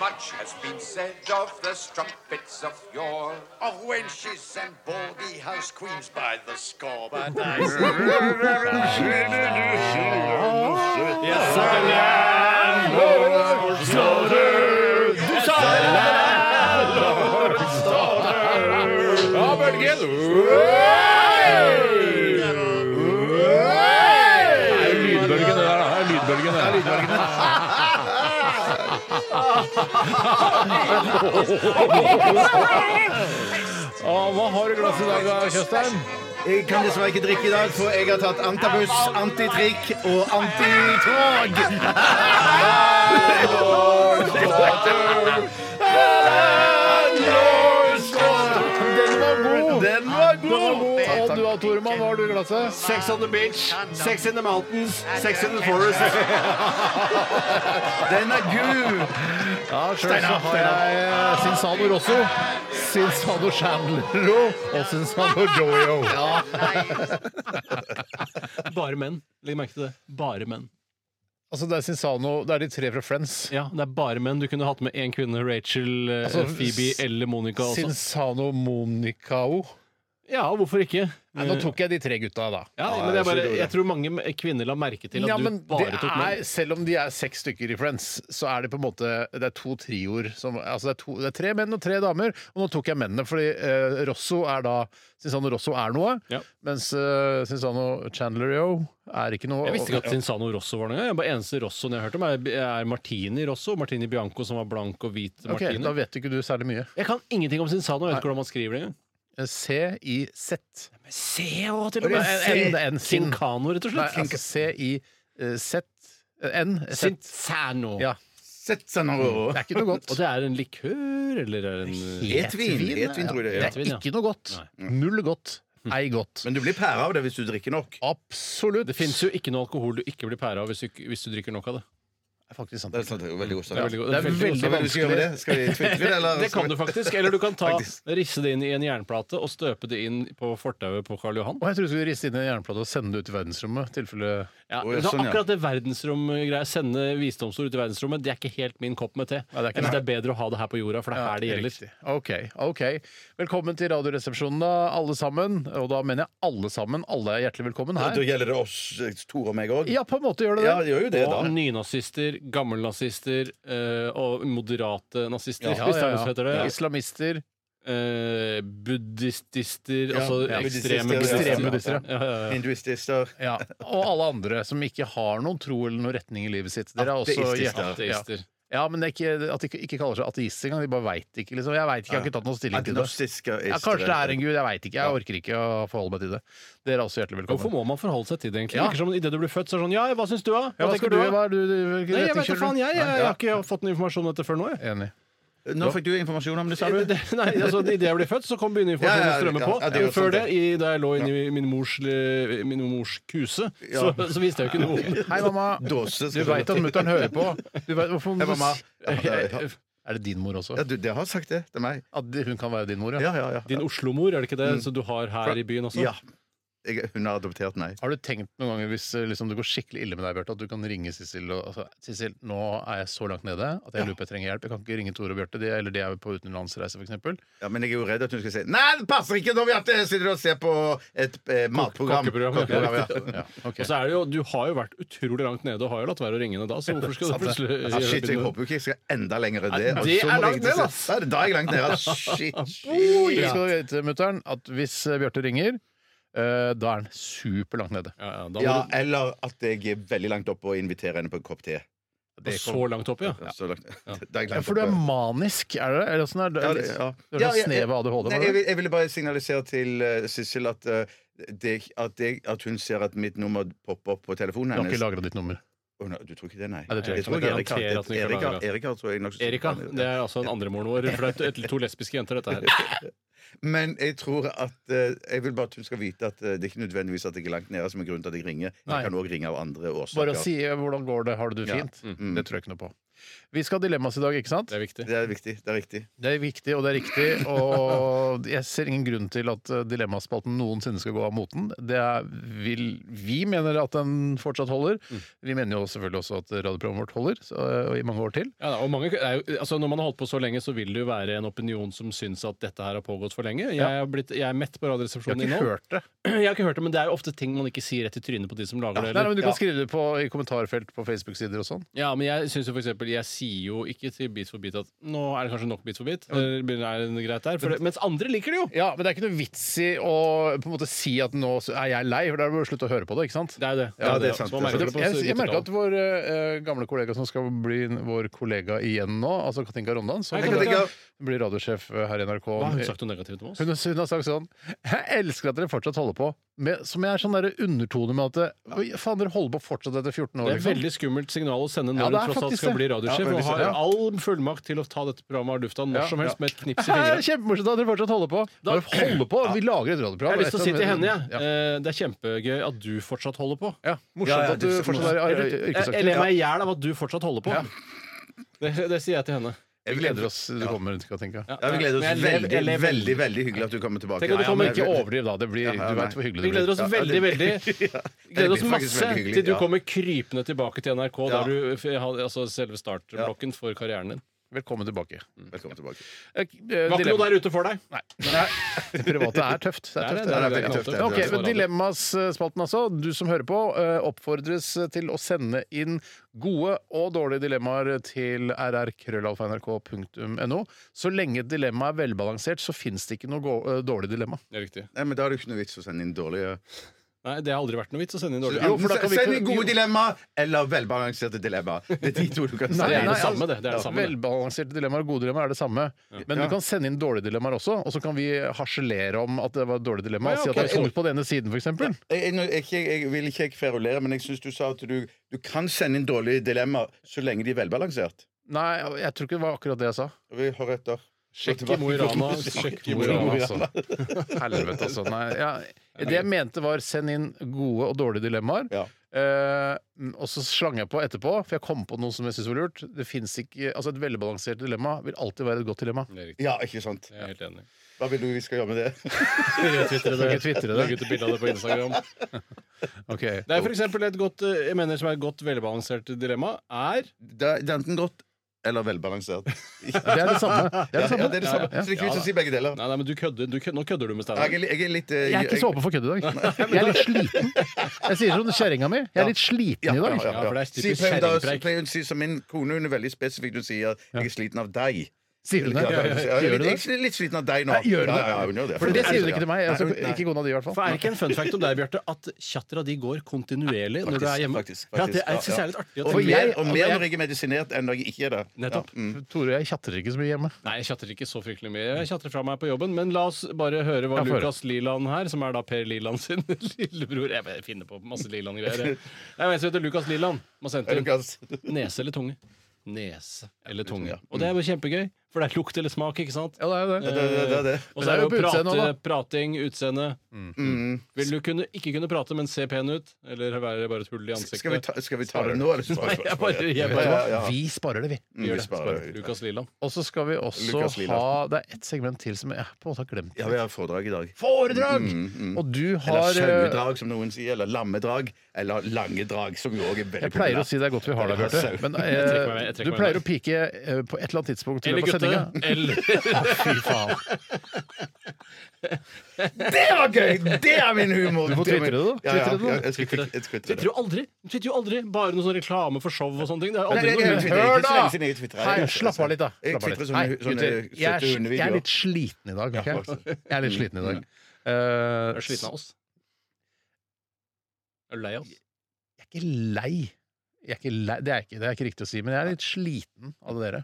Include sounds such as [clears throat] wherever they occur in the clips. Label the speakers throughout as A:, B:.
A: Much has been said of the strumpets of yore, of wenches and baldy house queens by the score. But I say,
B: hva har du i glasset i dag, Kjøstheim?
C: Jeg kan dessverre ikke drikke i dag, for jeg har tatt antabus, antitrikk og antitog.
B: Den var
C: Den var
B: god! Den var
C: god!
B: god. Og du da, Toremann, hva har du i glasset?
C: [laughs] Sex on the beach, sex in the mountains, sex in the forest. Den er gul!
B: Ja, sjøl så har jeg eh, Sinsano Rosso, Sinsano Chandlero og Sinsano Joyo.
D: Bare menn. Legg merke til det. Bare menn.
B: Altså, det er Sinsano Det er de tre fra Friends.
D: Ja, det er bare menn. Du kunne hatt med én kvinne, Rachel, eh,
B: Altså,
D: Phoebe eller Monica også.
B: Sinsano Monicao.
D: Ja, hvorfor ikke?
B: Nei, nå tok jeg de tre gutta, da.
D: Ja, men jeg, bare, jeg tror mange kvinner la merke til at
B: Ja, men
D: du
B: det
D: bare tok
B: er,
D: menn.
B: selv om de er seks stykker i Friends, så er det på en måte Det er to trioer som Altså det er, to, det er tre menn og tre damer, og nå tok jeg mennene, fordi eh, Rosso er da Cinzano Rosso er noe,
D: Ja.
B: mens eh, Cinzano Chandlerio er ikke noe.
D: Jeg visste ikke at Cinzano Rosso var noe. Jeg bare eneste Rossoen jeg har hørt om, er, er Martini Rosso. Martini Bianco, som var blank og hvit
B: Ok,
D: martini.
B: Da vet ikke du særlig mye.
D: Jeg kan ingenting om Cinzano. Jeg vet ikke hvordan man skriver det.
B: Eh, C-I-Z.
D: Se å, til
B: og med. En- en- en-
D: Sincano, rett og
B: Nei,
D: slett.
B: altså eh, C-I-Z eh, N-Z.
D: Cinzano.
B: Ja.
C: Sett seg nå.
B: Det er ikke noe godt.
D: Og det er en likør, eller er det en
C: Etvin. Etvin, tror jeg det
B: Det
C: er.
B: er ikke noe godt. Null godt.
D: Mm.
B: Ei godt.
C: Men du blir pære av det hvis du drikker nok.
B: Absolutt.
D: Det fins jo ikke noe alkohol du ikke blir pære av hvis du, ikke- hvis du drikker nok av det.
B: er faktisk sant.
C: Det er sant, det er jo veldig god
D: Det er
C: sak.
D: veldig, godt.
B: Det er veldig
D: godt.
C: Skal vi skal gjøre det? Skal vi tvitre det, eller?
D: Det kan du faktisk. Eller du kan ta,
C: Faktisk.
D: risse det inn i en jernplate og støpe det inn på fortauet på Karl Johan.
B: Og jeg tror du skulle riste inn en jernplate og sende det ut i verdensrommet. tilfelle...
D: Ja,
C: Å, ja,
D: så
C: sånn, ja.
D: akkurat det verdensromgreia, sende visdomsord ut i verdensrommet, det er ikke helt min kopp med te.
B: Nei, det er ikke
D: jeg synes det er bedre å ha det her på jorda, for det er her det gjelder.
B: Riktig. Ok, ok. Velkommen til Radioresepsjonen, da, alle sammen. Og da mener jeg alle sammen. Alle er hjertelig velkommen
C: Ja, Da
B: her.
C: gjelder det oss, Tor og meg òg.
B: Ja, på en måte gjør det
C: Ja,
B: det.
C: det gjør jo det, da.
D: Og nynazister, gammelnazister eh, og moderate nazister,
B: Ja,
D: hvis det
B: ja,
D: er noe som heter det.
B: ja. Islamister.
D: Eh, buddhistister,
C: Ja,
D: altså
C: ja,
D: ekstreme
C: buddhistister,
D: buddhister.
B: ekstreme buddhister,
D: ja. Ja, ja, ja.
C: Hinduistister.
B: Ja. Og alle andre som ikke har noen tro eller noen retning i livet sitt. Dere er også
C: Ateistister.
B: hjertelig-
D: Ateister.
B: Ja. ja, men det er ikke, at de ikke- ikke kaller seg ateister engang. De bare veit ikke, liksom. Jeg veit ikke, jeg har ikke tatt noen stilling til det.
C: Agnostiske
B: Ja, kanskje det er en gud, jeg veit ikke. Jeg orker ikke å forholde meg til det. Dere er også hjertelig velkommen.
D: Hvorfor må man forholde seg til det, egentlig?
B: Ja.
D: Ja. Ikke som Idet du blir født, så er det sånn Ja, hva syns du, da?
B: Ja, hva
D: tenker
B: skal du,
D: da?
B: hva er du, du hvilken
D: Nei, jeg
B: retning
D: vet da
B: kjører du?
D: faen, jeg. Jeg, jeg
B: Nei,
D: har ikke fått noe informasjon om dette før nå, jeg.
B: Enig.
C: Nå fikk du informasjon om det, sa du?
D: Det- [laughs] Nei, altså Idet jeg ble født, så kom
C: Ja, ja,
D: begynnerinformasjonen å strømme
C: ja,
D: på.
C: ja, det er jo
D: Men Før
C: sant,
D: det,
C: det.
D: i, da jeg lå inni min mors, eh, min mors kuse, så, så visste jeg jo ikke noe om det.
B: Hei, mamma.
C: Dåse,
B: Du
C: skal
B: veit at mutter'n hører på. Du vet, hvorfor,
C: Hei, mamma.
B: [laughs] Er det din mor også?
C: Ja, du, det har sagt det til meg.
B: At hun kan være din mor, ja?
C: Ja, ja, ja.
D: Din Oslo-mor, er det ikke det? Så du har her i byen også?
C: ja. Jeg, hun har adoptert meg.
B: Har du tenkt noen ganger hvis eh, liksom, det går skikkelig ille med deg, Bjarte, at du kan ringe Sissel og altså, Sissel, nå er jeg så langt nede at jeg lurer på jeg trenger hjelp. Jeg kan ikke ringe Tore og Bjarte, de, eller de er på utenlandsreise, f.eks.
C: Ja, men jeg er jo redd at hun skal si Nei, det passer ikke når vi at jeg sitter og ser på et eh, matprogram.
D: kokkeprogram. [laughs]
C: Kokkeprogram, ja.
B: Ja, [laughs] ok.
D: Og så er det jo, Du har jo vært utrolig langt nede og har jo latt være å ringe henne da, så hvorfor skal du plutselig
C: Ja, shit, jeg håper jo ikke jeg skal enda lenger enn det.
D: Nei,
C: og
D: det
C: så
D: er
C: må
D: langt
C: jeg-
D: ned, ass.
C: Da er det- da er jeg langt nede. Shit.
B: Du
C: shit.
B: skal vite, mutter'n, at hvis eh, Bjarte ringer, eh, da er han superlangt nede.
D: Ja, ja, da må
C: Ja,
D: du
C: eller at jeg er veldig langt oppe og inviterer henne på en kopp te.
D: og så langt opp, ja.
C: Så langt. [laughs] Da er jeg
B: Ja,
C: langt
B: for du er
C: oppe.
B: manisk, er det? Eller åssen er det?
C: Ja, det- ja.
B: Du har
C: Ja,
B: sånn
C: ja,
B: snev av
C: Nei,
B: ADHD? var
C: jeg,
B: det?
C: vil- jeg ville bare signalisere til eh, Sissel at, eh, det, at, jeg, at hun ser at mitt nummer popper opp på telefonen
B: Du har ikke
C: hennes.
B: lagra ditt nummer?
C: Å, nei, du tror ikke det, nei?
B: Nei, det tror jeg
C: jeg tror
D: ikke.
C: Erik har.
D: Jeg garanterer at hun ikke
C: Erik har-
D: lager det.
C: Erik har, tror jeg nok
D: Erika, det er altså en andremoren vår. For det er to- to lesbiske jenter, dette her.
C: [laughs] Men jeg tror at eh, Jeg vil bare at hun skal vite at eh, det er ikke nødvendigvis at jeg er langt nede som er grunnen til at jeg ringer.
B: Nei.
C: Jeg kan også ringe av andre årsaker.
B: Bare å si eh, 'hvordan går det, har du det
C: Ja. Mm.
B: fint'? Det tror jeg ikke noe på. Vi skal ha dilemmas i dag, ikke sant?
D: Det er viktig.
C: Det er viktig. Det er riktig.
B: Det er viktig, og det er riktig. Og jeg ser ingen grunn til at eh, Dilemmaspalten noensinne skal gå av moten. Det er, vil, vi mener at den fortsatt holder. Vi mener jo selvfølgelig også at radioprogrammet vårt holder så, eh, i mange år til.
D: Ja, da, og mange, det er jo, altså når man har holdt på så lenge, så vil det jo være en opinion som syns at dette her har pågått for lenge. Jeg, har blitt, jeg er mett på
B: Vi har
D: Radioresepsjonen
B: ikke
D: innhold.
B: hørt det.
D: [clears throat] Jeg har ikke hørt det, men det er jo ofte ting man ikke sier rett i trynet på de som lager det.
B: Nei,
D: eller?
B: men du
C: Ja.
B: kan skrive det på, i kommentarfelt på Facebook-sider og sånn.
D: Ja, men jeg synes jo for eksempel, jeg sier jo ikke til Beat for beat at nå er det kanskje nok Beat for beat. eller Er det greit der? For det, mens andre liker det jo!
B: Ja, men det er ikke noe vits i å på en måte si at nå er jeg lei, for da er det bare å slutte å høre på det. ikke sant?
D: Det er jo det.
C: Ja, det er
D: Så
C: sant,
D: man
C: det er sant.
D: merker det på
B: Jeg, jeg merker at
D: lyttertall.
B: vår eh, gamle kollega som skal bli vår kollega igjen nå, altså Katinka Rondan, som
D: Hei, Katinka.
C: Katinka.
B: blir radiosjef her i NRK
D: Hva har hun sagt noe negativt om oss?
B: Hun, hun har sagt sånn Jeg elsker at dere fortsatt holder på. Med, som jeg er sånn der undertone med at det- «Oi, Faen, dere holder på fortsatt etter 14 år,
D: Det er et
B: liksom. [laughs]
D: veldig skummelt signal å sende
B: Ja, det
D: når hun
B: er
D: tross alt
B: faktisk
D: skal
B: det.
D: bli radiosjef
C: Ja, men
D: og
C: hvis-
D: har
B: ja.
D: all fullmakt til å ta dette programmet av lufta når
B: Ja,
D: som helst med et knips i
B: Her er
D: fingrene.
B: det kjempemorsomt at dere fortsatt holder på! Bare holder på! Vi lager et radioprogram. sånn-
D: Jeg har lyst til å si til henne, jeg.
B: Ja.
D: eh, Det er kjempegøy at du fortsatt holder på.
B: Ja, morsomt
C: Ja, ja,
B: at du
C: det-
B: fortsatt er ar-
D: Jeg jeg
B: yrkesaktiv.
D: ler meg i hjel av at du fortsatt holder på.
B: Ja.
D: Det, det sier jeg til henne.
B: Vi gleder oss til du kommer, Katinka.
D: Ja.
C: Ja, vi gleder oss
D: Men jeg ler-
C: veldig,
D: jeg ler
C: veldig, veldig hyggelig at du kommer tilbake.
D: Tenk at du
C: Ja, ja,
D: kommer
C: men-
B: Ikke overdriv, da. Det blir,
C: Ja, ja,
B: du veit
C: nei.
B: hvor hyggelig
D: Vi
B: det blir.
D: gleder oss
C: Ja,
D: veldig,
C: det
D: veldig.
C: blir-
D: Vi gleder oss
C: blir faktisk
D: masse
C: veldig hyggelig,
D: til du
C: ja.
D: kommer krypende tilbake til NRK,
C: Ja.
D: der du, altså selve startblokken for karrieren din.
B: Velkommen tilbake.
C: Velkommen tilbake.
B: Eh,
D: Var ikke noe
B: dilemma-
D: der ute for deg?
B: [laughs] Det private er tøft. Det er
C: det er
B: tøft.
D: det
C: veldig
D: kan
C: tøft,
D: ofte.
C: det er
B: Ok, men Dilemmaspalten, altså. Du som hører på, eh, oppfordres til å sende inn gode og dårlige dilemmaer til rrkrøllalfa.nrk.no. Så lenge et dilemma er velbalansert, så fins det ikke noe gå- eh, dårlig dilemma.
D: Det er riktig.
C: Nei, men Da er det jo ikke noe vits å sende inn dårlige
D: Nei, det har aldri vært noe vits å sende inn dårlig.
B: Jo, for da kan vi ikke-
C: Send inn
B: jo.
C: gode dilemma eller velbalanserte dilemma. Det er de to du kan
B: Nei,
C: sende
B: altså,
D: Det er
C: inn.
D: det samme, det. det, er det samme, det.
B: Velbalanserte dilemmaer og gode dilemmaer er det samme. Men du
C: Ja.
B: kan sende inn dårlige dilemmaer også, og så kan vi harselere om at det var et dårlig dilemma.
D: Ja,
B: Si at det
D: ok.
B: er tungt på denne siden, f.eks.
C: Jeg, jeg, jeg, jeg, jeg vil ikke jeg kverulere, men jeg syns du sa at du, du kan sende inn dårlige dilemma så lenge de er velbalansert.
B: Nei, jeg tror ikke det var akkurat det jeg sa.
C: Vi hører etter.
D: Sjekk i Mo i Rana.
C: [laughs]
D: Sjekk i Mo i Rana.
B: altså. [laughs] Helvete, altså. Nei, ja. Det jeg mente var send inn gode og dårlige dilemmaer.
C: Ja.
B: Eh, og så slang jeg på etterpå, for jeg kom på noe som jeg syntes var lurt. Det finnes ikke, altså Et velbalansert dilemma vil alltid være et godt dilemma.
D: Det er riktig.
C: ja, ikke sant?
D: Jeg er helt enig.
C: Hva vil du vi skal gjøre med det?
D: Twitter det.
B: Ikke twitre det.
D: Legg ut et bilde av det på Instagram.
B: Ok,
D: Det er for eksempel et godt, eh, jeg mener som er et godt velbalansert dilemma, er
C: [laughs] Det er det er enten godt eller [laughs] velbalansert.
B: Det er det samme. Det er det samme.
C: Ja, det er det samme. Så det er ikke vits å si begge deler.
D: Nei, nei, men du kødder. Du kødder. Nå kødder du med
C: Jeg
D: Steinar.
C: er, jeg er litt eh,
B: Jeg er ikke så åpen for kødd i dag. Jeg er litt sliten. Jeg sier som kjerringa mi. Jeg er litt sliten i dag.
D: Ja, for det er
C: Si-
D: typisk
C: pleier hun da-
D: skjermpreik.
C: pleier hun å si som min kone, hun er veldig spesifikk. Hun sier 'jeg er sliten av deg'.
B: Sier du det?
C: Ja, ja, ja. Jeg er
B: Gjør du det?
C: litt- jeg er litt sliten av deg nå.
B: Nei, gjør du
C: ja,
B: det?
C: ja, hun gjør det.
B: For det sier hun ikke til meg. Altså,
C: Nei, hun- nei.
B: ikke kona di, i hvert
D: For
B: fall.
D: er det ikke en fun fact om deg, Bjarte, at tjattera di går kontinuerlig når du er hjemme?
C: faktisk, faktisk,
D: ja, det er, jeg synes det er litt artig å
C: Og
B: For
D: tenke.
C: mer,
B: jeg-
C: og mer når jeg er medisinert enn når jeg ikke er det.
D: Nettopp.
C: Ja. Mm.
B: Tore, jeg tjatter ikke så mye hjemme.
D: Nei, jeg tjatter ikke så fryktelig mye. Jeg tjatter fra meg på jobben, men la oss bare høre
B: Ja,
D: hva
B: få høre.
D: Lukas Liland her, som er da Per Liland sin [laughs] lillebror Jeg bare finner på masse [laughs] Liland-greier. jeg. Jeg vet som heter Lukas Liland. Man sendte inn
C: Lukas.
D: nese eller tunge. Nese eller tunge. Og det er jo kjempegøy, for det er lukt eller smak, ikke sant?
B: Ja, det er
C: Det, det, det, det.
D: Og så er det jo
B: på utseendet
D: prate,
B: også,
D: prating, utseende. Mm. Vil du kunne, ikke kunne prate, men se pen ut? Eller være bare et hull i ansiktet?
C: Skal vi ta, skal vi ta det nå, eller sparer
D: Nei, [laughs] jeg bare,
C: vi?
D: jeg bare
C: Ja, ja, ja.
B: Vi sparer det, vi.
C: Mm,
D: gjør
C: vi
D: det.
C: sparer det.
D: Lukas Liland.
B: Og så skal vi også
C: Lukas Lilla.
B: ha Det er ett segment til som jeg på en måte har glemt.
C: Ja, vi har foredrag i dag.
B: Foredrag! Og du
C: Eller
B: har eh,
C: sauedrag, som noen sier. Eller lammedrag. Eller lange drag, som jo også er veldig
B: Jeg pleier å si det er godt vi har deg, Bjarte. Men eh,
D: [laughs] Jeg trekker meg med, jeg trekker
B: du
D: meg
B: pleier å
D: med.
B: pike eh, på et eller annet tidspunkt i
D: Eller
B: løpet av
D: gutte.
B: sendinga.
D: [laughs] Eller
B: Fy
C: [laughs]
B: faen.
C: Det var gøy! Det er min humor!
B: Du får
C: er min-
B: twitre det, da.
C: Ja, ja,
B: Twitre det, da.
C: ja, jeg skal twitre jeg skal twitre
D: Twitter
C: det.
D: jo aldri! Twitter jo aldri Bare noe sånn reklame for show og sånne ting. Det er
C: Nei,
D: aldri
C: nei,
D: noe
C: jeg twitter ikke
B: Hør
D: humor.
C: så
B: da!
C: lenge siden jeg twitret.
B: Hei, slapp
C: [laughs]
B: av litt, da.
C: Jeg
B: Slapp av
C: twitrer
B: litt.
C: sånne,
B: Nei,
C: sånne
B: gutter, jeg er,
C: søte
B: jeg er
C: hundevideoer.
B: litt sliten i dag. ok?
C: Ja, faktisk. Mm.
B: Jeg er litt sliten i dag. Eh,
D: Er du sliten av oss? Er du lei av oss?
B: Jeg er ikke lei. Jeg er ikke lei. Det, er ikke, det er ikke riktig å si, men jeg er litt sliten av dere.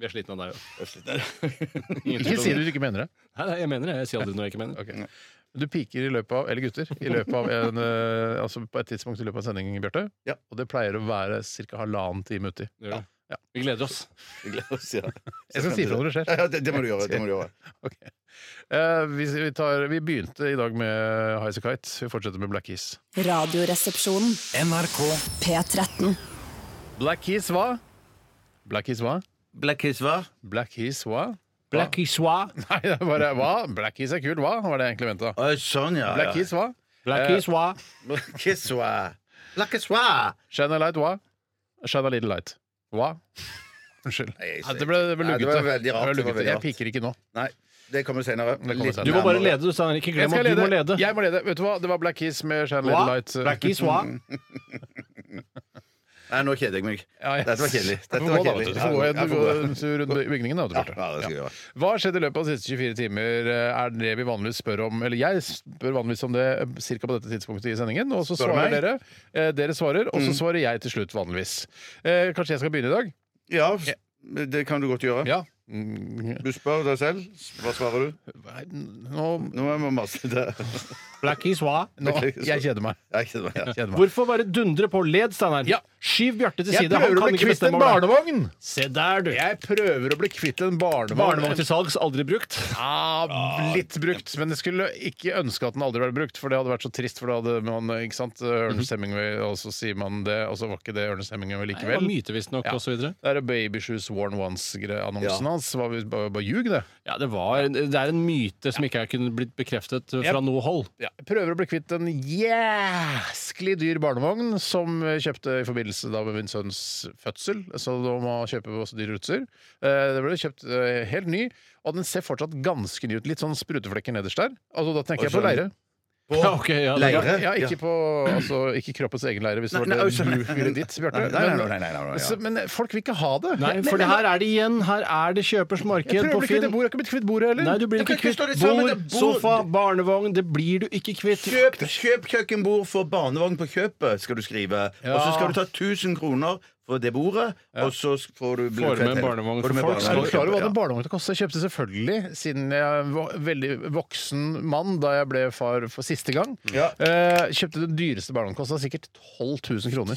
D: Vi er slitne av deg òg.
B: Ikke si det du ikke mener det.
D: Nei, nei, jeg mener det. Jeg sier aldri noe jeg ikke mener.
B: Ok. Du piker i løpet av, eller gutter, i løpet av en, eh, altså på et tidspunkt i løpet av en sending, Bjarte.
C: Ja.
B: Og det pleier å være ca. halvannen time uti. [laughs]
D: Det gjør det. Vi gleder oss.
C: Vi gleder oss, ja.
B: Jeg skal si ifra når det skjer.
C: Ja, det, det må du gjøre. det må du gjøre.
B: Ok. Eh, vi, vi, tar, vi begynte i dag med High As A Kite. Vi fortsetter med Black Keys.
E: Radioresepsjonen.
F: NRK
E: P13.
B: Black Keys hva? Black Keys hva?
C: Black Kiss, hva?
B: Black Keys hva?
D: Blacky Swa.
B: [laughs] Nei, det er bare hva? Black Keys er kul, hva? Var det jeg egentlig venta.
C: Å, sånn, ja.
B: Black
C: ja.
B: Keys hva?
D: Blacky Swa.
C: Black Kiss, hva? Black Kiss, hva?
B: Shine a light hva? Shine a little light. Hva? Unnskyld.
C: jeg
B: Ja, det ble, det ble
C: Nei, det var
B: luggete.
C: veldig rart, det var
B: Det ble luggete.
C: veldig
B: Jeg
C: rart.
B: piker ikke nå.
C: Nei, det kommer senere.
B: kommer
C: Litt
B: senere.
D: Du må bare
C: nærmere.
D: lede, du, Steinar. Ikke
B: Jeg
D: glem
B: skal
D: at du
B: lede.
D: må lede.
B: Jeg må lede. Vet du hva? Det var Black Keys med eh, Shine a little
D: Hva?
B: light.
D: Blacky
B: [laughs]
D: Swa.
C: Nei, nå kjeder jeg meg.
B: Ja, ja.
C: Dette var kjedelig.
B: Du
C: Dette
B: får
C: var
B: gå, da, vet du.
C: kjedelig.
B: Du får gå
C: Ja,
B: en-
C: jeg
B: du
C: får
B: går
C: gå.
B: en tur rundt bygningen, da. vet du,
C: Ja,
B: Bjarte.
C: ja, det skal jeg gjøre.
B: Hva har skjedd i løpet av de siste 24 timer? Er det det vi vanligvis spør om? Eller jeg spør vanligvis om det eh, cirka på dette tidspunktet i sendingen. Og så
C: Spør meg.
B: svarer dere. Eh, Dere svarer, og så svarer jeg til slutt, vanligvis. Eh, Kanskje jeg skal begynne i dag?
C: Ja, det kan du godt gjøre.
B: Ja. Mm,
C: Du spør deg selv. Hva svarer du?
B: nei, Nå,
C: Nå må jeg masse det.
D: Blacky Swa.
B: nå Jeg kjeder meg.
C: Jeg kjeder meg.
B: Kjeder meg.
D: Hvorfor bare dundre på? Led, Steinar.
B: Ja.
D: Skyv Bjarte til
B: Jeg
D: side.
B: prøver å bli kvitt en
D: over det.
B: barnevogn!
D: Se der, du.
B: Jeg prøver å bli kvitt en barnevogn.
D: Barnevogn til salgs, aldri brukt. Ah,
B: Ja, Ah, litt brukt, men jeg skulle ikke ønske at den aldri ble brukt, for det hadde vært så trist. For da hadde man, ikke sant,
D: Mhm.
B: Ernest Hemingway, og så sier man det, og så var ikke det Ernest Hemingway
D: Det
B: likevel.
D: var myte, visstnok,
B: Ja.
D: og så videre.
B: Det er Baby Shoes Worn Once-annonsen
C: Ja.
B: hans. Var vi bare, bare ljug, det?
D: Ja, det, var, det er en myte som ikke er kunne blitt bekreftet fra
B: Yep.
D: noe hold.
B: Jeg prøver å bli kvitt en jæsklig dyr barnevogn som jeg kjøpte i forbindelse da med min sønns fødsel. Så da må jeg kjøpe også dyre utstyr. Eh, Det ble kjøpt eh, helt ny, og den ser fortsatt ganske ny ut. Litt sånn spruteflekker nederst der. Altså, da tenker jeg på
C: sånn.
B: leire.
D: [laughs] Ja, ok, ja, det er bra.
C: Leire.
B: Ja, ikke, på, altså, ikke kroppens egen leire, hvis det
C: Nei,
B: var
C: nei,
B: det
C: skjønner.
B: du ville ditt,
C: Nei,
B: Bjarte.
C: nei, nei, nei, nei,
B: Men-
C: nei, nei, nei, ja.
B: så- Men eh, folk vil ikke ha det.
D: Nei, for det her er det igjen. Her er det kjøpers
B: Jeg
D: marked
B: prøver å
D: på
B: bli kvitt det bordet. Jeg
D: Finn.
B: har ikke blitt kvitt bordet heller.
D: Nei, du blir
C: Det kan ikke
D: ikke kvitt
C: stå det sammen,
D: bord,
C: det er bord.
D: sofa, barnevogn. Det blir du ikke kvitt.
C: Kjøp, kjøp kjøkkenbord for barnevogn på kjøpet, skal du skrive. Og så skal du ta 1000 kroner for det bordet, og så får du bli
D: Får du med
C: kveld- Får
D: barnevogn
C: du
D: for
C: med
D: folk,
B: Er
C: barnevogn
B: du klar over hva
C: for
B: den barnevogna kosta? Jeg kjøpte selvfølgelig, siden jeg var veldig voksen mann da jeg ble far for siste gang.
C: Ja.
B: Eh, kjøpte den dyreste barnevogna. Kosta sikkert 12 000 kroner.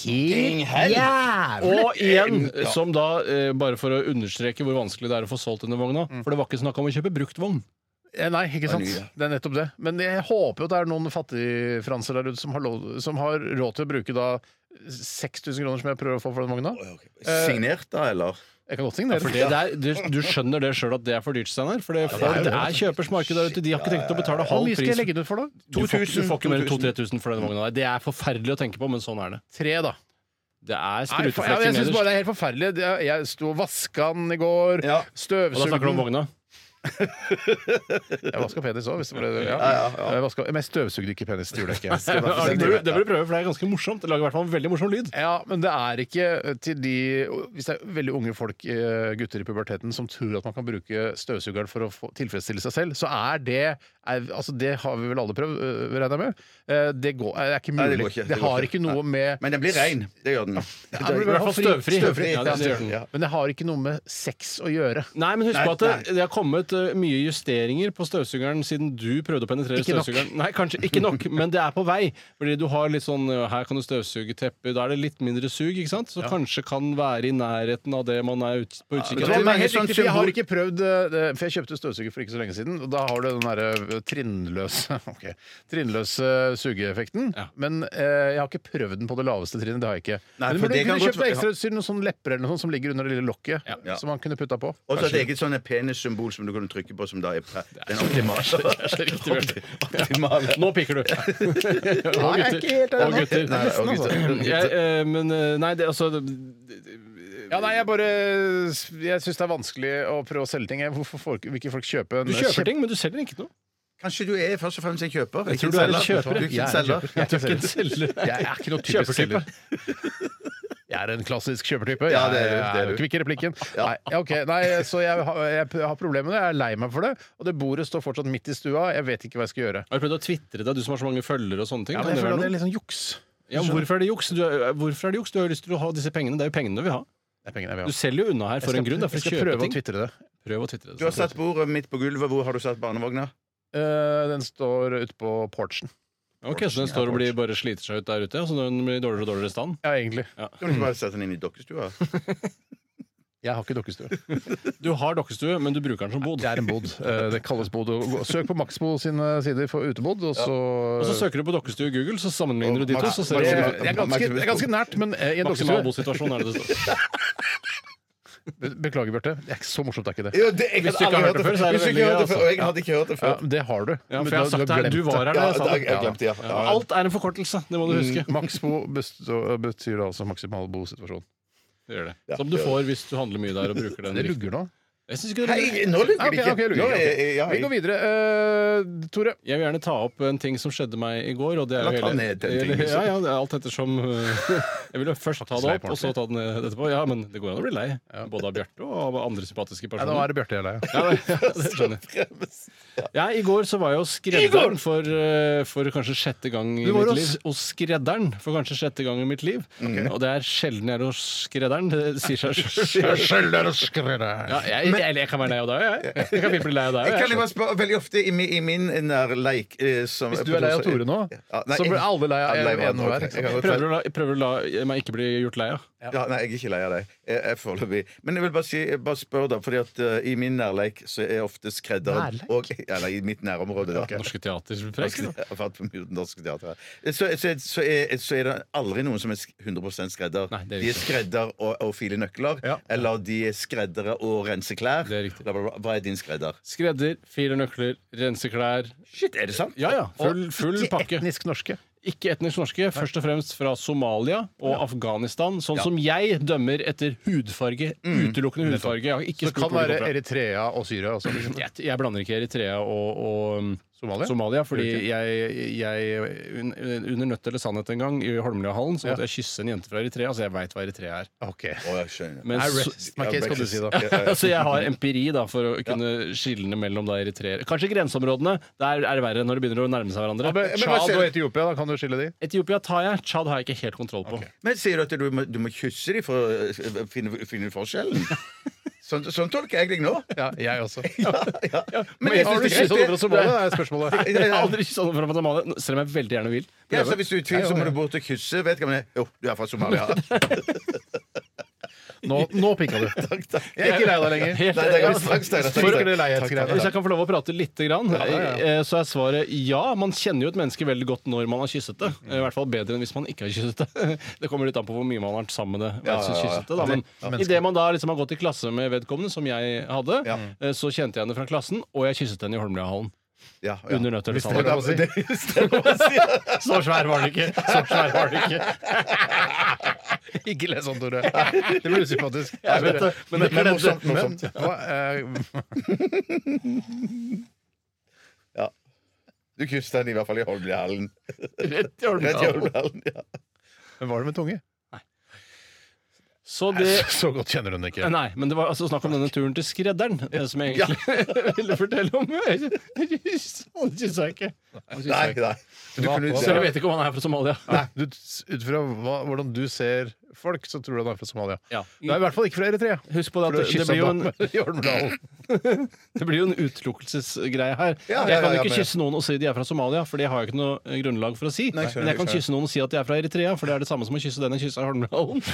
B: Det er helt jævlig!
D: Og igjen, som da, eh, bare for å understreke hvor vanskelig det er å få solgt denne vogna
B: Mm.
D: For det var ikke snakk om å kjøpe bruktvogn.
B: Eh, Nei, ikke sant. Det er nettopp det. Men jeg håper jo at det er noen fattigfranser der ute som har, lov, som har råd til å bruke da 6000 kroner som jeg prøver å få for den vogna.
C: ja. Eh, Signert, da, eller?
B: Jeg kan godt signere.
D: For det der, du, du skjønner det sjøl at det er for dyrt, Steinar. For det, folk, det er kjøpers marked der ute. De har ikke tenkt å betale
B: Hvor
D: halv
B: mye skal jeg
D: pris.
B: legge den ut for, da?
D: Du får, ikke- du får ikke mer enn 2000-3000 for den vogna der. Det er forferdelig å tenke på, men sånn er det.
B: Tre, da.
D: Det er
B: Nei, for, jeg
D: spruteflekker
B: jeg syns bare
D: nederst.
B: det er helt forferdelig. Jeg, jeg sto og vaska den i går.
C: Ja.
D: Og da
B: Støvsugde
D: snakker du om
B: den.
D: vogna.
B: Jeg vaska penis òg, hvis det ble det. Ja. Jeg vasket- men jeg støvsugde ikke penis. Det gjorde jeg ikke.
D: [laughs] Det bør det bør du prøve, for det er ganske morsomt. Det lager i hvert fall en veldig morsom lyd.
B: Ja, men det er ikke til de Hvis det er veldig unge folk, eh, gutter i puberteten, som tror at man kan bruke støvsugeren for å få tilfredsstille seg selv, så er det er, Altså, det har vi vel alle prøvd, øh, regner jeg med. Eh, Det, går, er ikke mulig.
C: Nei, det
B: det,
C: går ikke. Det går
B: har
C: ikke.
B: ikke noe med
C: Men den blir rein. [laughs] Det gjør den.
B: Ja, men
D: I hvert fall støvfri.
B: støvfri.
D: Ja, det- det gjør den.
C: Ja.
B: Men det har ikke noe med sex å gjøre.
D: Nei, men husk
C: Nei,
D: på at det, det har kommet eh, mye justeringer på støvsugeren siden du prøvde å penetrere
B: Ikke nok.
D: støvsugeren. Nei, kanskje ikke nok, [laughs] men det er på vei. Fordi du har litt sånn eh, Her kan du støvsuge tepper. Da er det litt mindre sug, ikke sant? Så kanskje kan være i nærheten av det man er ut, på utkikk
C: men
D: etter.
C: det er
B: Men
C: mange
B: helt
C: sånn
B: riktig, for jeg
C: symbol-
B: har ikke prøvd eh, det, For jeg kjøpte støvsuger for ikke så lenge siden, og da har du den derre eh, trinnløse [laughs] ok, Trinnløse sugeeffekten.
D: Ja.
B: Men eh, jeg har ikke prøvd den på det laveste trinnet. Det har jeg ikke.
C: Nei,
B: Men
C: for
B: du
C: det
B: kunne
C: kan
B: kjøpt
C: godt-
B: deg ekstrautstyr, noen sånne lepper eller noe sånt som ligger under det lille lokket,
C: Ja.
B: som man kunne putta på.
C: Og så et eget sånn penissymbol som du kunne trykke på, som da er pre- den optimale. optimale.
D: Nå piker du!
B: [laughs]
D: Og gutter. Og gutter.
C: Nei, og gutter.
D: Jeg, eh, men eh, nei, det, altså det-
B: Ja, nei, jeg bare Jeg syns det er vanskelig å prøve å selge ting. Jeg- Hvorfor får ikke- vil ikke folk kjøpe en
D: Du kjøper
B: kjempe-
D: ting, men du selger ikke noe.
C: Kanskje du er først og fremst en kjøper?
D: Jeg tror
C: ikke
D: du er en
C: selger.
D: kjøper,
C: Du
D: jeg.
C: er ikke
B: Jeg
C: en
B: er en
C: selger.
B: kjøper. Jeg er ikke en selger.
D: selger.
B: Jeg er ikke noe typisk
D: Kjøpertype.
B: selger. [laughs] Jeg er en klassisk kjøpertype.
C: Ja, det er du,
B: Jeg
C: det er du.
B: Kvikk i replikken. Nei, [laughs] ja, ok. Nei, så jeg har, jeg har problemer med det. Jeg er lei meg for det. Og det bordet står fortsatt midt i stua. Jeg vet ikke hva jeg skal gjøre.
D: Har du prøvd å tvitre deg, du som har så mange følgere og sånne ting?
B: Ja,
D: Kan
B: men jeg
D: det
B: føler at det
D: være noe?
B: er litt sånn juks.
D: Ja, men hvorfor er det juks? Du, er- hvorfor er det juks? Du har jo lyst til å ha disse pengene. Det er jo pengene du vil ha.
B: Det er pengene jeg
D: Du
B: vil ha.
D: selger jo unna her for en grunn. Det er for
B: jeg
D: å
B: skal
D: kjøpe
B: prøve å
D: ting.
B: tvitre det.
D: Prøv å tvitre.
C: Du har satt bordet midt på gulvet. Hvor har du satt barnevogna?
B: Eh, den står ute på porchen.
D: Ok, Så den står og blir, bare sliter seg ut der ute, ja, så den blir i dårligere og dårligere stand?
B: Ja, egentlig.
C: Kan du ikke bare sette den inn i dokkestua?
B: Jeg har ikke dukkestue.
D: Du har dokkestue, men du bruker den som bod.
B: Det er en bod. Eh, Det kalles bod. Og gå- Søk på Maxbo sine sider for utebod, og så
D: Og så søker du på dokkestue i Google, så sammenligner du de to. Så ser
B: det,
D: du
B: det, er ganske, det er ganske nært, men eh, i en
D: Maksimal
B: dokkestue
D: bosituasjon er det det står.
B: Be- Beklager, Bjarte. Det er ikke så morsomt, det er ikke det.
C: Jo, det- jeg
D: Hvis
C: hadde
D: du ikke har
C: aldri
D: hørt det før, så er det
C: Hvis du ikke
D: veldig
C: har hørt det
D: gøy,
C: før, og jeg hadde ikke hørt det
B: Ja,
C: før.
B: det har du.
D: Ja,
B: Men
D: for jeg har
B: du
D: sagt det
B: har
D: her. Du
B: glemt
D: var her
C: Ja,
D: da jeg sa
C: jeg,
D: det.
C: jeg glemte ja.
D: Ja,
C: ja.
D: Alt er en forkortelse, det må du huske.
B: Mm. Maxbo bestå- betyr altså maksimal bosituasjon.
D: Det gjør det. Som du får hvis du handler mye der og bruker den
B: Det
D: riktig.
B: lugger nå.
D: Jeg, synes ikke det er
C: Hei, nå
B: Ah,
C: lugger
B: ok,
C: det ikke.
B: ok, lugger
C: Nå
B: ikke, ok.
C: er- ja,
B: Vi går videre. Eh, Tore.
D: jeg vil gjerne ta opp en ting som skjedde meg i går. Og det er
C: Eller
D: jo
C: ta
D: hele-
C: ned den tingen.
D: Ja, ja, det er alt ettersom [laughs] Jeg vil jo først ta det opp, og så ta den ned etterpå. Ja, men det går an å bli lei. Både av Bjarte og av andre sympatiske
B: Nei, nå
D: personer.
B: er det Bjarte jeg er lei av.
D: Ja, det, ja, det skjønner jeg. Ja, I går så var jeg hos skredderen for, eh, for kanskje sjette gang i
B: Du var
D: mitt liv.
B: hos-
D: Hos Mm. skredderen for kanskje sjette gang i mitt liv. Og det er sjelden jeg er hos skredderen. Det sier seg sjøl. [laughs] Ja, jeg, eller jeg kan være lei av deg [laughs] òg, jeg. Jeg kan fint bli lei av deg
C: Jeg
D: også,
C: kan jo bare spørre veldig ofte i min, i min nær leik eh, som,
B: Hvis du er lei av Tore nå,
C: Ja, nei,
B: så blir
C: jeg-
B: alle lei av
C: Alle
B: en- en
C: andre,
B: hver.
C: ok. Jeg kan
D: jeg.
C: godt
D: Prøver å la, prøver å la meg ikke bli gjort lei av.
C: Ja, nei, jeg er ikke lei av deg. Jeg, jeg Foreløpig. Men jeg vil bare, si, bare spørre, da, fordi at eh, i min nærleik så er ofte skredderen
B: Nærleik?
C: og, ja, nei, I mitt nærområde. da.
D: Norske teater.
B: liksom?
C: Jeg har vært på mye Norsk teater. Så, så, så, er, så er det aldri noen som er sk- 100 skredder.
D: Nei, det er
C: de er
D: riktig.
C: skredder og, og filer nøkler.
B: Ja.
C: Eller de er skreddere og renser klær.
D: Det er riktig.
C: Bla, bla, bla. Hva er din skredder?
D: Skredder, fire nøkler, rense klær.
C: Shit, er det sant?
D: Ja ja, full, full
B: Til
D: pakke.
B: Etnisk norske.
D: ikke etnisk norske, først og fremst fra Somalia og Afghanistan. Sånn som jeg dømmer etter hudfarge. Utelukkende hudfarge. Jeg, har ikke
B: Mm. Så det
D: spurt
B: kan
D: hvor de
B: være
D: kom fra.
B: Eritrea og Syria. Også, liksom.
D: jeg, jeg blander ikke Eritrea og, og um,
B: Mm. Somalia?
D: fordi
B: Gjør du ikke?
D: jeg, jeg un, under Nødt eller sannhet en gang, i Holmlia-hallen, så måtte jeg kysse en jente fra Eritrea, så jeg veit hva Eritrea er.
B: Ok.
C: Å, jeg skjønner.
D: Men
B: I
D: så-
B: rest my case, skal du si da.
D: [laughs] så jeg har empiri da for å kunne skille mellom da Eritrea Kanskje grenseområdene. Der er det verre når det begynner å nærme seg hverandre.
B: Men, men hva
D: Tsjad
B: ser-
D: og
B: og Etiopia, da kan du skille de?
D: Etiopia tar jeg. Tsjad har jeg ikke helt kontroll på.
C: Men sier du at du må, du må kysse dem for å eh, finne, finne forskjellen? Sånn, sånn tolker jeg deg nå.
B: Ja, jeg
D: [laughs]
B: også.
C: Ja.
B: Men
C: jeg
B: har du
C: synes det er
B: kysset
C: greit,
B: noen
C: det.
B: fra Somalia? Det sånn er [laughs] spørsmålet.
C: Ja,
D: Jeg
C: ja.
D: har aldri sånn kysset noen fra Guatemala, selv om jeg veldig gjerne vil.
C: Ja, så hvis du er i tvil, så må du bort og kysse. Vet ikke om det Jo, du er fra Somalia.
B: Nå, nå pikka du.
C: Takk, takk.
B: Jeg er ikke lei deg lenger.
D: Helt-
C: Nei, det er straks, Steinar.
B: For
C: Takk,
B: det
C: takk.
B: leighetsgreiene
D: Hvis
B: der.
D: jeg kan få lov å prate lite grann, eh, så er svaret ja. Man kjenner jo et menneske veldig godt når man har kysset det.
C: Mm.
D: I hvert fall bedre enn hvis man ikke har kysset det. [laughs] Det kommer litt an på hvor mye man har vært sammen med det. og jeg synes kysset det da. Men idet man da liksom har gått i klasse med vedkommende, som jeg hadde, eh, så kjente jeg henne fra klassen, og jeg kysset henne i Holmlia-hallen.
C: Ja, ja.
D: Under nøtter
B: Hvis det er
D: sammen.
B: lov å si.
D: [laughs] Så svær var den ikke! Så svær var den ikke.
B: [laughs] Ikke le sånn, Tore. Det blir usympatisk. Jeg
D: vet det, men det er
B: morsomt.
D: morsomt,
B: Men, hva, eh,
C: Du kysset den i hvert fall i Holmlia-hallen.
D: [laughs] Rett i
C: Rett i
D: Holmlia-hallen.
C: Holmlia-hallen, ja.
B: men var det med tunge?
D: Så det
B: Så godt kjenner hun det ikke.
D: Nei, men det var altså snakk om denne turen til skredderen, eh, som jeg egentlig [laughs] ville fortelle om. Han kyssa ikke. Han kysset
C: Nei,
D: ikke.
C: nei. Du
B: Hva-
C: kunne
B: hva-
D: Så jeg vet ikke om han er fra Somalia.
B: Nei, du, ut fra hva, hvordan du ser folk, så tror du han er fra Somalia.
D: Ja.
B: Du er i hvert fall ikke fra Eritrea.
D: Husk på det
B: For du
D: at det
B: kyssa
D: blir jo en,
B: dame [laughs] i Holmdalen.
D: [laughs] det blir jo en utelukkelsesgreie her.
C: Ja, ja,
D: Jeg kan
C: ja,
D: jo
C: ja,
D: ikke
C: men-
D: kysse noen og si de er fra Somalia, for det har jeg ikke noe eh, grunnlag for å si.
C: Nei, skjønner,
D: Men jeg kan
C: skjønner.
D: kysse noen og si at de er fra Eritrea, for det er det samme som å kysse den jeg kyssa i Holmdalen.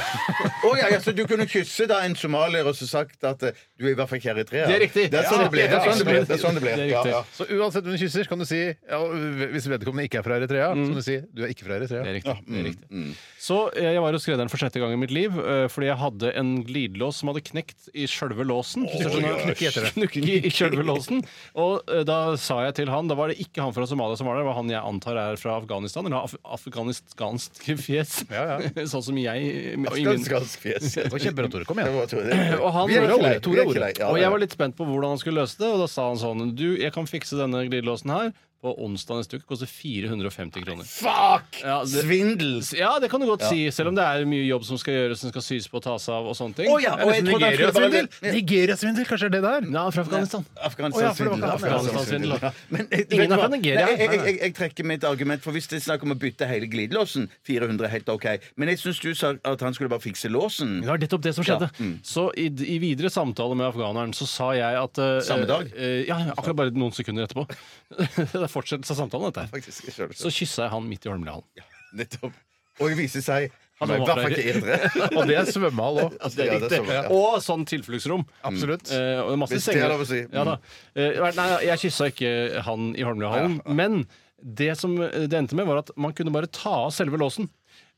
C: Å, ja, ja, så du kunne kysse da en somalier og så sagt at eh, du er i hvert fall ikke eritreer?
D: Det er riktig.
C: Det er sånn
D: Ja,
C: det ble.
D: det er
C: Det er sånn det ble.
D: riktig.
C: Det er sånn det ble.
D: Det er
C: Ja,
D: riktig.
C: ja.
B: Så uansett hvem du kysser, kan du si ja, og Hvis vedkommende ikke er fra Eritrea, så kan du si du er ikke fra
D: Mm. Det
B: Eritrea.
D: er riktig. det er
C: mm,
D: riktig. Så eh, jeg var hos skredderen for sjette gang i mitt liv eh, fordi jeg hadde en glidelås som hadde knekt i sjølve låsen. Så skjønner du, knekke etter det. Knekke i sjølve låsen. Og eh, da sa jeg til han Da var det ikke han fra Somalia som var der, det var han jeg antar er fra Afghanistan. Eller har af afghanistansk [laughs] fjes.
B: Ja, ja.
D: sånn som jeg. i min-
C: Ganske, ganske fjes.
B: Det var kjempebra, Tore. Kom
C: Det
B: igjen.
C: var Tore. Vi er
D: og han
C: ikke
D: Tore
C: lei.
D: Ore,
C: Vi
D: Tore
C: er ikke
D: Ore.
C: lei. Ja,
D: Og jeg
C: ja.
D: var litt spent på hvordan han skulle løse det, og da sa han sånn Du, jeg kan fikse denne glidelåsen her på onsdag neste uke. Koster 450 kroner.
C: Fuck!
D: Ja, det-
C: Svindel!
D: Ja, det kan du godt si, selv om det er mye jobb som skal gjøres. Den skal sys på og tas av og sånne ting.
C: Å ja, og jeg trodde han skulle bare
B: Nigeria-svindel! Nigeria-svindel, kanskje er det der?
D: Ja, fra Afghanistan. Å ja, for det var
C: Afghanistan-svindel.
D: ikke
C: Afghanistan-svindel.
D: Afghanistan-svindel.
C: Men, eh, vet
D: Ingen
C: du
D: er
C: hva?
D: fra Nigeria.
C: Nei, Jeg, jeg, jeg, jeg trekker mitt argument, for hvis det er snakk om å bytte hele glidelåsen 400 er helt OK. Men jeg syns du sa at han skulle bare fikse låsen.
D: Det var nettopp det som skjedde.
C: Mm.
D: Så i, i videre samtale med afghaneren så sa jeg at eh,
C: Samme dag?
D: eh, ja, akkurat bare noen sekunder etterpå. [laughs] det er fortsettelse av samtalen, dette. her.
C: Faktisk, jeg skjønner det.
D: Så kyssa jeg han midt i Holmlia hallen.
C: Nettopp. Og det viser seg
D: Han
C: Han er i
D: var
C: hvert fall ikke
D: [laughs]
C: indre.
B: Og det er svømmehall òg.
C: Altså, ja, det er sånn, ja.
D: Og sånn tilfluktsrom.
B: Absolutt.
D: Eh, og det er masse
C: Hvis det er
D: senger.
C: lov å si.
D: Ja, da. Eh, nei, jeg kyssa ikke han i Holmlia-hallen. Men det som eh, det endte med, var at man kunne bare ta av selve låsen.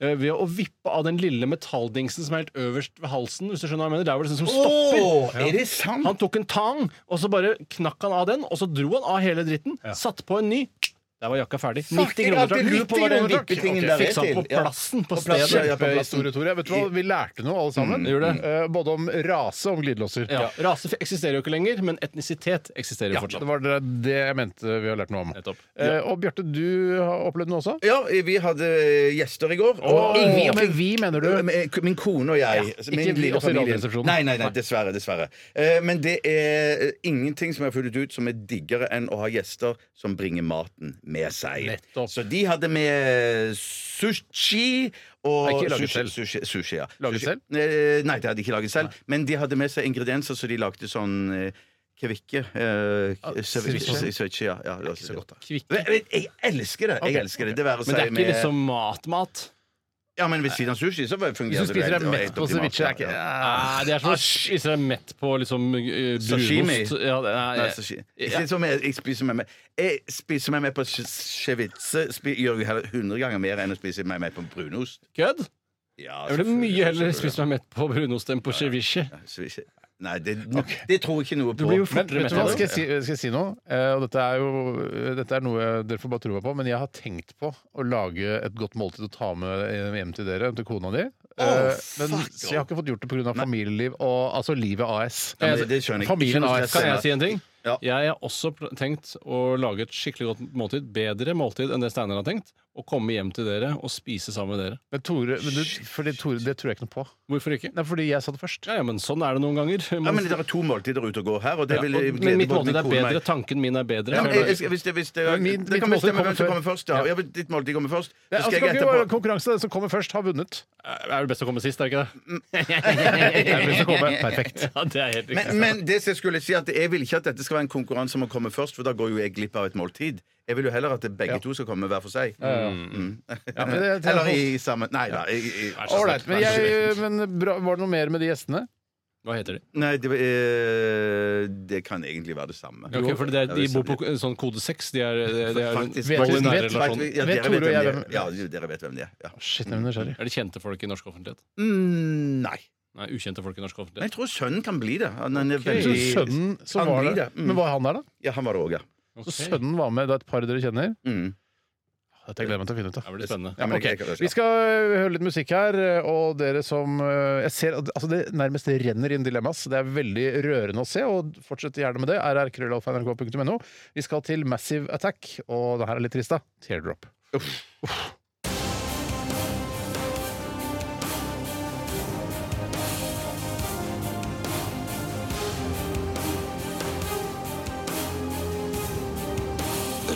D: eh, Ved å vippe av den lille metalldingsen som er helt øverst ved halsen. Hvis du skjønner hva jeg mener, Der hvor det liksom stopper
C: Åh, er det sant?
D: Han tok en tang, og så bare knakk han av den, og så dro han av hele dritten. Satt på en ny. Der var jakka ferdig. 90 kroner
C: at det er
D: takk. Lurer på hva den
C: 90 kroner takk.
D: vippetingen
C: Ok,
D: der
C: fiksa
D: Fiksa den
C: til,
D: på
C: ja.
D: plassen på
C: plassen,
D: stedet.
C: ja, ja.
B: Kjempehistorie, Tore. Vet du hva? Vi lærte noe, alle sammen.
D: Mm, gjorde det.
B: Eh, Både om rase og om glidelåser.
D: Ja. Rase eksisterer jo ikke lenger, men etnisitet eksisterer jo
B: Ja,
D: fortsatt.
B: det var det det jeg mente vi har lært noe om.
D: Nettopp.
B: Eh, og Bjarte, du har opplevd noe også?
C: Ja, vi hadde eh, gjester i går.
B: Åh,
C: Ingen-
B: ja, men vi, mener du?
C: Min- Eh, Min kone og jeg. altså, min
B: ikke vi
C: lille
B: også i
C: familie.
B: Radioresepsjonen.
C: Nei, nei, nei, dessverre. dessverre Eh, Men det er eh, ingenting som jeg har funnet ut som er diggere enn å ha gjester som bringer maten med seg.
B: Nettopp.
C: Så de hadde med sushi og
B: Nei, ikke laget
C: sushi,
B: selv.
C: Sushi, sushi, ja.
B: Laget
C: sushi.
B: selv?
C: Eh, Nei, det hadde de ikke laget selv. Men de hadde med seg ingredienser, så de lagde sånn eh, Kvikke. eh,
B: Ah,
C: ceviche, ceviche, ja, ja, det var så godt, da.
D: Kvikke.
C: Men Jeg, jeg elsker det! Jeg elsker det. Det er verre å
D: Men det er
C: si
D: ikke
C: med
D: liksom mat-mat.
C: ja, men ved siden av sushi så fungerer
B: Hvis du
C: det
B: spiser
C: helt-
B: deg mett på
C: helt optimalt,
B: ceviche, er
C: ja,
B: ikke
C: ja.
D: Nei, Ah, det er som å spise deg mett på liksom eh,
C: Sashimi.
D: brunost. Ja, det- nei,
C: Nei,
D: jeg-
C: sushi.
D: jeg-
C: Ikke som jeg, jeg spiser meg med Jeg spiser meg med på che- ceviche spi- gjør jo heller 100 ganger mer enn å spise meg med på brunost.
D: Kødd?
C: Ja,
D: Jeg ville
C: selvfølgelig,
D: mye heller
C: selvfølgelig.
D: spist meg mett på brunost enn på ceviche.
C: Ja, ceviche. Nei, det, det tror jeg ikke noe på.
D: blir
B: Men
D: jo Fortere
B: vet du hva,
D: mett,
B: skal jeg si, skal jeg si noe? Eh, og dette er jo dette er noe dere får bare tro meg på, men jeg har tenkt på å lage et godt måltid å ta med hjem til dere, til kona di. Eh, men så jeg har ikke fått gjort det pga. familieliv og altså livet AS.
C: Ja, men det skjønner jeg ikke.
B: Familien
C: Ikke noe
B: AS.
C: stress.
D: Kan jeg si en ting?
C: Ja.
D: Jeg har også pl- tenkt å lage et skikkelig godt måltid, bedre måltid enn det Steinar har tenkt, og komme hjem til dere og spise sammen med dere.
B: Men Tore, men du, fordi Tore, det tror jeg ikke noe på.
D: Hvorfor ikke?
B: Nei, fordi jeg sa det først.
D: Ja, ja, men sånn er det noen ganger.
C: Ja, men det er to måltider ute og går her, og det
D: Ja,
C: vil
D: og, men
C: glede
D: mitt
C: både min
D: måltid er
C: kone og meg.
D: bedre, tanken min er bedre.
C: Ja, men jeg,
D: Føler
C: jeg,
D: jeg.
C: skal- hvis det, hvis det,
B: Men min-
C: det
B: mitt
C: kan bestemme
B: måltid kommer
C: hvem som
B: før.
C: kommer først. Ja. Ja, men ditt måltid kommer først. Så
B: Det er,
C: skal
B: altså,
C: jeg
B: kan ikke være
C: etterpå.
B: konkurranse. Den som kommer først, har [laughs] vunnet.
D: Det er det best å komme sist, er det ikke det?
B: Det er best å komme. Perfekt.
D: [laughs] Ja, det er helt riktig.
C: Men, men det som jeg skulle si at jeg vil ikke at dette skal være en konkurranse om å komme først, for da går jo jeg glipp av et måltid. Jeg vil jo heller at begge to skal komme hver for seg. Mm.
B: Ja, men det- det-
C: Eller i sammen Nei da. i- i-
B: Ålreit. Men, jeg- men bra, var det noe mer med de gjestene?
D: Hva heter de?
C: Nei, det, eh, det kan egentlig være det samme.
D: Ja, ok, for det er, de bor på k- sånn kode 6. De er, de er,
C: Faktisk.
D: de er, i
B: Vet-
D: nære
B: vet-
D: relasjon.
C: Faktisk, ja,
B: Vet
C: dere
B: Tore
C: vet
B: og jeg
C: hvem de
B: hvem-
C: er. Ja, jo, dere vet hvem de er. Ja.
B: Shit, jeg er nysgjerrig.
D: Er de kjente folk i norsk offentlighet?
C: Mm, nei.
D: Nei, ukjente folk i norsk
C: Men jeg
D: offentlighet.
C: tror sønnen kan bli det. Han, han er
B: Jeg tror sønnen som
C: Han
B: var
C: blir det,
B: det.
C: mm.
B: Men var han der, da?
C: Ja, han var det òg, ja.
D: Ok.
B: Så sønnen var med. Det er et par dere kjenner.
C: Mm.
B: Dette gleder jeg meg til å finne ut
D: Det
B: av.
D: blir spennende.
C: Ja, men
B: Ok,
C: jeg- jeg-
B: Vi skal eh, høre litt musikk her, og dere som eh, Jeg ser at altså det nærmest renner inn dilemmas. Det er veldig rørende å se, og fortsett gjerne med det. rrkrøllalfa.nrk.no. Vi skal til Massive Attack, og det her er litt trist, da. Teardrop.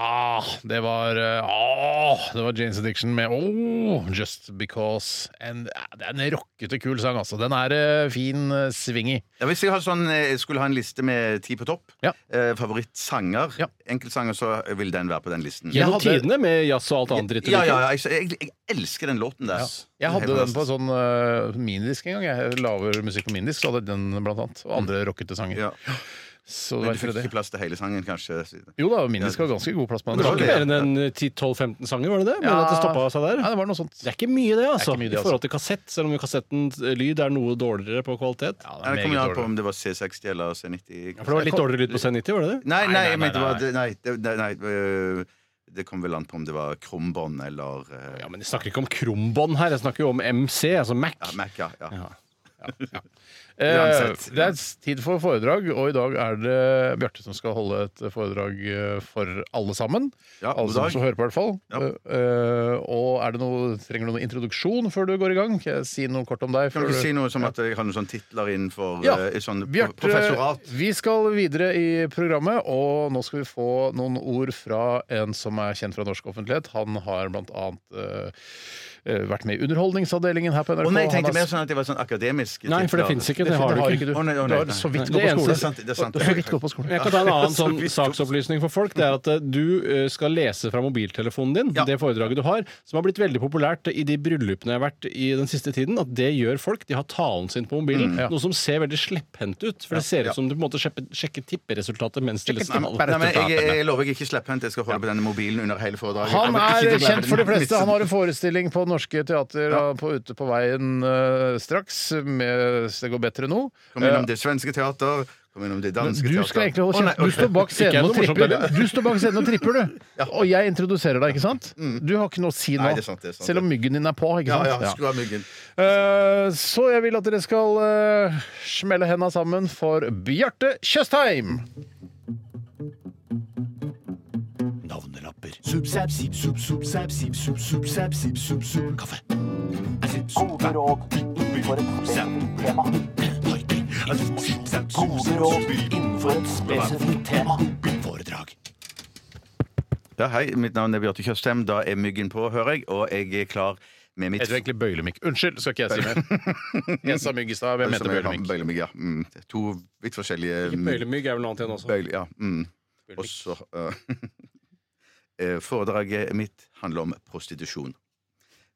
B: Ah, det var eh, ah, Det var Janes Addiction med Oh, Just Because. En, det er en rockete, kul sang, altså. Den er eh, fin eh, swing i.
C: Ja, hvis jeg har sånn, eh, skulle ha en liste med ti på topp,
B: Ja.
C: eh, favorittsanger,
B: Ja.
C: enkeltsanger, så vil den være på den listen.
B: Jeg
D: Gjennom
B: hadde-
D: tidene med jazz og alt annet dritt. du
C: Ja, ja,
D: liker.
C: ja jeg, jeg, jeg elsker den låten der.
B: Jeg hadde
C: Helt
B: den på sånn uh, minidisk en gang. Jeg lager musikk på minidisk, så hadde jeg den blant annet. Og andre rockete sanger.
C: Mm. Ja.
B: Så
C: Men
B: det
C: du
B: var ikke
C: fikk
B: det.
C: ikke plass til hele sangen, kanskje?
B: Jo da, minidisk var ganske god plass på
D: Det var
B: den.
C: Ok,
D: ikke
C: ja.
D: mer enn en eh, 10-12-15 sanger, var det det? Men
B: Ja.
D: at det stoppet seg der?
B: Ja, det var noe sånt.
D: Det er ikke mye, det, altså.
B: ikke mye, det,
D: I forhold til kassett, selv om kassettens eh, lyd er noe dårligere på kvalitet.
C: Nei, Det
B: Meget
C: kommer an på
B: dårlig.
C: om det var C60 eller C90.
D: For det var litt dårligere lyd på C90, var det det?
C: Nei, nei,
B: nei,
C: jeg mente det
B: nei,
C: var-
B: nei.
C: det- nei, det- nei, nei, øh, det kom vel an på om det var krumbånd eller eh,
D: Ja, men jeg snakker ikke om krumbånd her, jeg snakker jo om MC, altså Mac.
C: ja, Mac, ja. ja.
B: Eh,
C: Uansett.
B: det er tid for foredrag, og i dag er det Bjarte som skal holde et foredrag eh, for alle sammen.
C: Ja, god
B: alle som,
C: dag.
B: som hører på, i hvert fall.
C: Ja.
B: Eh, og er det noe, trenger du noen introduksjon før du går i gang? Kan jeg si noe kort om deg?
C: Kan du
B: før
C: ikke si noe som at jeg har noen sånne titler innenfor
B: Ja.
C: eh, sånn pro-
B: Bjarte,
C: professorat?
B: vi skal videre i programmet, og nå skal vi få noen ord fra en som er kjent fra norsk offentlighet. Han har blant annet eh, eh, vært med i Underholdningsavdelingen her på NRK.
C: Å nei, jeg
B: Han
C: tenkte
B: har-
C: mer sånn at det var sånn akademisk.
D: Nei, for det fins ikke. Det har du ikke.
B: du.
C: Å, nei, å, nei.
B: Du har så vidt
D: Nei,
B: gått
D: det
B: på
C: Det er
B: skole.
D: eneste-
C: sant, det er sant.
B: Du har så vidt gått på skole.
D: Jeg kan ta en annen
C: [laughs] Så
D: sånn
C: vidt opp.
D: saksopplysning for folk. Det er at eh, du eh, skal lese fra mobiltelefonen din
C: Ja.
D: det foredraget du har, som har blitt veldig populært i de bryllupene jeg har vært i den siste tiden. At det gjør folk. De har talen sin på mobilen.
C: Mm,
B: Ja.
D: Noe som ser veldig slepphendt ut. For det ser ut som du på en måte sjekker, sjekker tipperesultatet mens de
C: Nei,
D: leser
C: men-
D: talen.
C: nei, men jeg, jeg lover jeg ikke slipper hent. Jeg skal holde på denne mobilen under hele foredraget. Jeg
B: Han
C: må ikke
B: er
C: glemme
B: kjent
C: den.
B: for de fleste. Han
C: [laughs]
B: har en forestilling på Norske Teater ja. på Ute på veien eh, straks med Det går bedre nå.
C: Kom innom det svenske teater, kom innom det danske
B: Du
C: teater.
B: skal egentlig holde
C: altså. Å, nei, ok.
B: kjeft. Du står bak
D: Ikke er det
B: scenen og
D: noe morsomt,
B: tripper.
D: eller?
B: Du står bak scenen og tripper, du. Og jeg introduserer deg, ikke sant? Du har ikke noe å si nå.
C: Mm. Nei, det er sant, det er sant.
B: Selv om myggen din er på, ikke
C: Ja,
B: sant?
C: ja,
B: Ja.
C: skru av myggen.
B: Eh, så jeg vil at dere skal eh, smelle henda sammen for Bjarte Tjøstheim.
C: Ja, hei, mitt navn er Bjarte Tjøstheim. Da er myggen på, hører jeg, og jeg er klar med mitt
B: Heter det egentlig bøylemikk? Unnskyld, skal ikke jeg si mer. Jeg sa mygg i stad, men jeg mente
C: som er-
B: bøylemikk.
C: Bøylemygg, ja. Mm. To vidt forskjellige mm,
D: Bøylemygg er vel noe annet igjen også.
C: bøyle- ja. Mm. Og så eh, [laughs] eh, Foredraget mitt handler om prostitusjon.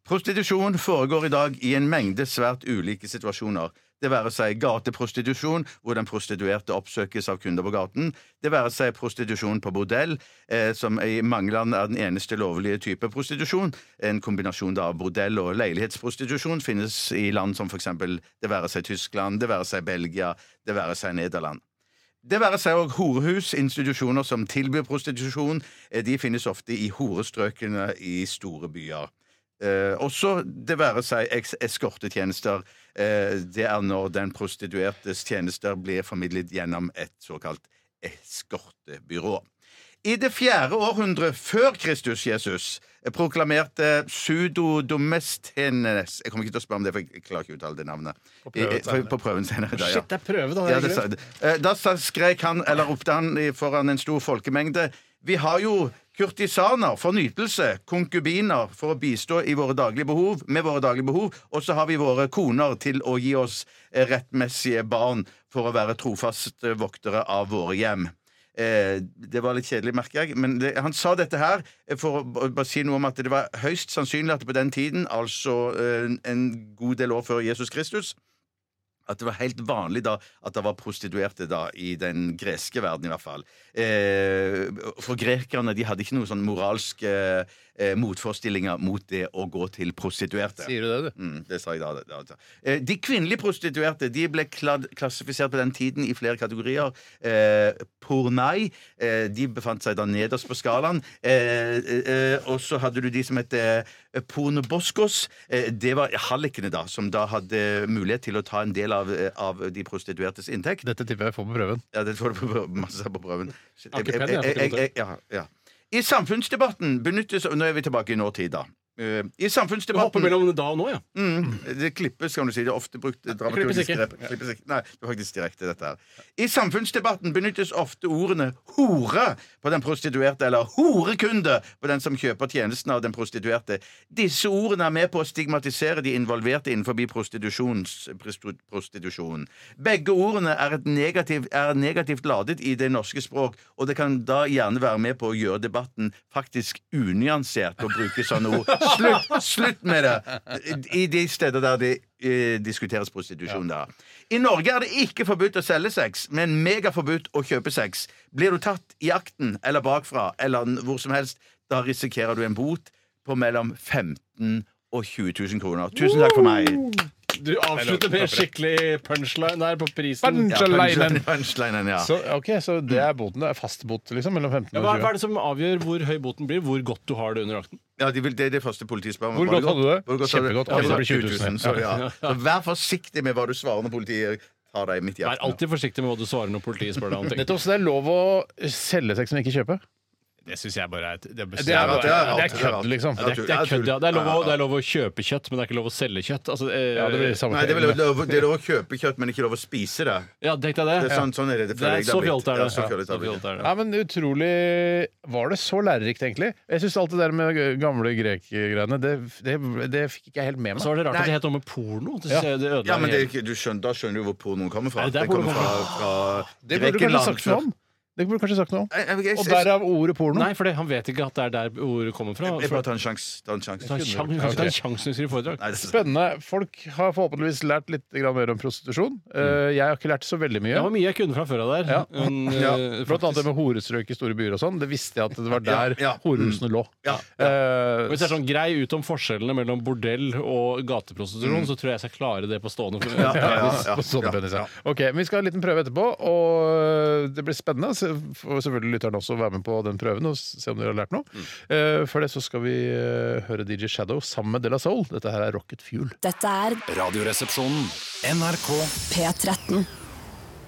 C: Prostitusjon foregår i dag i en mengde svært ulike situasjoner. Det være seg gateprostitusjon, hvor den prostituerte oppsøkes av kunder på gaten. Det være seg prostitusjon på bordell, eh, som i mange land er den eneste lovlige type prostitusjon. En kombinasjon da av bordell og leilighetsprostitusjon finnes i land som for eksempel det være seg Tyskland, det være seg Belgia, det være seg Nederland. Det være seg òg horehus, institusjoner som tilbyr prostitusjon. eh, De finnes ofte i horestrøkene i store byer. Eh, også det være seg eks- eskortetjenester. Eh, det er når den prostituertes tjenester blir formidlet gjennom et såkalt eskortebyrå. I det fjerde århundret før Kristus Jesus eh, proklamerte pseudodomestenes Jeg kommer ikke til å spørre om det, for jeg klarer ikke å uttale det navnet. På
B: prøven senere.
C: På prøven senere da, ja.
D: Shit, det er prøve, da.
C: Ja, det sa, Eh, da sa- skrek han, eller ropte han i- foran en stor folkemengde Vi har jo kurtisaner for nytelse, konkubiner for å bistå i våre daglige behov, med våre daglige behov, og så har vi våre koner til å gi oss eh, rettmessige barn for å være trofaste voktere av våre hjem. Eh, det var litt kjedelig, merker jeg. Men det, han sa dette her eh, for å b- bare si noe om at det var høyst sannsynlig at på den tiden, altså eh, en god del år før Jesus Kristus, at det var helt vanlig da at det var prostituerte da, i den greske verden, i hvert fall. Eh, for grekerne de hadde ikke noen sånn moralske eh, motforestillinger mot det å gå til prostituerte.
B: Sier du det, du?
C: Mm, det sa jeg da. da, da. Eh, De kvinnelige prostituerte de ble kladd, klassifisert på den tiden i flere kategorier. Eh, pornai. Eh, de befant seg da nederst på skalaen. Eh, eh, eh, og så hadde du de som het eh, pornoboskos. Eh, det var hallikene, da, som da hadde mulighet til å ta en del av, eh, av de prostituertes inntekt.
B: Dette tipper jeg får på prøven.
C: Ja, det får du på prøven. masse på prøven. Shit,
D: Har ikke penn, jeg,
C: jeg-
D: for å
C: jeg- jeg- ja, ja. I samfunnsdebatten benyttes Nå er vi tilbake i nåtid, da. Eh, I
D: Du hopper
C: samfunnsdebatten
D: mellom da og nå, ja.
C: Mm. Det klippes, kan du si. Det er ofte brukt
D: klippes
C: dramaturgisk
D: ikke.
C: grep. Klippes ikke. Nei, det er faktisk direkte, dette her. I samfunnsdebatten benyttes ofte ordene hore på den prostituerte eller horekunde på den som kjøper tjenesten av den prostituerte. Disse ordene er med på å stigmatisere de involverte innenfor prostitusjons- prostitu- prostitusjon. Begge ordene er, et negativ, er negativt ladet i det norske språk, og det kan da gjerne være med på å gjøre debatten faktisk unyansert å bruke sånne ord. Slutt, slutt med det! I de steder der det eh, diskuteres prostitusjon. Da. I Norge er det ikke forbudt å selge sex, men megaforbudt å kjøpe sex. Blir du tatt i akten eller bakfra eller n- hvor som helst, da risikerer du en bot på mellom 15 000 og 20 000 kroner. Tusen takk for meg.
D: Du avslutter med en skikkelig punchline der på prisen.
B: Punch- Punchlinen.
C: punchlinen, ja.
B: Så, ok, så det er boten. Det er fast bot, liksom? Mellom 15
D: Ja,
B: og
D: hva, hva
B: 20?
D: er det som avgjør hvor høy boten blir? Hvor godt du har det under akten?
C: Ja, de vil, det er det første politiet spør om.
B: Hvor
C: Var
B: godt hadde du det?
C: Hvor godt hadde
B: Kjempegodt.
C: Ja,
B: Oi,
C: det
B: det
C: var
B: blir 20 000,
C: 20 000. Så, ja. så vær forsiktig med hva du svarer når politiet tar deg midt i
D: Vær
C: hjertet.
D: alltid forsiktig med hva du svarer når politiet spør deg om ting.
B: Nettopp, så det er lov å selge sex, men ikke kjøpe?
D: Det syns jeg bare er et- Det,
B: Det er, det er, det er kødd, liksom.
D: Ja, det, er- det er kødd, ja. Det er, lov å, det er lov å kjøpe kjøtt, men det er ikke lov å selge kjøtt. Altså, eh,
B: Ja, det blir samme
C: Nei, det er vel lov, det er lov å kjøpe kjøtt, men ikke lov å spise det.
D: ja, tenk deg det.
C: Det er sånn, sånn er det, det
D: Det
C: føler
D: er,
C: jeg det
D: så
C: har blitt.
D: fjolt er det.
C: Ja, så fjolt
D: Ja,
C: har det
D: så
C: blitt.
D: fjolt er det.
B: Ja, men utrolig Var det så lærerikt, egentlig? Jeg syns alt det der med gamle grekgreiene, det, det, det fikk ikke jeg helt med
D: Og
B: meg.
D: Så var det rart
C: Nei.
D: at det het noe med porno. Det,
B: Ja.
D: synes jeg- det ødela
C: Ja, men det er
D: hele-
C: ikke, du skjønner, da skjønner du hvor pornoen kommer fra.
D: Ja, det er
C: Den kommer fra,
D: pornoen.
C: fra
B: Det burde du kanskje
C: Grekenland
B: sagt noe om. Det burde du kanskje sagt noe om.
C: Jeg- jeg- jeg-
B: Og derav ordet porno.
D: Nei, for det, han vet ikke at det er der ordet kommer fra.
C: Jeg
D: For
C: bare
D: at,
C: tar en sjanse. Ta en sjanse.
D: ta en
C: Nei,
D: sjanse, ta en sjanse når du skriver foredrag.
C: det er-
B: Spennende. Folk har forhåpentligvis lært litt grann mer om prostitusjon.
C: Mm.
B: Eh, Jeg har ikke lært så veldig mye.
D: Det var mye jeg kunne fra før av der.
B: Ja.
D: men, eh,
C: Ja,
B: Blant annet
D: faktisk.
B: det med horestrøk i store byer og sånn. Det visste jeg at det var der
C: Ja, ja.
B: horehusene lå.
C: Ja,
B: Eh,
D: Hvis det er sånn grei ut om forskjellene mellom bordell og gateprostitusjon, så tror jeg jeg skal klare det på stående fot.
C: Ja, ja, ja, ja,
B: på sånne
C: ja,
B: penis, ja.
C: ja.
B: Ok, men Vi skal ha en liten prøve etterpå, og det blir spennende. Så får selvfølgelig lytterne også være med på den prøven og se om dere har lært noe. Eh, Før det så skal vi eh, høre DJ Shadow sammen med De La Soul. Dette her er Rocket Fuel.
E: Dette er
F: Radioresepsjonen. NRK
E: P13.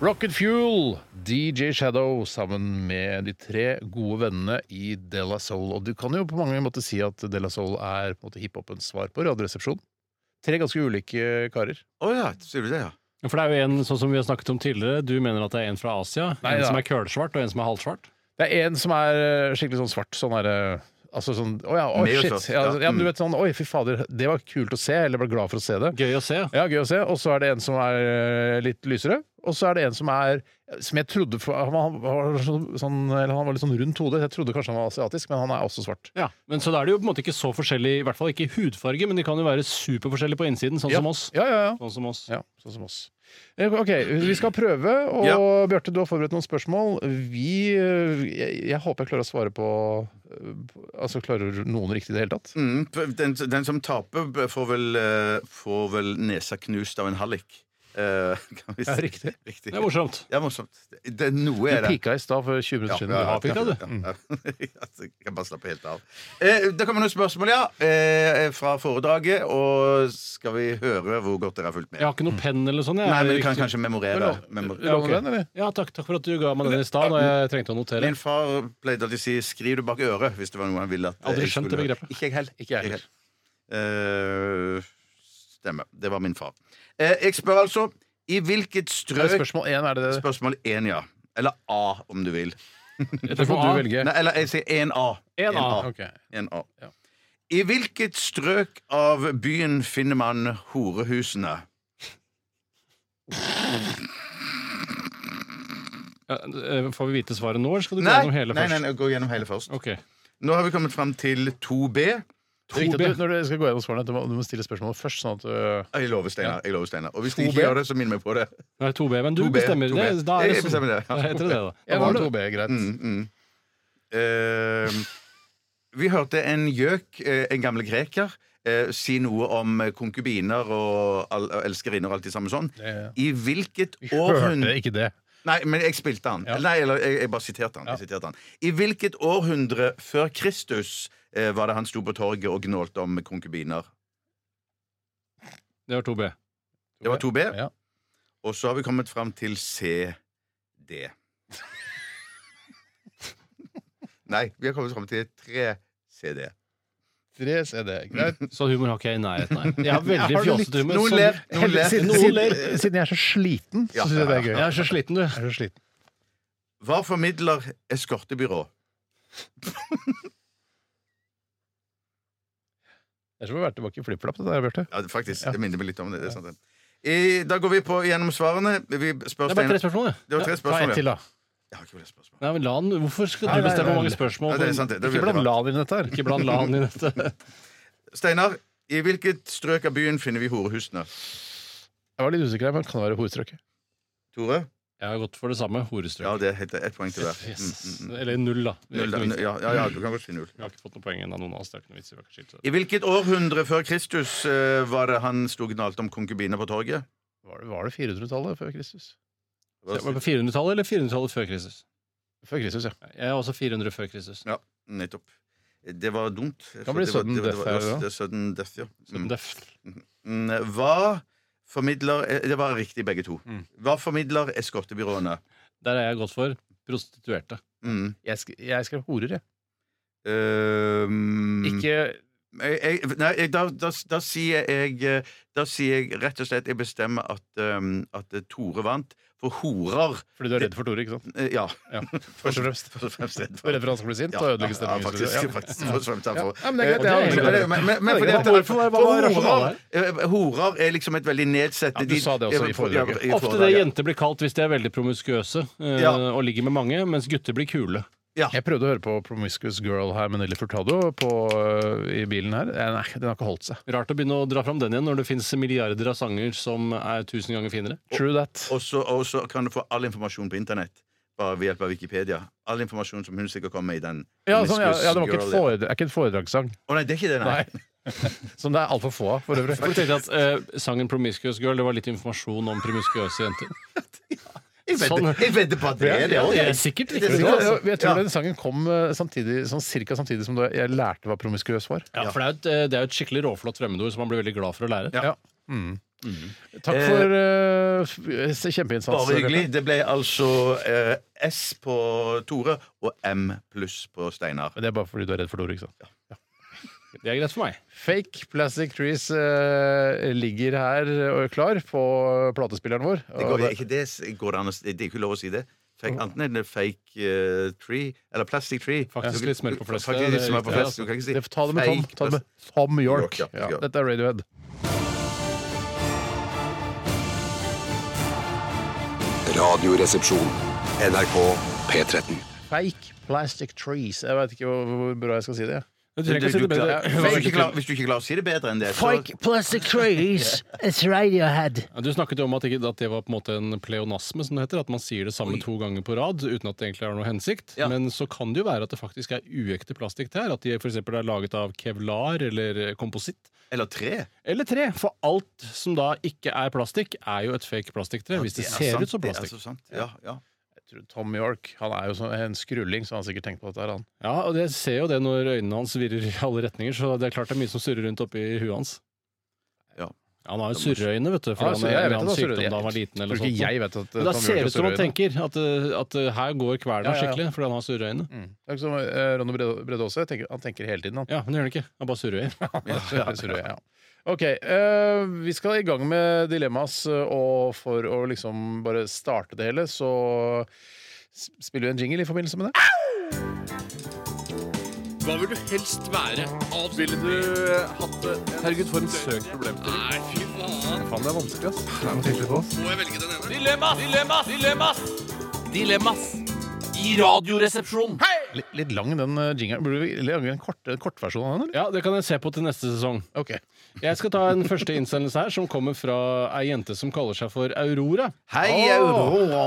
B: Rocket Fuel, DJ Shadow sammen med de tre gode vennene i De La Soul. Og du kan jo på mange måter si at De La Soul er på en måte hiphopens svar på Radioresepsjonen. Tre ganske ulike karer.
C: Å ja, sier du det, ja.
D: For det er jo en sånn som vi har snakket om tidligere, du mener at det er en fra Asia.
B: Nei,
D: en
B: da.
D: som er kølsvart, og en som er halvsvart.
B: Det er en som er eh, skikkelig sånn svart. Sånn er eh, Altså sånn Å ja, oi,
C: Mer
B: shit.
C: svart,
B: Ja,
C: ja. Mm.
B: ja, men du vet sånn Oi, fy fader, det var kult å se. Eller ble glad for å se det.
D: Gøy å se.
B: Ja, gøy å se. Og så er det en som er eh, litt lysere. Og så er det en som er Som jeg trodde for, han, var- han var sånn, sånn, eller han var litt sånn rundt hode. Jeg trodde kanskje han var asiatisk, men han er også svart.
D: Ja, men Så da er det jo på en måte ikke så forskjellig, i hvert fall ikke i hudfarge, men de kan jo være superforskjellige på innsiden, sånn
B: ja.
D: som oss.
B: Ja, ja, ja.
D: Sånn som oss.
B: Ja, sånn som oss. Eh, Ok, vi skal prøve, og
C: Ja.
B: Bjarte, du har forberedt noen spørsmål. Vi eh, Jeg, jeg håper jeg klarer å svare på eh, på- Altså, klarer noen riktig i det hele tatt?
C: Mm, den, den som taper, b- får vel, eh, får vel nesa knust av en hallik. Eh, [laughs] kan vi si.
B: Ja, riktig.
C: riktig.
D: Det er morsomt.
C: Ja, morsomt. Det, det, noe er
B: Du
C: det.
B: pika i stad for 20 minutter siden.
D: ja. pikka, du. Mm.
C: ja, [laughs] ja. Altså, Jeg kan bare slappe helt av. Eh, det kommer noen spørsmål, ja, eh, fra foredraget. Og skal vi høre hvor godt dere har fulgt med?
D: Jeg har ikke noe penn eller sånn. jeg.
C: Mm. Nei, men vi kan
D: Riktig.
C: kanskje memorere. Memor
B: Du låner den, eller?
D: Ja, takk, takk for at du ga meg den i stad, når jeg trengte å notere.
C: Min far pleide alltid å si 'skriv det bak øret' hvis det var noe han ville at eh,
D: Aldri
C: jeg
D: skjønt det
C: skulle-
D: begrepet.
C: Ikke jeg heller.
B: Ikke jeg
C: Ikke jeg heller. Eh, Stemmer. Det var min far. Eh, Jeg spør altså i hvilket
B: Er det
C: strøk
B: Eh, spørsmål én, er det det?
C: Spørsmål 1, ja. Eller A, om du vil.
B: Det får du velge.
C: Nei, eller jeg sier 1A. 1A.
B: Ok.
C: 1A.
B: Ja.
C: I hvilket strøk av byen finner man horehusene?
D: Ja, eh, Får vi vite svaret nå, eller skal du gå
C: Nei,
D: gjennom hele
C: nei, nei,
D: først?
C: nei, gå gjennom hele først.
D: Ok.
C: Nå har vi kommet fram til 2B.
B: Det er riktig at du, når du skal gå gjennom svarene, du må- du må stille spørsmål først. Sånn at du,
C: Jeg lover, Steinar. jeg lover, Steinar. Og hvis de
B: 2B?
C: ikke gjør det, så minn meg på det.
D: Nei, 2B, men du
C: 2B,
D: bestemmer
C: 2B.
D: det. Da er
C: Jeg
D: det
C: bestemmer det, ja.
D: Da
C: [laughs]
D: heter det det, da.
B: jeg var 2B, greit.
C: Mm, mm. Eh, vi hørte en gjøk, eh, en gammel greker, eh, si noe om eh, konkubiner og al og elskerinner og alt det samme sånn.
B: Det-
C: I hvilket
B: Vi hørte
C: århundre
B: ikke det.
C: Nei, men jeg spilte han.
B: Ja.
C: Nei, eller jeg, jeg bare siterte han. Jeg siterte han. I hvilket århundre før Kristus eh, var det han sto på torget og gnålte om konkubiner?
D: Det var 2B.
C: Det var 2B.
B: Ja.
C: Og så har vi kommet fram til CD.
B: [laughs]
C: Nei, vi har kommet fram til 3CD.
B: Tre CD, greit.
D: Så humor har ikke jeg i nærheten,
C: [laughs]
D: nei. Jeg har veldig
B: Har du litt-
D: fjollete humor.
C: Noen
D: så-
C: ler, noen
D: Heldigvis-
C: ler.
B: Siden,
D: Noen ler.
B: siden, siden jeg er så sliten,
C: Ja.
B: så syns jeg det er gøy.
D: Jeg er så sliten, du.
B: Jeg er så sliten.
C: Hva formidler eskortebyrå?
B: Jeg tror vi har vært tilbake i flippflapp, det der, Bjarte.
C: Ja, det- faktisk, Det minner meg litt om det. det er sant. det. I, da går vi på gjennom svarene. Vi spør
D: Det er bare tre
C: Steinar-
D: spørsmål, det.
C: Det var tre
B: Ta ett
C: spørsmål.
B: til,
C: Ja.
B: da.
C: Jeg har ikke flere spørsmål.
D: Nei, men la han, hvorfor skal
B: Nei,
D: du
B: nei,
D: bestemme hvor
B: nei.
D: mange spørsmål?
C: Ja, det er sant, det. det
B: Ikke
C: blir bra.
B: bland LAN inn i dette her.
D: Ikke
C: [laughs]
D: bland LAN i dette.
C: Steinar, i hvilket strøk av byen finner vi horehusene?
B: Jeg var litt usikker her, men kan det være horestrøket.
C: Tore?
D: Jeg har gått for det samme.
C: Ja,
D: Horestrøk.
C: det er helt- ett poeng til hver.
D: Jesus.
C: Mm, mm, mm.
D: Eller null, da. Det er
C: Null, da.
D: ikke noe vits.
C: Ja, ja, ja, du kan godt si null.
D: Jeg har ikke fått noe poeng ennå, noen av oss. Det er ikke noe vits i å være skilt. så-
C: I hvilket århundre før Kristus eh, var det han sto og gnalte om konkubiner på torget?
B: Var det, var det 400-tallet før Kristus?
D: Så jeg Var det på 400-tallet eller 400-tallet før Kristus?
B: Før Kristus, ja.
D: Jeg er også 400 før Kristus.
C: Ja, nettopp. Det var dumt. Det
B: kan bli
C: var-
B: sudden
C: det var-
B: death
C: det var-
B: her, da.
C: Det er sudden death, ja.
D: Så
C: Mm.
D: det er-
C: Mm, Hva formidler eh, Det var riktig, begge to. Hva formidler eskortebyråene?
D: Der er jeg gått for prostituerte.
C: Mm.
B: Jeg, sk jeg skrev horer, jeg.
C: Ehm,
B: Ikke
C: jeg, jeg, nei, jeg, da, da, da, sier jeg, eh, da sier jeg rett og slett Jeg bestemmer at, ehm, at eh, Tore vant. For horer
B: fordi du er redd for Tore, ikke sant?
C: eh, Ja.
B: Ja, Først og fremst.
C: Først og fremst redd
B: Du er redd for han skal bli sint og ødelegge
C: Ja,
B: stemningen. i
C: faktisk.
B: studio. Ja.
C: faktisk Først og fremst derfor.
B: Ja, men det er
C: Eh, og
B: greit, det er
C: det-
B: egentlig det.
C: men- men- men
B: Det er
C: fordi
B: greit.
C: at-
B: Hvorfor- hva var
C: for
B: rasjonalet
C: horer- eh, Horer er liksom et veldig nedsettende
B: Ja, du sa det også i foredraget.
C: Ja, i
D: Ofte det
C: foredraget.
D: jenter blir kalt hvis de er veldig promiskuøse eh,
C: Ja.
D: og ligger med mange, mens gutter blir kule.
B: Jeg prøvde å høre på Promiscuous Girl her med Nelly Furtado på, øh, i bilen her. Eh, Nei, den har ikke holdt seg.
D: Rart å begynne å dra fram den igjen når det fins milliarder av sanger som er tusen ganger finere.
B: True that.
C: Og så- Og så kan du få all informasjon på internett bare ved hjelp av Wikipedia. All informasjon som hun sikkert kom med i den.
B: Ja, sånn, ja,
C: Miss
B: ja, det var ikke et,
C: Girl.
B: foredrag, er ikke et foredragssang.
C: Å nei, det er ikke det, nei.
B: Nei. [laughs] Som det er altfor få av, for øvrig.
D: Jeg tenkte at eh, Sangen 'Promiscuous Girl' det var litt informasjon om promiskuøse jenter.
C: Jeg vedder-
D: Sånn.
C: Jeg vedder på at det er det.
D: Ja,
C: også,
D: det er
C: jeg.
D: sikkert
C: Det
D: riktig,
C: er
B: Vet du
C: sikkert-
B: hva, jeg- Jeg tror
C: Ja.
B: den sangen kom eh, samtidig, sånn cirka samtidig som da jeg lærte hva promiskuøs var.
D: Ja, for det er, jo et, eh, det er jo et skikkelig råflott fremmedord som man blir veldig glad for å lære.
C: Ja.
B: Mm.
C: Mm.
B: Takk for eh, f- kjempeinnsats.
C: Bare hyggelig. Det ble altså eh, S på Tore og M pluss på Steinar.
B: Men det er bare fordi du er redd for Tore, ikke sant?
D: Det er greit for meg.
B: Fake Plastic Trees eh, ligger her og er klar på platespilleren vår.
C: Det
B: Og
C: går,
B: det-
C: ikke det, går det, an, å- det er ikke lov å si det. Fake, enten er det fake eh, tree eller plastic tree.
D: Faktisk
C: Du-
D: litt smør på flest,
C: Faktisk
D: det er
C: litt smør på
D: riktig,
C: flest. Du kan ikke si
B: det, ta det med Tom,
C: fake
B: ta det med
C: plastic-
B: [laughs] Tom
C: York,
B: York.
C: ja.
B: Ja, dette er Radiohead.
G: Radioresepsjon. NRK P13.
B: Fake Plastic Trees. Jeg veit ikke hvor, hvor bra jeg skal si det. jeg.
D: Du
C: Du-
D: trenger
C: du-
D: ikke si
C: du
D: det bedre.
C: klarer- Hvis du ikke klarer- hvis du ikke klarer å si det bedre enn det, så
H: Fake plastic trees. It's Radiohead.
D: Ja, Du snakket jo om at, ikke, at det var på en måte en pleonasme, som det heter. At man sier det samme to ganger på rad uten at det egentlig har noe hensikt.
C: Ja.
D: Men så kan det jo være at det faktisk er uekte plastikk der. At de f.eks. er laget av kevlar eller eh, kompositt.
C: Eller tre.
D: Eller tre. For alt som da ikke er plastikk, er jo et fake plastikktre. Hvis det
C: er
D: ser
C: sant,
D: ut som
C: det er
D: plastikk.
C: så sant. Ja, ja.
B: Jeg tror Tom York han er jo sånn, en skrulling, så han har sikkert tenkt på dette. her, Han.
D: Ja, og jeg ser jo det når øynene hans virrer i alle retninger, så det er klart det er mye som surrer rundt oppi huet hans.
C: Ja.
D: Han har jo surreøyne, vet du.
B: Ja,
D: For
B: så
D: han,
B: jeg
D: jeg
B: vet
D: vet han
B: at han surrer.
D: sykdom da han var
B: Jeg
D: liten
B: Tror
D: eller
B: ikke
D: sånn.
B: jeg vet at eh,
D: Men da
B: Tom York
D: ser
B: har
D: det ut som han
B: surrøyne.
D: tenker at, eh, at eh, her går kvelden
B: Ja, ja, ja.
D: skikkelig fordi han har surreøyne.
B: Mm. Det er ikke som eh, Ronny Brede- Brede Aase. Jeg tenker- Han tenker hele tiden, han.
D: Ja, men det gjør han ikke. Han
B: [laughs]
D: bare surrøyer.
I: [laughs]
B: Surrøy, surrøy, ja. Ok, eh, vi skal i gang med dilemmas, eh, og for å liksom bare starte det hele, så s- spiller vi en jingle i forbindelse med det.
I: Hva vil du helst være? Ville du eh, hatt det? Herregud, for en søk problemstilling. Nei, fy faen. Faen, det er vanskelig, ass. Det er noe tydelig på. Må jeg velge den ene? Dilemmas! Dilemmas! Dilemmas! Dilemmas! I radioresepsjonen. Hei!
B: Litt, litt lang den eh, jingelen. Burde vi lage en kort, en kortversjon av den, eller?
D: Ja, det kan jeg se på til neste sesong.
B: Ok.
D: Jeg skal ta
B: [laughs]
D: en første innsendelse her, som kommer fra ei jente som kaller seg for Aurora.
C: Hei, Aurora!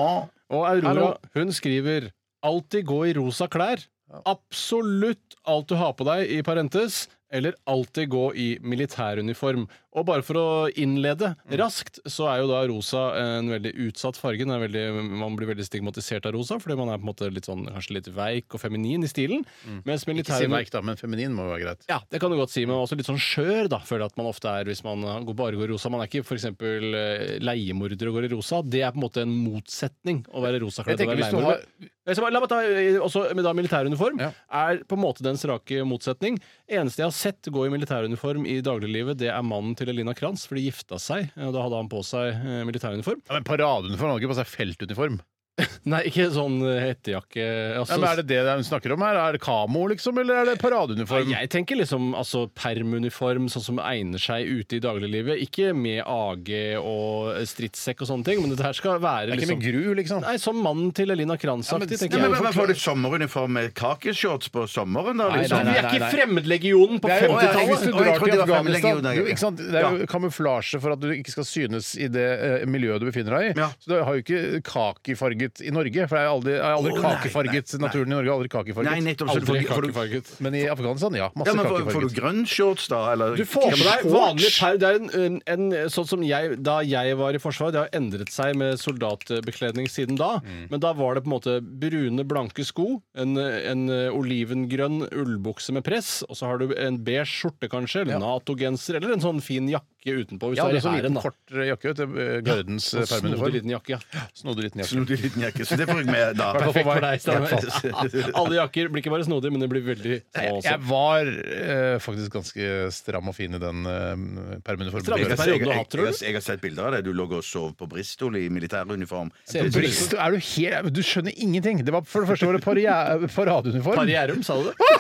D: Og
B: Hallo.
D: Aurora, hun skriver Altid gå i rosa klær. Absolutt alt du har på deg, i parentes. Eller alltid gå i militæruniform. Og bare for å innlede
B: Mm.
D: raskt, så er jo da rosa en veldig utsatt farge. Den er veldig, man blir veldig stigmatisert av rosa, fordi man er på en måte litt sånn, kanskje litt veik og feminin i stilen.
B: Mm.
D: Mens
B: Ikke si
D: militæruniform
B: veik, da, men feminin må jo være greit.
D: ja, det kan du godt si, men også litt sånn skjør, da, føler jeg at man ofte er hvis man eh, går- bare går i rosa. Man er ikke f.eks. leiemorder og går i rosa. Det er på en måte en motsetning å være
B: Jeg
D: rosakledd og
B: tenker
D: være
B: hvis du
D: leiemorder.
B: har
D: Jeg skal bare- La meg ta eh, også med da militæruniform.
B: Ja.
D: Er på en måte dens rake motsetning. Eneste jeg har sett gå i militæruniform i dagliglivet, det er mannen til Elina Kranz, for de gifta seg. eh, og Da hadde han på seg eh, militæruniform. [laughs]
B: ja, men Paradeuniform, han har ikke på seg feltuniform.
D: Nei, ikke sånn eh, hettejakke.
B: Ja,
D: Altså,
B: men Er det det hun snakker om her? Er det kamo, liksom, eller er det paradeuniform?
D: Ja, jeg tenker liksom altså, permuniform, sånn som egner seg ute i dagliglivet. Ikke med AG og stridssekk og sånne ting, men dette her skal
B: Det
D: være
B: er ikke
D: liksom
B: med gru, liksom?
D: Nei, som mannen til Elina Kranz-aktig, tenker
C: Nei, men, men,
D: jeg.
C: men Får du sommeruniform med kakeshorts på sommeren, da?
B: Nei,
C: Liksom?
D: Vi er ikke Fremmedlegionen på
B: Det er jo-
C: Å, ja,
D: 50-tallet!
B: Hvis du
C: Å, jeg
B: drar
C: trodde det
B: til
C: var
B: Afghanistan
C: fremmedlegioner,
B: jo,
C: ja.
B: ikke sant? Det er jo kamuflasje for at du ikke skal synes i det eh, miljøet du befinner deg i.
C: Ja.
B: Så du har jo ikke kakifarget i Norge. For det er aldri, er aldri
C: Å, nei,
B: kakefarget
C: nei, nei.
B: naturen i Norge. er Aldri kakefarget.
C: Nei, nettopp. Så du får,
D: Aldri
C: får, du,
D: kakefarget.
B: Men i Afghanistan, ja. Masse
C: ja, men får, får du
B: kakefarget.
C: grønn shorts, da? Eller
D: Du får med deg vanlig
C: Shorts?
D: per... Det er en, en, en, sånn som jeg, Da jeg var i Forsvaret, det har endret seg med soldatbekledning siden da,
B: Mm.
D: men da var det på en måte brune, blanke sko, en, en olivengrønn ullbukse med press, og så har du en beige skjorte kanskje, eller Nato-genser, eller en sånn fin jakke jakke utenpå hvis
B: Ja,
D: du
B: det
D: er
B: er så
D: i
B: liten
D: hæren. da.
B: kort eh, jakke ut. eh, Gardens eh,
D: Og Sånn Snodig
B: permuniform.
D: liten jakke, ja.
B: Snodig
C: [laughs]
B: liten jakke.
C: Snodig liten jakke. Så det får jeg med, da.
B: Hvertfall
D: Perfekt for
B: meg.
D: deg,
C: [laughs]
D: Steinar.
C: Hvertfall.
D: Alle jakker blir ikke bare snodige, men de blir veldig små
B: Jeg, jeg
D: også.
B: var eh, faktisk ganske stram og fin i den eh, permuniformen.
C: Jeg,
D: Strammeste
B: Jeg-
D: perioden.
C: jeg,
D: du har hatt, tror du?
C: jeg, jeg har sett bilder av deg. Du lå og sov på Bristol i militæruniform.
D: Ser
C: Det-
D: på
C: det-
B: Bristol, er du, helt, du skjønner ingenting! Det var, for det første var det paria- [laughs] paradeuniform.
D: Barrierum, sa du det?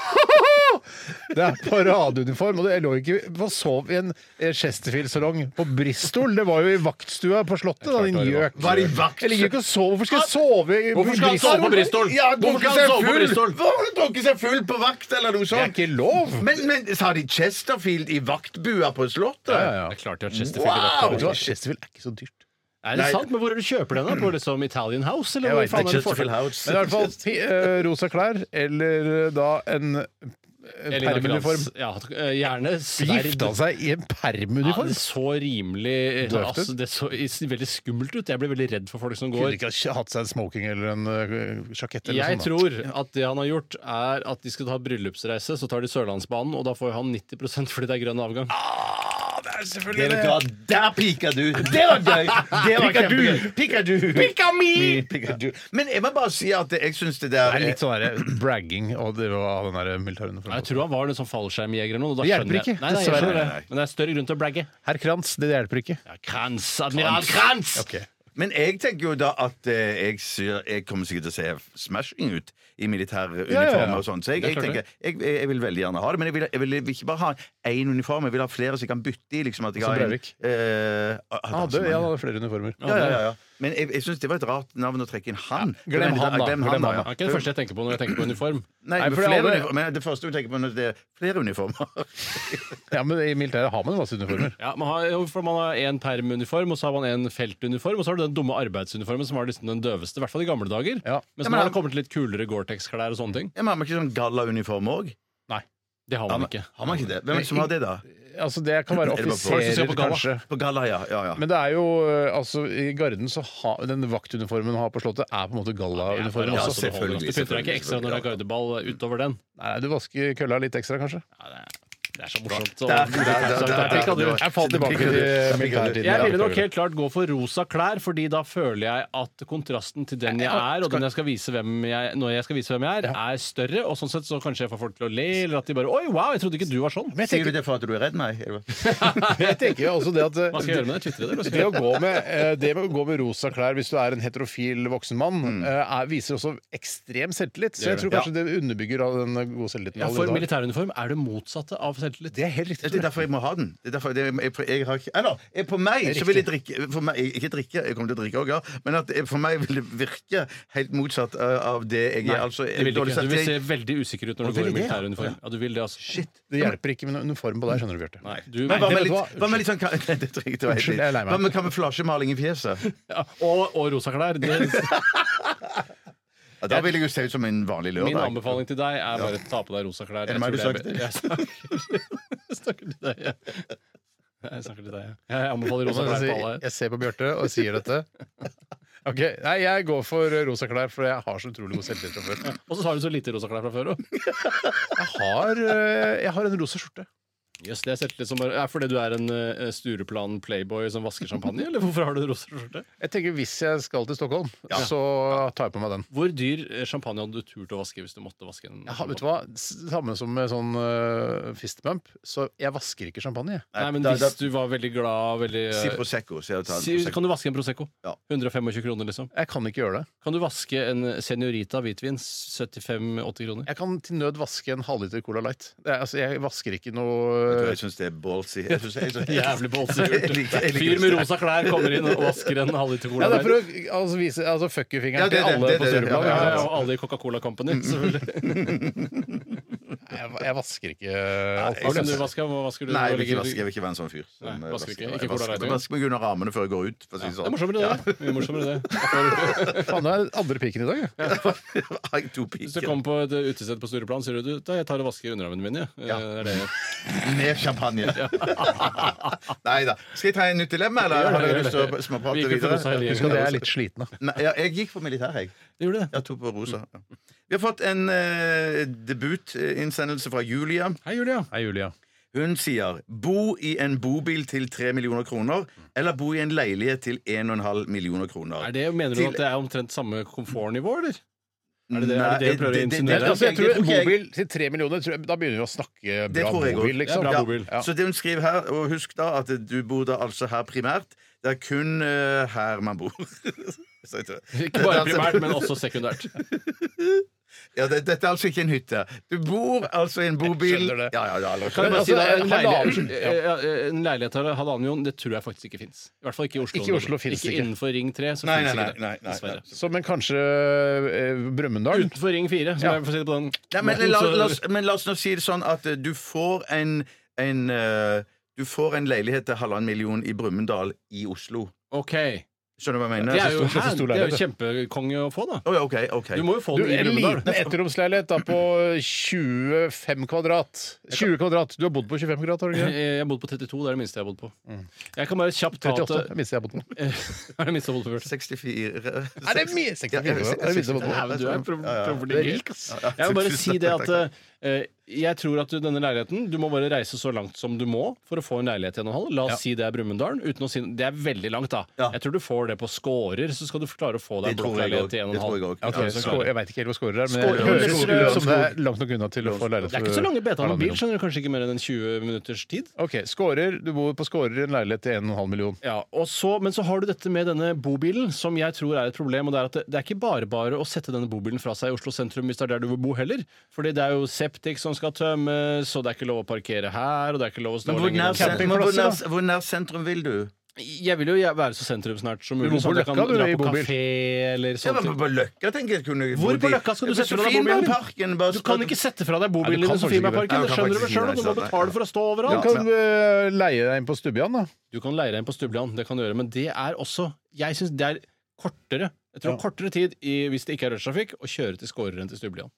B: Det er paradeuniform, og jeg lå ikke og sov i en eh, Chesterfield-salong på Bristol. Det var jo i vaktstua på Slottet, da, din gjøk.
C: Var det i vakt-
B: Jeg ligger ikke og sover. Hvorfor skal jeg sove i
D: Ah! Hvorfor skal han sove på Bristol?
C: Ja,
D: Hvorfor skal han sove på Bristol?
C: Hvorfor har du drukket seg full på vakt eller noe
B: Det er
C: sånt?
B: ikke lov!
C: Men, men sa de Chesterfield i vaktbua på Slottet?
B: Ja, ja, ja.
D: Det er klart de har Chesterfield i
C: Wow!
B: Vet du
D: vakta.
B: hva, Chesterfield er ikke så dyrt.
D: Mm. Er det sant? Men hvor er det du kjøper den? da? På liksom Italian House? Eller
B: Jeg
D: hvor
B: vet
D: faen
B: ikke,
D: er det du får
C: Chesterfield
D: tak i?
C: House.
B: Men i hvert fall ti- eh, rosa klær eller eh, da en eh,
D: Elina
B: permuniform.
D: Glans. Ja, eh, gjerne sverd.
B: Gifta seg i en
D: Ja,
B: permuniform?
D: det så rimelig
B: Døvt ut.
D: altså, Det så is- veldig skummelt ut. Jeg blir veldig redd for folk som
B: Kunne
D: går.
B: ikke ha hatt seg en smoking eller en eh, sjakett eller noe sånt.
D: Jeg
B: da.
D: tror sånn at det han har gjort, er at de skal ta bryllupsreise, så tar de Sørlandsbanen, og da får han 90 fordi det er grønn avgang.
C: Det vet du hva, Der pika du! Det var gøy! Det var kjempegøy. Pika du! Pika mi! Pika du. Men jeg må bare si at jeg syns det der
B: Det er litt sånn der bragging å drive og ha den der øh, militæruniformen.
D: Jeg tror han var en sånn fallskjermjeger eller noe. og Da
B: Det hjelper
D: skjønner jeg-
B: ikke,
D: Nei, nei, jeg
B: dessverre.
D: skjønner det. Men det er større grunn til å bragge.
B: Herr Krantz, det hjelper ikke.
D: Ja, Kranz! Admiral Kranz!
C: Men jeg tenker jo da at eh, jeg, ser- jeg kommer sikkert til å se smashing ut i militære
B: ja, ja.
C: uniformer og sånn. Så jeg,
D: Det er
C: jeg
D: klart
C: tenker jeg, jeg vil veldig gjerne ha det. Men jeg vil, jeg vil ikke bare ha én uniform, jeg vil ha flere så jeg kan bytte i. Liksom, at jeg
B: Som
C: har en,
B: Breivik.
C: eh,
B: Han hadde, ja, han hadde flere uniformer.
C: ja, ja, ja, ja. Men jeg, jeg syns det var et rart navn å trekke inn han.
B: glem
C: Men-
B: han, da.
C: Glem
B: Glem
C: han, da
B: han,
C: ja.
D: Det er ikke det første jeg tenker på når jeg tenker på uniform.
C: Nei,
B: Nei,
C: men
B: for det
C: flere
B: alle-
C: uniformer. Men det første du tenker på, når det er flere uniformer. [laughs]
B: Ja, men I militæret har man masse uniformer.
D: Ja, man har, jo, for man har en permuniform, og så har man en feltuniform, og så har du den dumme arbeidsuniformen som var liksom den døveste, i hvert fall i gamle dager.
B: Ja.
D: Men
C: Ja,
D: så
C: men
D: har
C: han-
D: det kommet litt kulere Gore-Tex-klær og sånne ting.
C: Jeg har man ikke sånn gallauniform òg?
D: Det har
C: Har
D: man
C: man
D: ikke.
C: har man ikke det? Hvem er det som har det, da?
B: Altså, Det kan være
C: Er det bare folk
D: som skal
B: offiserer,
D: på galla?
B: kanskje.
C: På galla, ja. ja, ja.
B: Men det er jo, eh, altså, i Garden så ha, den vaktuniformen han har på Slottet, er på en måte gallauniformen
D: Ja,
C: altså,
B: også.
D: så det holder.
C: selvfølgelig,
D: Du pynter deg ikke
C: selvfølgelig,
D: ekstra når det er gardeball utover den.
B: Nei, du vasker kølla litt ekstra, kanskje.
D: Ja, det, er, det er så morsomt.
C: Der, der, der, der, der,
D: Og-
C: der, der.
B: Jeg falt tilbake til militærtiden.
D: Jeg ville nok helt klart gå for rosa klær, fordi da føler jeg at kontrasten til den jeg er, og den jeg skal vise hvem jeg, når jeg skal vise hvem jeg er, er større. Og sånn sett så kanskje jeg får folk til å le, eller at de bare Oi, wow, jeg trodde ikke du var sånn.
C: Sier du det for at du er redd meg? eller hva?
B: Jeg tenker jo også det at eh,
D: Hva skal jeg gjøre med det? Twitre det? eller hva skal jeg
B: Det å, gå med, eh, det med å gå med rosa klær hvis du er en heterofil voksen mann,
D: Mm.
B: eh, er, viser også ekstrem selvtillit. Så jeg tror kanskje det underbygger av den gode selvtilliten.
D: Ja,
B: alle
D: for
B: har.
D: militæruniform er det motsatte av selvtillit. Det er helt riktig.
C: Det er derfor jeg må ha den. Det er derfor det, jeg, jeg har ikke Eller jeg, på meg så vil jeg drikke for meg, jeg- Ikke drikke, jeg kommer til å drikke òg, ja. Men at jeg, for meg vil det virke helt motsatt uh, av det jeg er. Altså,
D: det vil du
C: dårlig
D: ikke. Du vil se
C: selvtillit.
D: veldig usikker ut når
C: Og
D: du går
C: vil
D: i
C: det, ja.
D: militæruniform. Ja, du vil det, altså. Shit.
B: Det hjelper ikke med noen uniform på deg, skjønner du, Bjarte.
D: Nei, du,
C: Men hva med
B: Nei, det vet du
C: litt,
B: hva?
C: hva med litt sånn ka- [laughs] Nei, det trenger jeg ikke å være
B: Unnskyld, jeg er lei meg.
C: Hva med kamuflasjemaling i fjeset?
D: ja, og, og rosa
C: [laughs]
D: klær. Det,
C: Ja, da vil jeg jo se ut som en vanlig
D: min
C: lørdag.
D: anbefaling til deg er bare ta på deg rosa klær.
C: Er det meg
D: [laughs] Jeg tror
C: du
D: er be- Jeg snakker- jeg snakker til deg, jeg. Jeg snakker til deg, jeg. Jeg anbefaler rosa klær Sånn på alle.
B: Jeg ser på Bjarte og sier
D: [laughs]
B: dette. Ok, Nei, jeg går for eh, rosa klær, for jeg har så utrolig god selvtillit fra før.
D: Og så har du så lite rosa klær fra før òg.
B: Jeg har, eh, jeg har en rosa skjorte.
D: Yes, det er selvtillit som bare Er fordi du er en eh, Stureplan playboy som vasker champagne, eller hvorfor har du rosa skjorte?
B: Jeg tenker Hvis jeg skal til Stockholm, så tar jeg på meg den.
D: Hvor dyr eh, champagne hadde du turt å vaske hvis du måtte vaske en?
B: Jeg har, vet du hva? Samme som med sånn uh, fistbump, så jeg vasker ikke champagne. jeg.
D: Nei, men
C: Da- da-
D: hvis du var veldig glad, veldig eh,
C: Si Prosecco. Så jeg tar en
D: Si,
C: Prosecco.
D: kan du vaske en Prosecco?
C: Ja.
D: 125 kroner, liksom.
B: Jeg kan ikke gjøre det.
D: Kan du vaske en Senorita hvitvin? 75-80
C: [laughs]
D: kroner.
B: Jeg kan til nød vaske en halvliter Cola Light. Det er, altså, jeg vasker ikke
C: Vet du hva,
B: noe
C: Jeg syns det er ballsy. Jeg synes jeg- jeg-
D: [laughs] Jævlig bolsig.
C: [laughs] Jeg liker- jeg liker
D: Fyr med
C: det.
D: rosa klær kommer inn og vasker en halvliter
B: ja,
D: cola.
B: det er for
D: der.
B: å altså, vise altså, fuck you-fingeren
C: Ja, det er
B: til
C: det,
B: alle
C: det er
B: på
C: det, Mm,
B: Stureplan.
D: ja,
B: ikke
D: ja,
B: sant?
D: og alle i Coca-Cola Company, selvfølgelig.
B: Jeg, jeg vasker ikke eh, alt.
D: Hva kan du vaske? Hva vasker du?
C: Nei, jeg
D: Hva
C: vil ikke
D: ligger-
C: vaske. Jeg vil ikke være en sånn fyr. som,
D: Nei,
C: eh,
D: vasker ikke.
C: vasker.
D: Ikke
C: Jeg
D: Cola Light
C: vasker-
D: engang.
C: Vasker meg under armene før jeg går ut. For å si det
D: Det er
C: sånn.
D: morsommere, det. Mye morsommere,
C: [laughs]
D: det.
B: Faen, det er andre piken i dag. jeg.
C: Har jeg to
D: Hvis du
C: piker
D: kommer på et utested på Stureplan, sier du da jeg tar og vasker underarmene mine. jeg». Eh, det er det.
C: med champagne.
D: [laughs]
C: [laughs] Nei da. Skal jeg ta en nytt dilemma, eller har dere lyst til å
D: Vi
C: småprate
D: gikk jo for
C: videre?
D: rosa hele
B: Husk at
D: gjengen.
B: jeg er litt sliten. da.
C: Nei, ja, jeg gikk for militær, jeg.
D: Det gjorde det.
C: Jeg tok på rosa. Ja. Vi har fått en eh, debutinnsendelse fra Julia.
D: Hei, Julia.
B: Hei, Julia.
C: Hun sier 'bo i en bobil til 3 millioner kroner', eller 'bo i en leilighet til 1,5 millioner kroner'.
D: Er det, mener du
C: Til-
D: at det er omtrent samme komfortnivå, eller?
C: Nei,
D: det det- er det det du prøver å insinuere?
B: Altså, jeg tror en
C: ikke jeg-
B: bobil til tre millioner, tror jeg, da begynner vi å snakke
C: Det
B: bra
C: tror jeg også.
B: bobil, liksom.
D: Det er bra
B: Ja.
D: bobil.
B: Ja.
C: Så det hun skriver her, og husk da at du bor da altså her primært. Det er kun eh, her man bor. [laughs] Så jeg tror-
D: Ikke bare primært, men også sekundært.
C: Ja, det, dette er altså ikke en hytte. Du bor altså i en bobil.
B: skjønner det.
C: Ja, ja, ja, eller-
D: Kan jeg bare si da,
B: altså,
D: en,
B: en
D: leilighet,
B: halvannen-
D: eh, eh, en leilighet her, halvannen million, det tror jeg faktisk ikke fins. I hvert fall ikke i Oslo.
B: Ikke i Oslo finnes det
D: ikke
B: ikke.
D: innenfor Ring 3. Så
C: Nei,
D: finnes
C: nei,
D: ikke det,
C: nei, nei, nei,
D: dessverre.
B: Så, men kanskje eh, Brumunddal?
D: Utenfor Ring 4, som jeg får si det på den.
C: Nei, men,
D: måten,
C: la,
D: så-
C: la, oss, men la oss nå si det sånn at eh, du får en, en eh, Du får en leilighet til halvannen million i Brumunddal i Oslo.
D: OK.
C: Skjønner du hva jeg mener?
D: Det er jo,
B: stor-
D: hæ,
B: stor
D: det er jo
B: leilighet.
D: kjempekonge å få, da.
C: Å ja, OK. ok
D: Du må jo få
B: Du,
D: den i
B: en liten
D: Brumunddal.
B: etteromsleilighet da på 25 kvadrat. 20 kvadrat. Du har bodd på 25 kvadrat, har du ikke
C: [laughs]
B: det?
D: Jeg har bodd på 32, det er det minste jeg har bodd på. Jeg kan bare kjapt ta
B: 38.
D: [laughs] til
C: eh,
B: Det minste jeg har bodd på.
D: Er det minste jeg har bodd på? Bjørte?
C: 64
B: Er det
C: [laughs]
B: mye? 64
C: Ja, jeg-
B: kvadrat? Er det minste jeg har bodd på?
D: Nei, men du er pro-
B: Du er
D: profflig.
B: rik, ass.
D: Jeg vil bare
C: Tusen
D: si det
C: takk,
D: at eh, jeg tror at du, denne leiligheten Du må bare reise så langt som du må for å få en leilighet i en og en halv. La oss si det er Brumunddal. uten å si- Det er veldig langt, da.
C: Ja.
D: Jeg tror du får det på Skårer, så skal du klare å få
C: Det
D: deg en
C: tror jeg
D: blokkleilighet i en og
C: Det
D: en
C: tror jeg
D: halv.
C: også.
B: Jeg, tror,
C: Ja,
B: skår, jeg vet ikke helt hvor skårer er, men
D: Skårer,
B: det høres
D: Lørenskog,
B: ut som det er langt nok unna til å få leilighet.
D: Det er ikke så lange beta med bil, skjønner du. Kanskje ikke mer enn en 20 minutters tid.
B: Ok, skårer, Du bor på Skårer i en leilighet til 1,5 million.
D: Ja, og så, Men så har du dette med denne bobilen, som jeg tror er et problem. og Det er at det, det er ikke bare bare å sette denne bobilen fra seg i Oslo sentrum hvis det er der du vil bo heller. Fordi det er jo septik som skal tømmes, og det er ikke lov å parkere her, og det er ikke lov å stå
C: Men hvor
D: lenger
C: nær,
D: enn-
C: sen- men hvor, nær, hvor nær sentrum vil du?
D: Jeg vil jo jeg- være så sentrum snart som
B: Du
D: mulig,
B: bor på
D: sånn at jeg kan
B: Løkka, du,
D: dra
B: i
D: på
B: bobil.
D: kafé eller
C: Ja,
D: sånne
C: men
D: ting.
C: på Løkka tenker jeg kunne
D: Hvor på Løkka skal du sette fra deg bobilen?
C: Parken, bare
D: Du kan ikke sette fra deg
B: Nei, du
D: bobilen din
B: kan
D: i
B: faktisk ikke
D: Sofiemarken,
C: det.
D: det skjønner du vel
C: Nei,
D: sjøl,
C: du
D: og du
C: kan faktisk
D: må
C: ikke
D: betale for å stå
B: Du
D: overalt.
B: kan eh, leie deg inn på Stubbian, da.
D: Du kan leie deg inn på Stubland, det kan du gjøre, men det er også Jeg syns det er kortere. Jeg tror kortere tid i, hvis det ikke er rushtrafikk, å kjøre til Skårer enn til Stubland.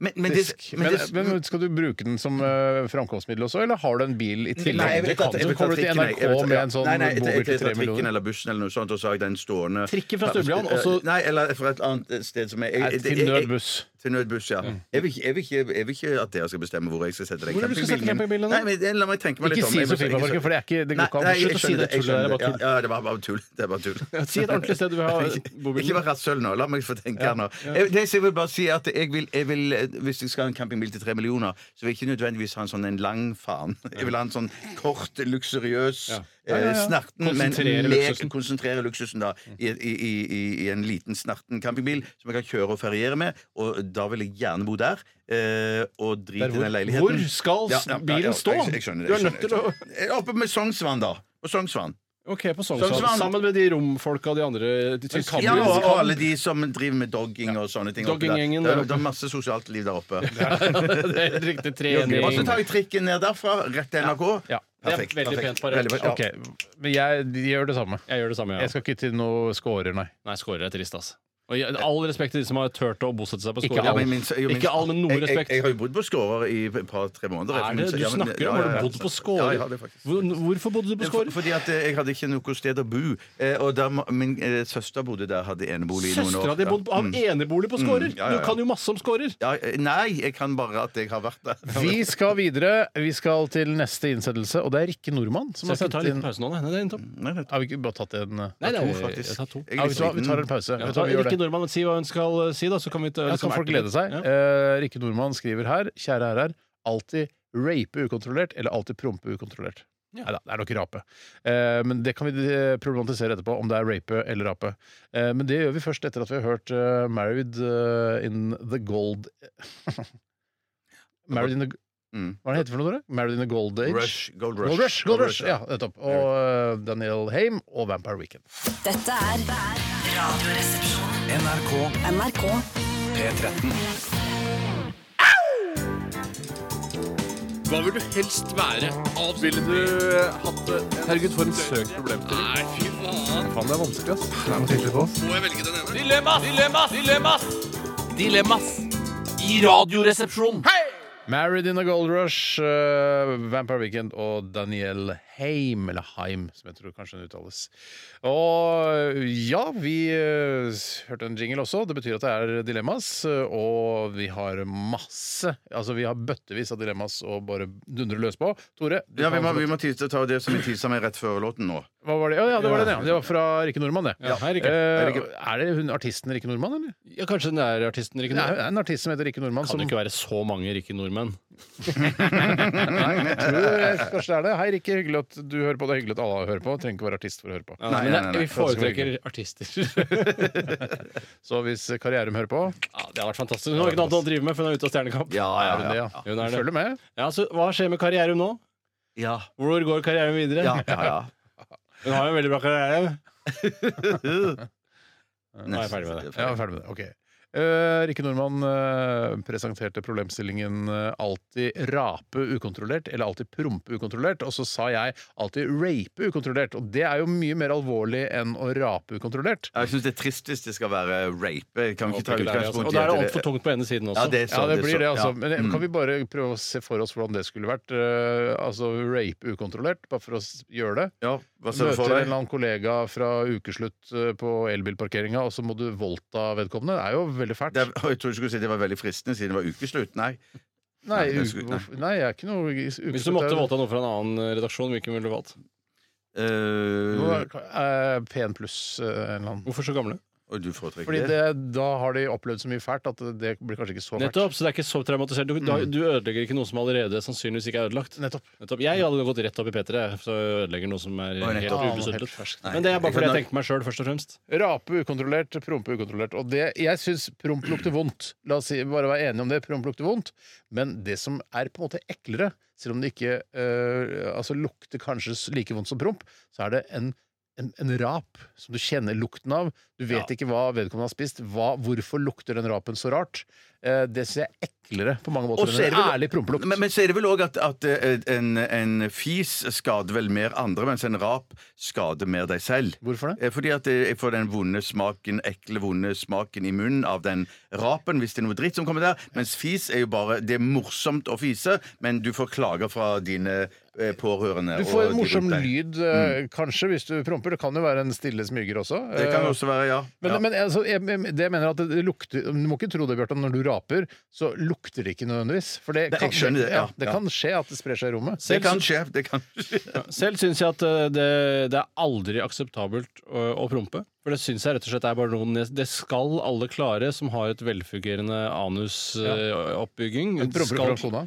C: Men, men, det,
B: Disk.
C: men,
B: Men, eh,
C: det,
B: men, skal du bruke den som eh, framkomstmiddel også, eller har du en bil i tillegg?
C: Nei, jeg vil
B: Det
C: ikke
B: kan
C: at- jeg
B: du
C: vil ikke at
B: kommer du til
C: trikken, jeg-
B: NRK
C: jeg vil-
B: med en sånn
C: Nei, nei, jeg- jeg-
B: bobil
C: jeg
B: til
C: tar
B: tre
C: trikken
B: millioner.
C: eller bussen eller noe sånt, og så har jeg den stående eh,
D: Trikken fra Storbritannia, og så-
C: Nei, eller fra et annet sted som er jeg-
B: Nei,
C: jeg-
B: Til
C: jeg- jeg-
B: nødbuss.
C: Til nødbuss, ja. Jeg vil, ikke- jeg, vil ikke, jeg vil ikke at dere skal bestemme hvor jeg skal sette den
D: Hvor er det du skal sette campingbilen, da?
C: Nei, men La meg tenke meg litt
B: Ikke
C: om.
B: si
C: Jeg- jeg-
B: Sofiemarken, for det er ikke det
C: Nei,
B: går
C: nei,
B: ikke an.
C: jeg
D: Slutt å si
C: skjønner
D: det
C: jeg skjønner
D: tullet, det er bare tull.
C: Ja, ja, det var bare tull. Det er bare tull.
D: Si et ordentlig sted du vil ha bobilen.
C: [laughs] Ikke vær rasshøl nå. La meg få tenke her nå. Jeg, det jeg vil bare si at jeg vil, jeg vil, eh, Hvis jeg skal ha en campingbil til tre millioner, så vil jeg ikke nødvendigvis ha en sånn en lang faen. Jeg vil ha en sånn kort, luksuriøs
D: Ja.
C: eh, snerten, men
D: Konsentrere
C: med-
D: luksusen.
C: konsentrere luksusen da i, i, i, i, i en liten snerten campingbil som jeg kan kjøre og feriere med. Og da vil jeg gjerne bo der. Eh, og drite i den leiligheten.
D: Hvor skal bilen stå?
C: Jeg, jeg skjønner det.
D: Du er
C: jeg
D: nødt til å
C: skjønner det. Oppe med Sognsvann, da. På Sognsvann.
D: OK, på Sognsvann.
C: Sognsvann.
D: Sammen med de romfolka og de andre de tyske
C: Ja, og, og alle de som driver med dogging og sånne ting. oppi der.
D: Dogging-gjengen
C: det,
D: der
C: er,
D: oppe.
C: det er masse sosialt liv der
D: [laughs]
C: oppe.
D: [laughs] Det er helt riktig trening.
C: Og så tar jeg trikken ned derfra, rett til NRK.
B: Ja.
D: Det er
C: Perfekt,
D: veldig
C: perfekt.
D: pent parert.
C: Veldig bra.
B: Ok, men jeg gjør det samme.
D: Jeg gjør det samme,
B: Jeg
D: ja.
B: skal ikke til noe scorer, nei.
D: Nei, Skårer er trist, ass. Og jeg, all respekt til de som har turt å bosette seg på
B: Ikke
D: Skårer.
B: all.
C: Ja, men min- jo, min-
D: Ikke all, men noe
C: Jeg- Jeg,
D: respekt.
C: jeg har jo bodd på Skårer i et par-tre måneder.
D: Er det? Du
C: Ja, men-
D: snakker
C: ja,
D: om
C: ja,
D: Har du
C: ja.
D: bodd på Skårer?
C: Ja, jeg har det faktisk.
D: Hvor- Hvorfor bodde du på Skårer?
C: For- Fordi at eh, jeg hadde ikke noe sted å bo. Eh, Og der, må- min eh, søster bodde der, hadde enebolig i noen år.
D: Søstera di bodde på- har enebolig på Skårer!
C: Mm, ja, ja, ja.
D: Du kan jo masse om Skårer!
C: Ja, eh, nei, jeg kan bare at jeg har vært der.
B: Vi skal videre. Vi skal til neste innsettelse, og det er Rikke Nordmann som har
D: Så jeg skal
B: sendt
D: ta en
B: inn
D: liten pause nå, nei. Nei, det er en topp.
C: Nei, det-
B: Har vi ikke bare tatt en
D: Nei, det er
C: to, faktisk.
D: Jeg tar to.
C: Jeg
B: ja,
C: er
B: vet du hva, Vi Eh, tar
C: sliten.
B: en pause.
D: Ja,
B: Vet du hva, vi gjør
D: Rikke
B: det.
D: Nordmann, si hva hun skal eh, si, da, så kan vi ta,
B: Ja,
D: liksom
B: kan folk
D: erte
B: glede
D: litt.
B: seg.
D: Ja.
B: Eh, Rikke Nordmann skriver her, kjære herrer, alltid rape ukontrollert eller alltid prompe ukontrollert.
D: Ja.
B: Neida, det er nok rape. Eh, men det kan vi eh, problematisere etterpå, om det er rape eller rape. Eh, men det gjør vi først etter at vi har hørt eh, 'Married eh, in the Gold' [laughs] Married in the...
C: Mm.
B: Hva er det heter for noe, dere? Married in the Gold Age?
C: Rush, Gold Rush.
B: Gold Rush, Gold Rush, ja, nettopp. Og eh, Daniel Haim og Vampire Weekend.
E: Dette er Radioresepsjonen.
F: NRK
E: NRK.
F: P13.
I: Hva vil du helst være? Ville du hatt det? Herregud, for en søkt problemstilling. Nei, fy faen. Faen, det er vanskelig, ass. Må jeg velge den ene? Dilemmas! Dilemmas! Dilemmas! Dilemmas! I radioresepsjonen.
B: Married in a Gold Rush, eh, Vampire Weekend og Daniel Heim, eller Heim, som jeg tror kanskje den uttales. Og ja, vi eh, s- hørte en jingle også. Det betyr at det er dilemmas, eh, og vi har masse Altså, vi har bøttevis av dilemmas å bare dundre løs på. Tore, du
C: Ja,
B: kan
C: vi må,
B: også-
C: vi må ti- ta det som vi tisa med rett før låten nå.
B: hva var det? Ja, ja, det var den, ja. Det var fra Rikke Nordmann, det.
D: Ja, hei, Rikke.
B: Eh, er det hun artisten Rikke Nordmann, eller?
D: Ja, kanskje den der artisten Rikke
B: Det er
D: Nordmann?
B: en artist som heter Rikke Nordmann.
D: Kan
B: som...
D: det ikke være så mange Rikke Nordmenn?
B: Jeg tror jeg- kanskje det er det. Hei, Rikke. Hyggelig at du hører på. Det er hyggelig at alle hører på. Trenger ikke være artist for å høre på.
D: Ja,
C: Nei, nei,
D: men det-
C: nei, nei.
D: Vi foretrekker artister. [laughs]
B: Så hvis Karrierum hører på
D: Ja, det har vært fantastisk. Hun har ikke noe annet å drive med, for hun er ute av Stjernekamp.
B: er hun det, ja.
D: Hun er det.
B: Følger med.
D: Ja, så Hva skjer med Karrierum nå?
C: Ja.
D: Hvor går Karrierum videre?
C: Ja, ja, ja.
D: Hun har jo en veldig bra karriere.
C: Nå
D: er jeg ferdig med det.
B: Ja, ferdig med det. Ok. Eh, Rikke Nordmann eh, presenterte problemstillingen eh, alltid rape ukontrollert eller alltid prompe ukontrollert, og så sa jeg alltid rape ukontrollert. Og det er jo mye mer alvorlig enn å rape ukontrollert.
C: Jeg syns det er trist hvis det skal være rape. Jeg Kan vi ikke ta utgangspunkt
D: altså. Og
C: i
D: da er det
C: at
D: altfor tungt på ene siden også.
C: Ja, det er
B: Ja,
C: sånn,
B: det blir
C: sånn,
B: det, altså.
C: ja.
B: Men eh, kan vi bare prøve å se for oss hvordan det skulle vært? Eh, altså rape ukontrollert, bare for å s- gjøre det.
C: Ja, hva ser du
B: Møter
C: for
B: en
C: deg?
B: eller annen kollega fra ukeslutt eh, på elbilparkeringa, og så må du voldta vedkommende. Det er jo veldig fælt.
C: Det er, jeg trodde du skulle si det var veldig fristende siden det var ukeslutt. Nei.
B: nei,
C: Nei,
B: u
C: det skulle- nei.
B: hvorfor- nei, jeg er ikke noe ukeslutt.
D: Hvis du måtte voldta noen fra en annen eh, redaksjon, hvilken ville du valgt?
C: Eh, Uh,
B: Uh, P1 pluss eh, en eller annen.
D: Hvorfor så gamle?
C: og du foretrekker
B: Fordi
C: det?
B: det, da har de opplevd så mye fælt at det blir kanskje ikke så fælt.
D: Nettopp, så det er ikke så traumatisert. Du,
C: Mm.
D: da- du ødelegger ikke noe som allerede sannsynligvis ikke er ødelagt.
B: Nettopp.
D: Nettopp. Jeg hadde gått rett opp i P3, så jeg ødelegger noe som er
C: Oi, nettopp.
D: helt
C: Ja,
B: noe
D: ubesudlet.
B: helt
C: Nei,
D: Men det er
C: jeg kan
D: bare fordi jeg
C: da-
D: tenker på meg sjøl, først og fremst.
B: Rape ukontrollert, prompe ukontrollert. Og det, jeg syns promp lukter vondt. La oss si, bare være enige om det. Promp lukter vondt. Men det som er på en måte eklere, selv om det ikke eh, altså lukter kanskje s- like vondt som promp, så er det en en, en rap som du kjenner lukten av. Du vet ikke hva vedkommende har spist. Hva, hvorfor lukter den rapen så rart? Eh, det syns jeg er eklere på mange måter
C: Og så
B: enn
C: er det
B: en
C: vel-
B: ærlig prompelukt.
C: Men, men så er det vel òg at, at eh, en, en fis skader vel mer andre, mens en rap skader mer deg selv.
B: Hvorfor det?
C: Eh, Fordi at eh, jeg får den vonde smaken, ekle, vonde smaken i munnen av den rapen, hvis det er noe dritt som kommer der. Mens fis er jo bare Det er morsomt å fise, men du får klager fra dine eh, pårørende.
B: Du får
C: og
B: en
C: de
B: morsom
C: rundt deg.
B: lyd, eh, kanskje, hvis du promper. Det kan jo være en stille smyger også.
C: Mm. Det kan
B: Eh,
C: også være, ja.
B: Men,
C: ja.
B: men altså, jeg, jeg- det jeg mener at det lukter Du må ikke tro det, Bjarte, når du raper, så lukter det ikke nødvendigvis. For det,
C: Nei,
B: kan,
C: jeg skjønner det, ja,
B: det
C: ja.
B: kan skje at det sprer seg i rommet.
C: det kan skje. Det kan skje.
D: Selv syns jeg at eh, det, det er aldri akseptabelt å, å prompe. For det syns jeg rett og slett er bare noen Det skal alle klare som har et velfungerende eh, anusoppbygging.
B: Promper du fra kona?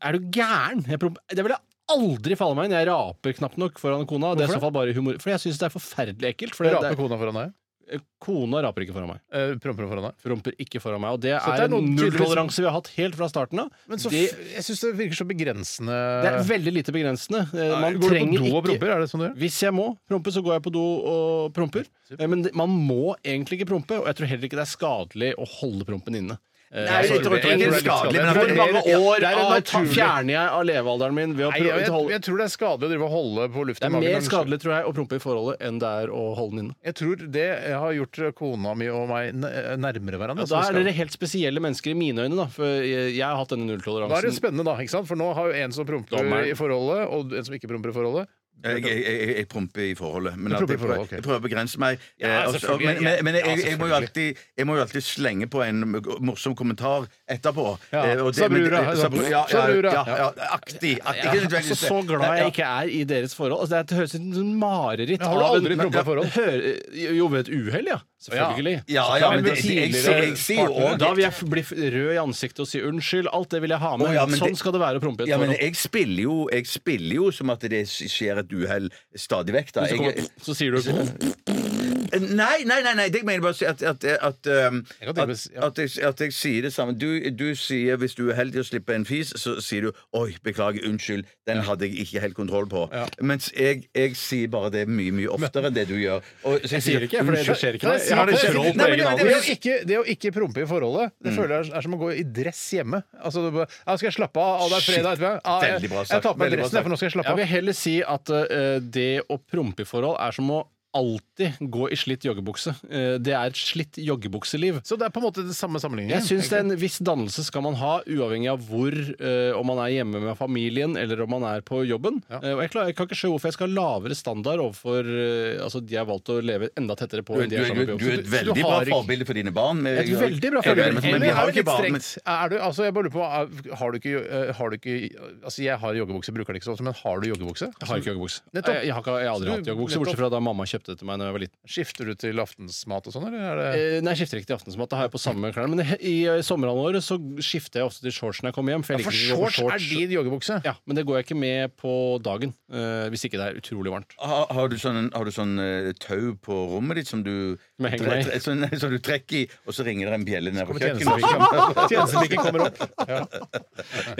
D: Er du gæren? Jeg promp- det vil jeg aldri falle meg inn. Jeg raper knapt nok foran kona. Det er i så fall bare humor. For jeg syns det er forferdelig ekkelt. For det,
B: Raper
D: det,
B: kona foran deg?
D: er- kona raper ikke foran meg.
B: Eh, Promper hun foran deg?
D: Promper ikke foran meg. Og det
B: Så det er
D: er, en
B: noe tydeligvis-
D: nulltoleranse vi har hatt helt fra starten av.
B: Men så,
D: det,
B: f- jeg syns det virker så begrensende
D: det er veldig lite begrensende. Eh, Man
B: Går du
D: trenger
B: på do og
D: ikke
B: promper? Er det sånn du gjør?
D: Hvis jeg må prompe, så går jeg på do og promper. Eh, Men det- man må egentlig ikke prompe, og jeg tror heller ikke det er skadelig å holde prompen inne. Eh,
C: Nei, jeg
D: sorry.
C: tror ikke det er skadelig, men
D: Hvor
C: det er-
D: mange år
B: Det er en
D: av-
B: naturlig-
D: fjerner jeg av levealderen min ved å
B: Nei, jeg,
D: prøve å
B: jeg,
D: holde
B: jeg tror det er skadelig å drive og holde på
D: Det
B: lufta
D: er
B: i magen.
D: mer
B: når den-
D: skadelig, tror jeg, å prompe i forholdet enn det er å holde den inne.
B: Jeg tror det har gjort kona mi og meg n- nærmere hverandre.
D: Og
B: så
D: da er
B: skal-
D: dere helt spesielle mennesker i mine øyne, da. For jeg, jeg har hatt denne
B: Da er det
D: nulltoleransen.
B: spennende, da. ikke sant? For nå har jo en som promper
D: Dommeren.
B: i forholdet, og en som ikke promper i forholdet.
C: Jeg, jeg, jeg, jeg promper i forholdet. Men
B: Du
C: at
B: promper i
C: jeg, prøver,
B: forholdet, ok.
C: jeg prøver å begrense meg. eh,
B: Ja, altså,
C: også-
B: selvfølgelig,
C: men
B: ja.
C: men, men jeg,
B: Ja,
C: jeg, jeg, må jo
B: selvfølgelig.
C: alltid, jeg må jo alltid slenge på en morsom kommentar etterpå.
B: Ja.
C: Eh, og det-
B: Sa
C: men-
B: brura,
C: eh,
B: her,
C: sa
B: sant?
C: bru- ja,
B: Sa brura.
C: ja, ja, aktig. aktig ikke
D: Jeg er altså
C: nødvendigvis.
D: så glad
C: Ja,
D: jeg ikke er i deres forhold. Altså, det høres ut som et mareritt.
B: Jeg har du
D: av en-
B: aldri prompa i forhold?
D: Hører- Jo, ved et uhell, ja. Selvfølgelig.
C: Ja, ja, men
B: Ja,
C: det, jeg, jeg,
B: tidligere
C: jeg, jeg sier jo
D: Og
C: også-
D: da vil jeg f- bli f- rød i ansiktet og si unnskyld. Alt det vil jeg ha med.
C: Å, ja, men
D: sånn
C: det-
D: skal det være å prompe i et
C: ja, men
D: forhold.
C: jeg spiller, jo, jeg spiller jo som at det skjer et uhell stadig vekk. Da.
D: Så,
C: Jeg,
D: kommer, så sier du
C: Nei, nei, nei, nei, det jeg mener bare å si at at, at, um,
B: Jeg kan
C: at,
B: tenke meg- ja.
C: at, jeg, at jeg sier det samme. Du, du sier hvis du er heldig å slippe en fis, så sier du 'oi, beklager, unnskyld, den hadde jeg ikke helt kontroll på'. Mens jeg, jeg sier bare det mye, mye oftere enn det du gjør. Og, så jeg
D: sier det ikke, for det- det skjer ikke.
C: Nei,
D: Jeg
C: sier
D: har
C: det-
D: kontroll på
C: Nei, men
D: egen
C: det-
D: alder.
B: Det
C: det-
B: å ikke, det å ikke prompe i forholdet
C: Mm.
B: Det føler jeg er- er som å gå i dress hjemme. Altså, du bare, ja, skal jeg slappe av? Og det er fredag etterpiddag. Ja, jeg,
C: Veldig bra
B: jeg tar på meg
C: sagt. Veldig bra
B: dressen, jeg, for nå skal jeg slappe
D: Jeg
B: av.
D: vil heller si at eh, det å prompe i forhold er som å alltid gå i slitt joggebukse. Eh, Det er et slitt joggebukseliv.
B: Så det er på en måte det samme sammenligningen.
D: Jeg synes det er En viss dannelse skal man ha, uavhengig av hvor, eh, om man er hjemme med familien eller om man er på jobben. Eh, og jeg, klarer, jeg kan ikke se hvorfor jeg skal ha lavere standard overfor eh, altså, de jeg har valgt å leve enda tettere på.
C: Du,
D: enn
C: du,
D: de jeg er
C: du,
D: sammen med på
C: du er
D: jobben.
C: et veldig
B: du
C: bra
B: har ikke-
C: forbilde for dine barn. men-
D: Et veldig bra
C: Jeg vet,
D: forbilde.
C: Men
B: Men
C: vi
B: det
C: har
B: er
C: jo ikke
B: jo litt
C: barn. Men,
B: strengt. Er du, altså, jeg bare lurer på, er- har du ikke, eh, har du ikke Altså, jeg har joggebukse, bruker det ikke så ofte, men har du joggebukse?
D: Jeg har ikke joggebukse. Jeg,
B: Nettopp.
D: jeg, har ikke, jeg har aldri
B: Så du-
D: hatt joggebukse,
B: nettopp.
D: bortsett fra da mamma kjøpte det til meg da jeg var liten.
B: Skifter du til aftensmat og sånn, eller? Er det...
D: Eh, Nei, jeg skifter ikke til aftensmat. Da har jeg på samme klær. Men i eh, sommerhalvåret så skifter jeg ofte til shorts når jeg kommer hjem. For jeg
B: For
D: liker ikke å gå på
B: shorts er
D: shorts.
B: din joggebukse.
D: Ja, Men det går jeg ikke med på dagen. eh, hvis ikke det er utrolig varmt.
C: har, har du sånn, har du sånn eh, tau på rommet ditt som du,
D: Som jeg henger meg i.
C: tre- tre- sånn, [laughs] som du trekker i, og så ringer det en bjelle ned på
B: Kommer
C: kjøkkenet?
B: tjenestepiken- Tjenestepiken kommer opp. Ja.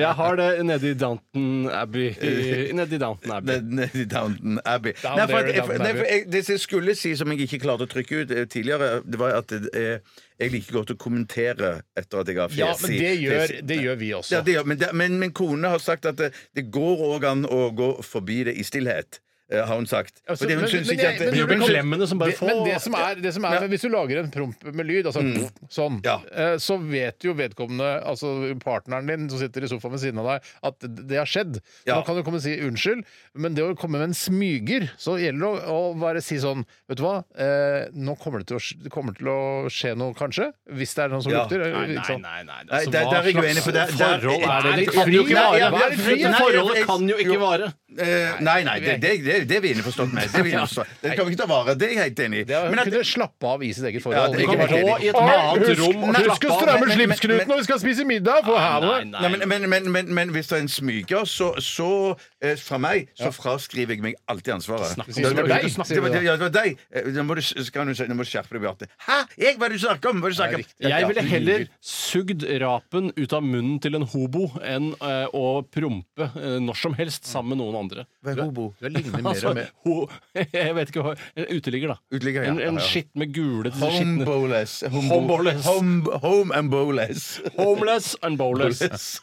D: Jeg har det nede i Downton Abbey. i- Nede i Downton Abbey.
C: Ned- ned i Downton Abbey.
B: Down
C: Nei, for
B: there
C: at,
B: i
C: jeg, for-
B: Downton
C: nei, for
B: Abbey.
C: jeg, det som jeg skulle si, som jeg ikke klarte å trykke ut eh, tidligere, det var at eh, jeg liker godt å kommentere etter at jeg har fjes
B: ja, men
C: i-
B: det gjør,
C: fjes-
B: det gjør vi
C: Ja,
B: også.
C: det gjør, men, det, men min kone har sagt at det, det går òg an å gå forbi det i stillhet, eh, har hun sagt.
B: Altså,
C: Fordi hun
B: men-
C: syns
B: men
C: ikke
B: jeg-
C: at det,
B: men
D: Det
B: når
D: blir
B: det kom-
D: klemmene som bare
B: Det, men det
D: får
B: som er, det som er Hvis du lager en promp med lyd, altså sånn,
C: Mm. Ja.
B: eh, så vet jo vedkommende, altså partneren din som sitter i sofaen ved siden av deg, at d- det har skjedd.
C: Ja.
B: Man kan jo komme og si unnskyld, men det å komme med en smyger, så gjelder det å, å bare si sånn Vet du hva, eh, nå kommer det, til å, sk- det kommer til å skje noe, kanskje. Hvis det er noen som
C: Ja.
B: lukter. eh,
D: Nei,
B: ikke
D: nei,
B: sant?
D: nei. nei.
C: Nei, der- der er jeg uenig, for der- der-
D: forhold er det?
C: Nei,
D: Det
C: det
D: kan jo ikke
C: nei, ja,
D: vare.
C: ja,
D: Hva er det?
C: nei,
D: Forholdet
C: jeg-
D: kan jo ikke vare.
C: Eh, nei, nei, det, det, det, det er vi innforstått med. Det, er vi innforstått. det kan vi ikke ta vare Det er jeg helt enig i.
B: Det er,
C: Men
B: hun
C: at-
B: kunne slappe av i sitt eget
C: Ja,
B: forhold.
C: det er
D: Du
C: ikke
D: kan
C: helt
D: gå
C: enig.
D: i et annet
B: Husk,
D: rom og
B: husk å
D: slappe av.
B: stramme
C: men- men-
B: slipsknuten når vi skal spise middag! For her var
D: Nei,
B: det
D: nei.
C: Nei, men, men, men, men, men hvis det er en smyger, så, så eh, fra meg så fraskriver jeg meg alltid ansvaret.
D: Snakk om
C: Det var-
B: det.
C: det var-
B: Deg, snakker
C: det var-
B: du da.
C: Ja, det var deg. Eh, Nå må du, så kan du, si- nå må du skjerpe deg, Bjarte. Hæ? Jeg? Hva er det du snakker om? Hva er det du snakker om?
D: Jeg ville heller sugd rapen ut av munnen til en hobo enn eh, å prompe eh, når som helst sammen med noen andre.
C: Hva er hobo?
B: Du ligner mer
D: Altså,
B: og mer
D: ho, [laughs] jeg vet ikke hva En uteligger, da.
C: Uteligger, ja.
D: En, en
C: Ja, ja.
D: skitt med gule skitne-
C: Homeboless.
D: Homeboless.
C: Home, home and boless.
D: Homeless and bowless.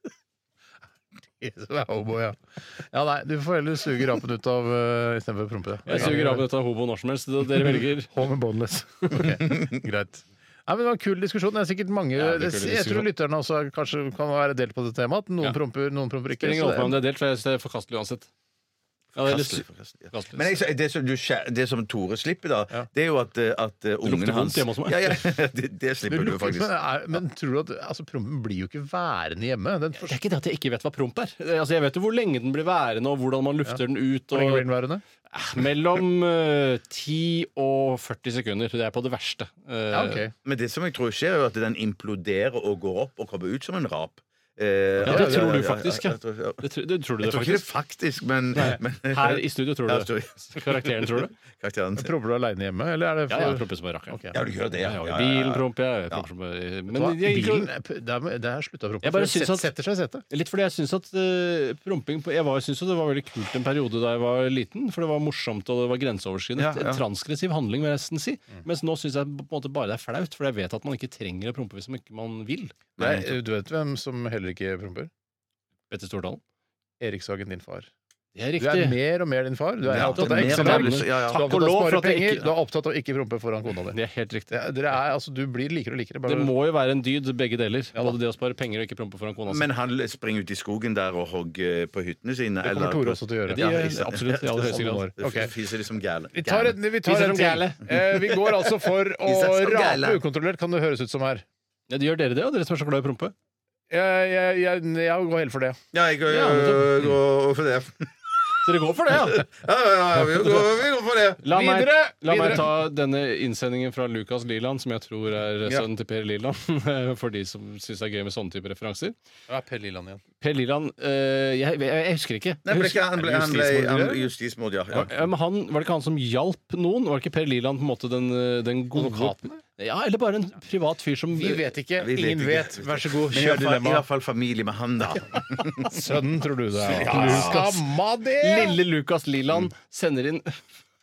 B: [laughs] Som er hobo, ja. ja. Nei, du får heller suge rapen ut av uh, istedenfor å prompe.
D: Jeg suger av dette hobo når som helst. det-
B: [laughs]
D: Dere velger.
B: Home and boneless. Greit. Nei, men Det var en kul diskusjon. Det er sikkert mange,
D: Ja, det er en
B: Jeg
D: kul
B: tror
D: diskusjon.
B: lytterne også er- kanskje kan være delt på det temaet. at Noen
D: Ja.
B: promper, noen promper ikke.
D: Spiller ingen rolle for meg
B: Så
D: om
B: det,
D: det er delt, for jeg synes det er forkastelig uansett. Ja, det er litt-
C: Forkastelig, forkastelig, ja. Men jeg, det, som du, skjæ- det som Tore slipper, da, det er jo at, eh, at eh, ungene
D: lukter
C: hans
D: vondt hjemme hos meg.
C: Ja, [laughs] ja, det, det
B: det
C: slipper du
B: lukker,
C: faktisk.
B: men, er, men tror du at altså, prompen blir jo ikke værende hjemme? Den
D: Det er
B: forsvinner
D: ikke det at jeg ikke vet hva promp er. Det- Altså, jeg vet jo hvor lenge den blir værende, og hvordan man lufter den ut.
B: Hvor lenge blir
D: Og,
B: den værende?
D: Eh, [laughs] mellom eh, 10 og 40 sekunder. Det er på det verste. Eh,
B: Ja, ok.
C: Men det som jeg tror skjer, er jo at den imploderer og går opp og kommer ut som en rap. Eh,
D: Ja, det tror du faktisk, ja.
C: Jeg tror, ja.
D: Det, tr- det tror du
C: Jeg
D: det,
C: tror ikke det er
D: faktisk.
C: faktisk, men, [laughs] men
D: Her i studio tror
C: Ja,
D: du det. Karakteren
C: [laughs]
D: tror du det.
C: Karakteren.
B: Promper du aleine hjemme, eller er det
D: Ja,
B: for
D: jeg promper som en rakker.
B: Ok.
C: Ja, du gjør det, ja.
D: Jeg
C: Ja,
D: har jo
C: ja, ja.
D: bilen promper jeg. jeg promper som bare- Men jeg,
B: Bilen er p- Der må- der har jeg slutta å prompe.
D: Jeg
B: for
D: bare
B: det
D: synes
B: set-
D: at-
B: setter seg i setet.
D: Litt fordi jeg syns at eh, promping på- Jeg var- jeg synes jo det var veldig kult en periode da jeg var liten, for det var morsomt og det var grenseoverskridende.
C: Ja, ja.
D: En transgressiv handling, vil jeg nesten si. Mens nå syns jeg på en måte bare det er flaut, for jeg vet at man ikke trenger å prompe hvis man ikke man vil.
B: Nei, du vet hvem som heller ikke promper?
D: Petter Stordalen.
B: Erikshagen, din far.
D: Det er
B: Du er
D: riktig.
B: mer og mer din far. Du er
C: Ja,
B: opptatt
C: det
B: av
C: er mer
B: Excel.
C: og mer
B: Du er
C: lyst- ja, ja.
B: opptatt av
D: Takk og
B: å
D: lov for
B: spare
D: at jeg
B: penger.
D: ikke-
B: Du er opptatt av å ikke prompe foran kona di.
D: Det er helt riktig.
B: Det er- Dere er, altså, du blir likere og likere.
D: Det
B: Bare,
D: må jo være en dyd, begge deler. Både det å spare penger og ikke prompe foran kona si.
C: Men han springer ut i skogen der og hogger på hyttene sine.
B: det kommer Tore også til å
D: Ja,
B: gjøre.
D: det gjør
C: ikke sant.
D: absolutt i aller høyeste
B: Alle
D: grad.
B: år. Ok.
C: Fiser liksom de som gæle.
B: Vi tar en, vi tar
D: Viser
B: en
D: som
B: til.
D: gæle.
B: Eh, vi går altså for å
C: Viser som
B: rape
C: gæle.
B: ukontrollert, kan det høres ut som her.
D: Ja, det gjør dere det, og dere som er så glad i å prompe?
B: Jeg, jeg, jeg, jeg går helt for det.
C: Ja, jeg går
D: Ja, men
C: øh, går for det.
D: Så dere går for det, ja?
C: Ja, ja, ja, vi går, vi går for det.
D: La meg,
B: Videre,
D: la meg
B: videre.
D: ta denne innsendingen fra Lukas Liland, som jeg tror er sønnen til Per Liland, [laughs] for de som syns det er gøy med sånne type referanser.
B: Ja, Per Liland igjen.
D: Per Liland eh, jeg, jeg, jeg husker ikke.
C: Nei,
D: Jeg
C: ble
D: husker,
C: ikke, han ble, han ble, han ble justismord, ja. ja.
D: Ja, men han, var det ikke han som hjalp noen? Var det ikke Per Liland på en måte den, eh, den gode
B: Advokaten?
D: Ja, eller bare en privat fyr som
B: Vi vet ikke.
C: Vi vet
B: Ingen
C: ikke.
B: vet. Vær så god,
C: Men i
B: kjør
C: hvert fall- I
B: dilemmaet.
C: hvert fall familie med han, da.
B: Sønnen, tror du det er.
D: Ja.
B: Lukas. Samma det!
D: Lille Lukas Liland sender inn [laughs]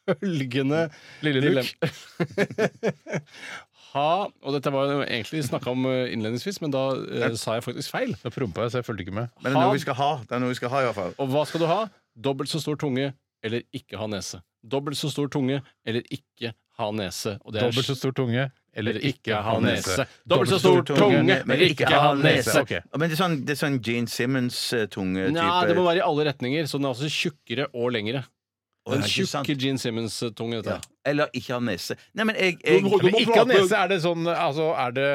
D: følgende
B: Lille Luk.
D: dilem- [laughs] Ha Og dette var jo egentlig snakka om eh, innledningsvis, men da eh, sa jeg faktisk feil.
B: Da prompa jeg, så jeg fulgte ikke med.
C: Men det er noe vi skal ha. Det er noe vi skal ha i hvert fall.
D: Og hva skal du ha? Dobbelt så stor tunge eller ikke ha nese? dobbelt så stor tunge eller ikke ha nese. Og det er
B: Dobbelt så stor tunge eller ikke ha nese.
D: Dobbelt så stor tunge,
C: men ikke ha nese.
B: Ok.
C: Men det er sånn, det er sånn Gene Simmons-tunge type
D: Nei, det må være i alle retninger, så den er også tjukkere og lengre.
C: Å,
D: Den
C: ja, ikke sant?
D: tjukke Gene Simmons-tunge, dette.
C: Ja. Eller ikke ha nese. Nei, men jeg, jeg
B: Men ikke ha nese, er det sånn Altså, er det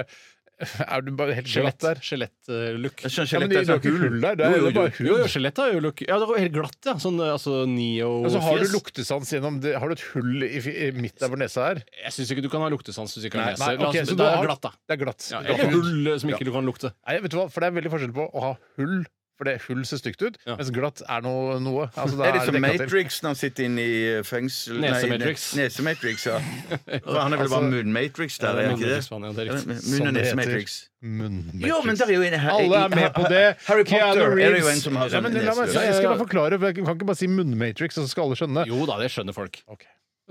B: [laughs] Er du bare helt glatt
D: Skjelett-
B: der?
D: Skjelett-look.
C: Jeg skjønner
B: Ja, men
C: skjelettet er
B: de har ikke
C: sånn
B: hull der. Det er
D: Jo,
B: jo
D: jo,
B: bare
D: jo, jo,
B: hull.
D: skjelettet er jo look. Ja, det var helt glatt, ja. Sånn altså
B: Og så har
D: neo-fjes.
B: du luktesans gjennom det. Har du et hull i, fi- i midt der hvor nesa er?
D: Jeg syns ikke du kan ha luktesans hvis du ikke har nese.
B: Nei,
D: La
B: ok,
D: oss-
B: så du
D: da er
B: har-
D: det glatt, da.
B: Det er glatt.
D: Ja,
B: Glatt.
D: eller hull eh, som ikke du kan lukte.
B: Nei, vet du hva? For det er veldig forskjell på å ha hull, for det hull ser stygt ut,
D: Ja.
B: mens glatt er noe.
C: [laughs]
B: noe. Altså, da
C: Er det
B: er
C: som
B: dekka til.
C: Matrix når han sitter inne i fengsel? nei,
D: Nesematrix.
C: ne- Nesematrix, ja. For han er vel
B: Altså-
C: bare Moon-Matrix der, er
D: Ja,
C: han ikke det?
D: Munnmatrix-faen, ja, det er riktig.
C: Munn- og
B: Sånn det heter.
C: nesematrix.
B: Munnmatrix.
C: Jo, men der er jo en her,
B: Alle er med på det.
C: Harry Potter
B: Keanu
C: er det jo
B: Reeves.
C: en som har
B: Ja,
C: sånn
B: men la meg-
C: nese.
B: Jeg skal bare forklare, for jeg kan ikke bare si Munnmatrix, og så skal alle skjønne.
D: Jo da, det skjønner folk.
B: Ok.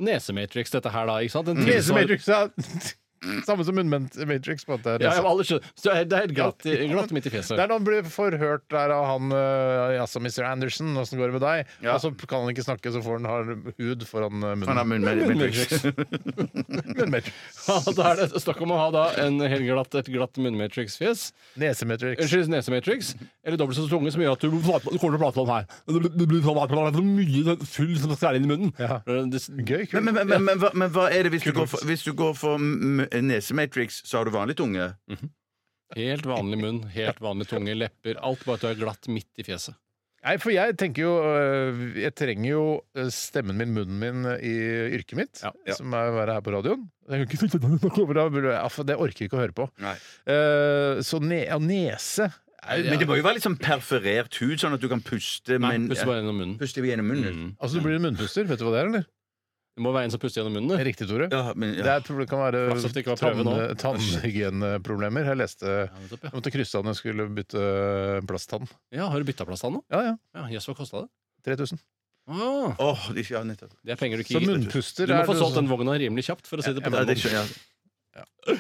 D: Nesematrix, dette her, da. ikke sant? Den tilsvarer-
B: Nesematrix er [laughs] samme som Munnmatrix. på en måte.
D: Ja, ja, men alle skjønner. Så det er- det er helt glatt, i- glatt midt i fjeset.
B: Det er når han blir forhørt der av han eh, Ja, så Mr. Anderson, åssen går det med deg?
C: Ja.
B: Og så kan han ikke snakke, så får han har hud foran eh,
C: Han har
B: munnen.
C: Moon-Matrix.
B: Munnmatrix.
D: [laughs] Ja, da er det snakk om å ha da en helt glatt, et glatt munnmatrix-fjes.
B: Nesematrix.
D: Unnskyld, nesematrix. Eller dobbelt så tunge, som gjør at du flat- du kommer til å prate om her. Det blir- det blir sånn at det er mye full som skal inn i munnen.
B: Ja.
D: Det,
B: Gøy,
C: Men,
B: kult.
C: men, men, men, men, hva- men hva er det hvis du går for, hvis du går for m- nesematrix, så har du vanlig tunge?
D: helt vanlig munn, helt vanlig tunge, lepper. Alt bare at du er glatt midt i fjeset.
B: Nei, for jeg tenker jo øh, Jeg trenger jo øh, stemmen min, munnen min, øh, i yrket mitt,
D: Ja, ja.
B: som er å være her på radioen. Jeg kan ikke snakke sånn, for da burde jeg- ja, for Det orker jeg ikke å høre på.
C: Nei.
B: Eh, så ne ja, nese
C: Men det må jo være litt sånn perforert hud, sånn at du kan puste,
D: Nei,
C: men Mm.
D: puste bare gjennom munnen. Mm.
C: Puste gjennom munnen.
B: Altså, du blir en munnpuster. Vet du hva det er, eller?
D: Det må være en som puster gjennom munnen. du.
B: Riktig, Tore.
C: Ja, men,
B: Det
C: ja.
B: er, proble- kan være
D: Flaks at det ikke var prøve
B: tann-
D: nå.
B: tannhygieneproblemer. Jeg leste
D: Ja, nettopp,
B: Jeg
D: ja.
B: måtte krysse av når jeg skulle bytte eh, plasttann.
D: ja, Har du bytta plass til han nå?
B: Ja, ja.
D: Ja, Jøss, hva kosta det?
B: 3000.
D: Ah,
C: Åh, de- ja, nettopp.
D: det er penger du
B: Så
D: ikke gir.
B: munnpuster
D: Du må
B: er
D: få
B: det sånn-
D: solgt
B: som-
D: den vogna rimelig kjapt. for å si det på
C: Ja,
D: den
C: det
D: måten.
C: skjønner jeg.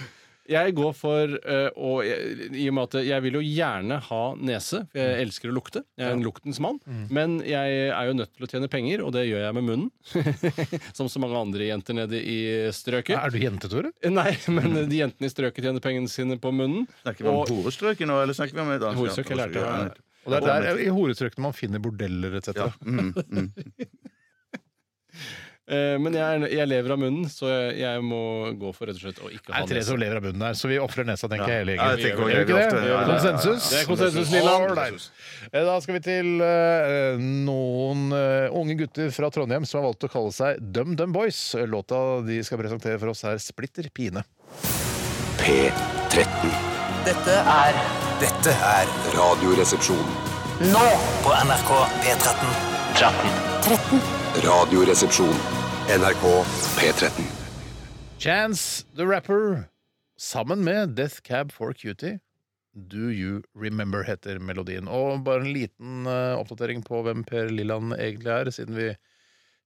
D: Jeg går for eh, å jeg- I og med at jeg vil jo gjerne ha nese, for
B: Mm.
D: jeg elsker å lukte. Jeg er en luktens mann. Men jeg er jo nødt til å tjene penger, og det gjør jeg med munnen. [laughs] Som så mange andre jenter nede i strøket.
B: Er du jente, Tore?
D: [laughs] Nei, men de jentene i strøket tjener pengene sine på munnen.
C: Snakker vi om horestrøket nå, eller snakker vi om et annet?
D: Horestrøk, jeg lærte det.
C: Ja, nettopp.
B: Og det er der i horestrøkene man finner bordeller etc.
C: Ja, mm, mm.
D: Eh, men jeg, er- jeg lever av munnen, så jeg, jeg må gå for rett og slett å ikke ha
B: Det er tre
D: nese.
B: som lever av bunnen her, så vi ofrer nesa, tenker jeg. hele
C: [laughs] Ja, jeg
B: gjengen.
C: tenker også
B: Gjør vi ikke
C: det.
B: det?
C: Ja, ja, ja.
B: Konsensus?
D: Det er konsensus, Lilleland.
B: Alright. Eh, Da skal vi til eh, noen eh, unge gutter fra Trondheim som har valgt å kalle seg DumDum Boys. Låta de skal presentere for oss, er Splitter pine.
G: P13.
J: Dette er
G: Dette er Radioresepsjon.
J: nå
E: På NRK P13.
G: Radioresepsjon. NRK P13.
B: Chance the Rapper sammen med Death Cab for Cutie. Do You Remember heter melodien. Og bare en liten eh, oppdatering på hvem Per Lilland egentlig er, siden vi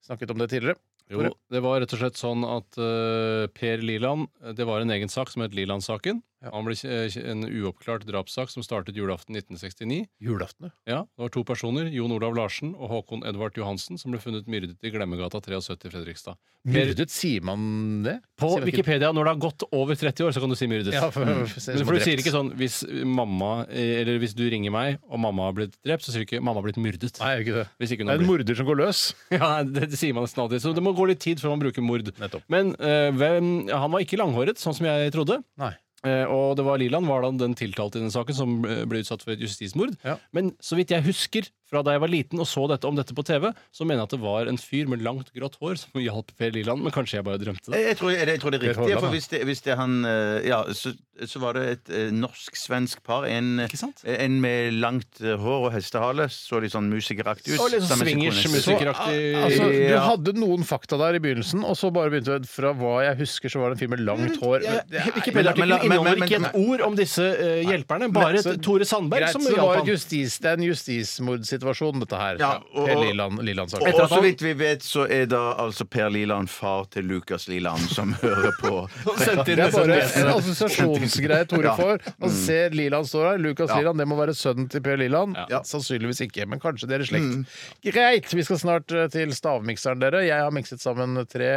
B: snakket om det tidligere.
D: Jo, det var rett og slett sånn at eh, Per Liland Det var en egen sak som het Liland-saken. Han ble eh, En uoppklart drapssak som startet julaften 1969.
B: Julaften, ja.
D: Ja, Det var to personer, Jon Olav Larsen og Håkon Edvard Johansen, som ble funnet myrdet i Glemmegata 73 i Fredrikstad. Per,
B: Myrdet, sier man det?
D: på
B: Sier man ikke-
D: Wikipedia, når det har gått over 30 år, så kan du si myrdet.
B: Ja, for, [laughs]
D: Mm.
B: for,
D: Men for du sier ikke sånn hvis mamma eh, Eller hvis du ringer meg, og mamma har blitt drept, så sier du ikke 'mamma har blitt myrdet'.
B: Nei, jeg gjør ikke sånn. det.
D: Hvis ikke hun
B: Det
D: har
B: er en
D: blitt
B: morder som går løs.
D: [laughs] ja, det, det sier man nesten alltid. Så det må gå litt tid før man bruker mord.
B: Nettopp.
D: Men eh, hvem, han var ikke langhåret, sånn som jeg trodde.
B: Nei.
D: Eh, og det var Liland var da den tiltalte i den saken som eh, ble utsatt for et justismord.
B: Ja.
D: Men så vidt jeg husker fra da jeg var liten og så dette om dette på TV, så mener jeg at det var en fyr med langt grått hår som hjalp Per Liland. Men kanskje jeg bare drømte det.
C: Jeg, jeg, tror, jeg, jeg tror det er
B: Håland,
C: riktig. ja, For
B: da.
C: hvis det, hvis det er han eh, Ja, så, så var det et eh, norsk-svensk par. En, eh,
D: Ikke sant?
C: en med langt eh, hår og hestehale. Så litt sånn musikeraktig ut.
D: Og litt sånn
C: Sammen med sin
D: swingers
C: kone.
D: musikk. Musikeraktig-
B: Så, al- altså, du
C: Ja.
B: hadde noen fakta der i begynnelsen, og så bare begynte du Fra hva jeg husker, så var det en fyr med langt hår. Men det er-
D: Wikipedia-
C: Men la, men, la, men,
D: inneholder
C: men- men-
D: ikke et
C: nei.
D: ord om disse eh, hjelperne. Bare
B: Men så-
D: et Tore Sandberg
B: Greit,
D: som
B: så det
D: hjalp
B: var
D: ham.
B: justis, det er en justismordsituasjon, dette her.
C: Ja, og-
B: Per Liland, Liland
C: Og, og så vidt vi vet, så er da altså Per Liland far til Lukas Liland, som hører på.
B: [laughs] Det er bare en
C: SMS.
B: assosiasjonsgreie
C: [laughs]
B: Tore
C: Ja. Mm.
B: får. Man ser Liland står her. Lukas
C: Ja.
B: Liland, det må være sønnen til Per Liland.
C: Ja. Mm.
B: Sannsynligvis ikke, men kanskje dere er i slekt. Greit, vi skal snart eh, til stavmikseren, dere. Jeg har mikset sammen tre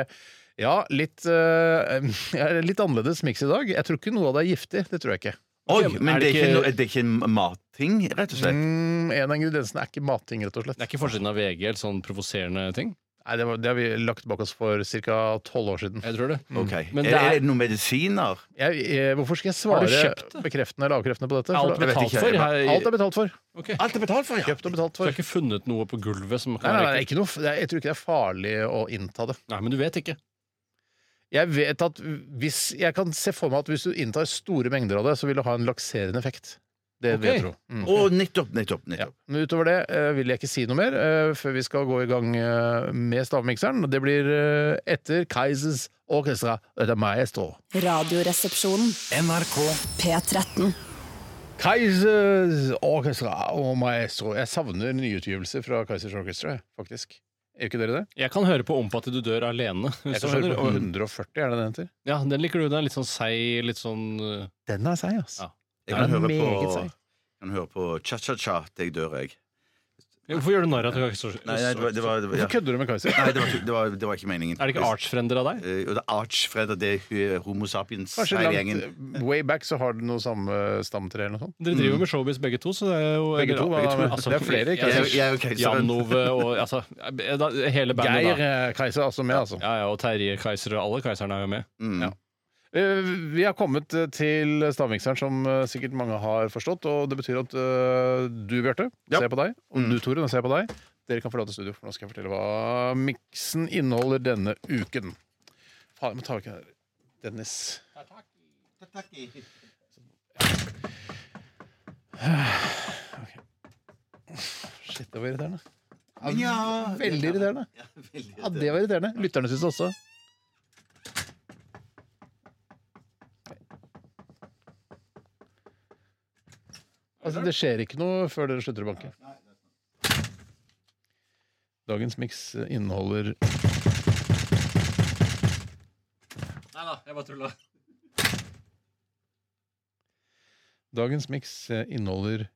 B: ja, litt, eh, [laughs] eh, litt annerledes miks i dag. Jeg tror ikke noe av det er giftig. Det tror jeg ikke.
C: Oi,
D: Er
C: men det
D: det
C: er ikke,
D: ikke-
C: no, det er ikke en matting, rett og slett?
B: Mm, en av ingrediensene er ikke mating, rett og slett.
D: Det er ikke forsiden av VG eller sånn provoserende ting.
B: Nei, det, var, det har vi lagt bak oss for ca. tolv år siden.
D: Jeg tror det.
C: Mm. Ok.
D: Men
C: Er,
D: det er-
C: er det noen medisiner?
B: Jeg, eh, hvorfor skal jeg
D: Har du
B: svare
D: kjøpt det?
B: bekreftende eller avkreftende på dette? For
D: Alt
B: da-
D: betalt
C: ikke,
D: for.
C: jeg-
D: Her,
B: Alt er betalt for.
D: Ok.
C: Alt er betalt for, ja!
B: Kjøpt og betalt
D: Så
B: for.
D: jeg har ikke funnet noe på gulvet som
B: Nei, nei,
D: kan
B: nei, det
D: være
B: er ikke noe, f- det er, jeg tror ikke det er farlig å innta det.
D: Nei, men du vet ikke.
B: Jeg vet at hvis, jeg kan se for meg at hvis du inntar store mengder av det, så vil det ha en lakserende effekt. Det vil jeg
D: Ok.
B: tro. Mm.
C: Å, nettopp, nettopp,
B: Ja.
C: nettopp.
B: Men utover det eh, vil jeg ikke si noe mer eh, før vi skal gå i gang eh, med stavmikseren. Det blir eh, etter Kaizers Orchestra Det er Maestro.
K: Radioresepsjonen.
F: NRK
K: P13.
B: Kaizers Orchestra og Maestro. Jeg savner nyutgivelser fra Kaizers Orchestra, faktisk. Gjør ikke dere det?
D: Jeg kan høre på Om på at du dør alene.
B: Jeg
D: hvis du
B: kan høre
D: skjønner.
B: på 140, er det den heter?
D: Ja, Den liker du. Den er litt sånn seig, litt sånn uh,
B: Den er seig, ass.
D: Ja.
C: Jeg kan
B: Den er
C: høre
B: meget
C: på,
B: seig.
C: kan høre på cha-cha-cha til jeg dør, jeg.
D: Hvorfor gjør du narr av at du ikke
C: Nei, nei, det var, det var, det var, ja.
B: Hvorfor kødder du med Kaiser?
C: nei det, var, ikke- det, var, det var ikke meningen.
D: Er det ikke artsfrender av deg?
C: Eh, Og det er artsfred, og det er homo sapiens
B: Kanskje
C: hele gjengen.
B: langt way back så har den noe samme stamtre eller noe sånt?
D: Dere driver jo med showbiz begge to, så det er jo
B: Mm.
D: altså,
B: Begge to, hva- det er flere
D: jeg-
B: Kaisers.
C: Jeg er jo keiseren.
D: Jan Ove og altså, da, hele bandet,
B: Geir
D: da.
B: eh, Kaiser er altså med, altså.
D: Ja, ja, og Terje Kaiser og alle Kaiserne er jo med.
C: Mm.
B: Ja. Eh, Vi har kommet eh, til stavmikseren, som eh, sikkert mange har forstått. Og det betyr at eh, du, Bjarte,
C: Ja.
B: ser på deg. Og du, Tore, nå ser jeg på deg. Dere kan forlate studio, for nå skal jeg fortelle hva miksen inneholder denne uken. Faen, jeg må ta vekk den der. Dennis. Ok. Shit, det var irriterende. Ja, veldig irriterende. Ja, det var irriterende. Lytterne syns det også. Altså, det skjer ikke noe før dere slutter å banke. Dagens miks inneholder
D: Nei da, jeg bare tulla.
B: Dagens miks eh, inneholder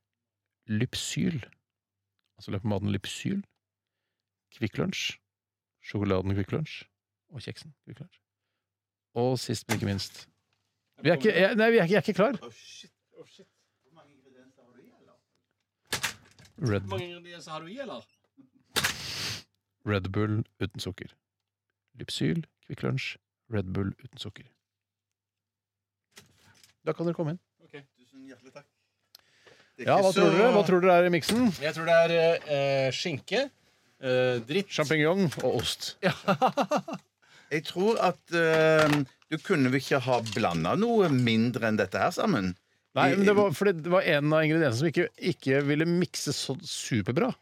B: lypsyl. Altså løpematen lypsyl, Kvikk Lunsj, sjokoladen Kvikk Lunsj og kjeksen Kvikk Lunsj. Og sist, men ikke minst vi er ikke, jeg, Nei, vi er ikke, jeg er ikke klar. Red,
D: har du i, eller?
B: Red Bull uten sukker. Lypsyl, Kvikk Lunsj, Red Bull uten sukker. Da kan dere komme inn. Ja, hva tror dere? Hva tror dere er i miksen?
D: Jeg tror det er eh, skinke, eh, dritt
B: Sjampinjong og ost.
C: Jeg tror at eh, du kunne vel ikke ha blanda noe mindre enn dette her sammen?
B: Nei, men det var, fordi det var en av ingrediensene som ikke, ikke ville mikse så superbra.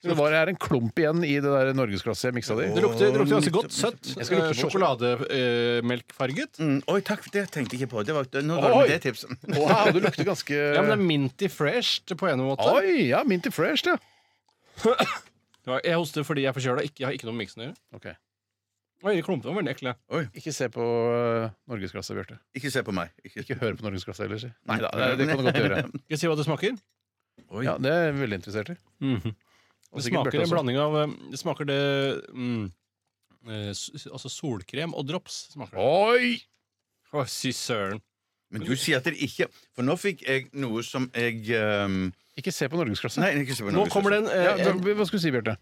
B: Så det var her en klump igjen i det der norgesglasset jeg miksa det
D: Det
B: i.
D: lukter, det lukter ganske godt. Søtt. Eh,
B: Jeg skal lukte på
D: Sjokolademelkfarget.
C: Mm, oi, takk, det tenkte jeg ikke på. Det var, nå var
B: Oi!
C: det det tipset. [laughs]
B: Wow, det lukter ganske
D: [laughs] Ja, men det er minty fresh på en måte.
B: Oi! Ja, Minty Fresh, det.
D: Ja, Jeg hoster fordi jeg er forkjøla. Ikke- Jeg har ikke noe med miksen å gjøre.
B: Ok.
D: Oi, de klumpene var veldig ekle.
B: Ikke se på uh, norgesglasset, Bjarte.
C: Ikke se på meg. Ikke,
B: Ikke hør på norgesglasset heller, si. Nei da, det, det kan du godt gjøre.
C: [laughs]
D: Skal jeg si hva det smaker?
B: Ja, det er jeg veldig interessert i.
D: Mhm. Det
B: sikkert
D: smaker
B: Bjarte
D: en
B: også.
D: blanding av eh, Det smaker det mm, eh, s- Altså solkrem og drops. smaker det.
B: Oi!
D: Å, Fy søren.
C: Men du sier at det ikke For nå fikk jeg noe som jeg ehm,
B: Ikke se på norgesglasset.
C: Nei, ikke se på
D: Nå kommer det en,
B: Ja,
D: eh,
B: hva hva skulle du si, Bjarte?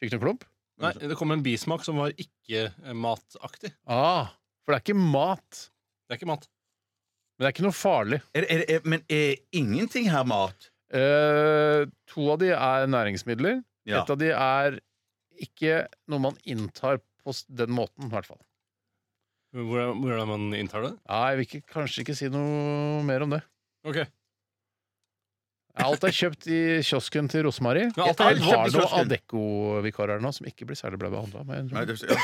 B: Fikk du en klump?
D: nei, det kom en bismak som var ikke eh, mataktig.
B: Ah, for det er ikke mat.
D: Det er ikke mat.
B: Men det er ikke noe farlig.
C: er, er, er, Men er ingenting her mat?
B: Eh, to av de er næringsmidler.
C: Ja.
B: Et av de er ikke noe man inntar på s- den måten, i hvert fall.
D: Hvordan, hvordan man inntar det?
B: Nei, jeg vil ikke, kanskje ikke si noe mer om det.
D: Ok
B: Alt er kjøpt i kiosken til Rosmari.
D: Ja, alt er
B: Jeg
C: kjøpt
B: har
D: helt
C: i
B: noen
C: kiosken.
B: [clears throat] Adecco-vikarer nå som ikke blir særlig bra behandla.
C: Nei, det, ja.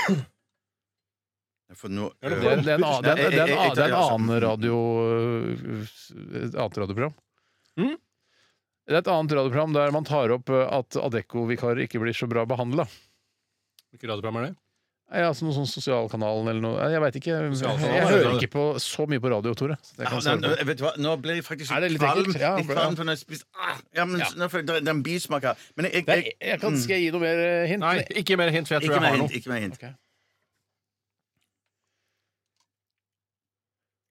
C: For nå
B: Det er, det er, en, annen- det er, en- det er, en, annen- det er en
C: altså.
B: annen radio eh, Et annet radioprogram.
C: Mm.
B: Det er et annet radioprogram der man tar opp eh, at Adecco-vikarer ikke blir så bra behandla.
D: Hvilket radioprogram er det?
B: Ja, altså noe sånn Sosialkanalen eller noe. Jeg veit ikke.
D: Sosialkanalen,
B: Jeg
D: ja.
B: hører ikke på så mye på radio, Tore. så det
C: Ja,
B: kan jeg
C: altså. nei, altså,
B: svare på.
C: nå- vet du hva? Nå ble jeg faktisk
B: Er det litt
C: kvalm.
B: ekkelt? Ja,
C: litt
B: bra.
C: kvalm for når jeg spiste ah, ja, men, Nå føler jeg det er- det er en bismak her. Men jeg,
B: Nei, jeg kan, skal jeg gi noe mer eh, hint?
D: Nei, ikke mer hint, [laughs] for jeg tror
C: ikke
D: jeg
C: mer
D: har
C: hint.
D: noe.
C: Ikke mer hint.
B: Ok.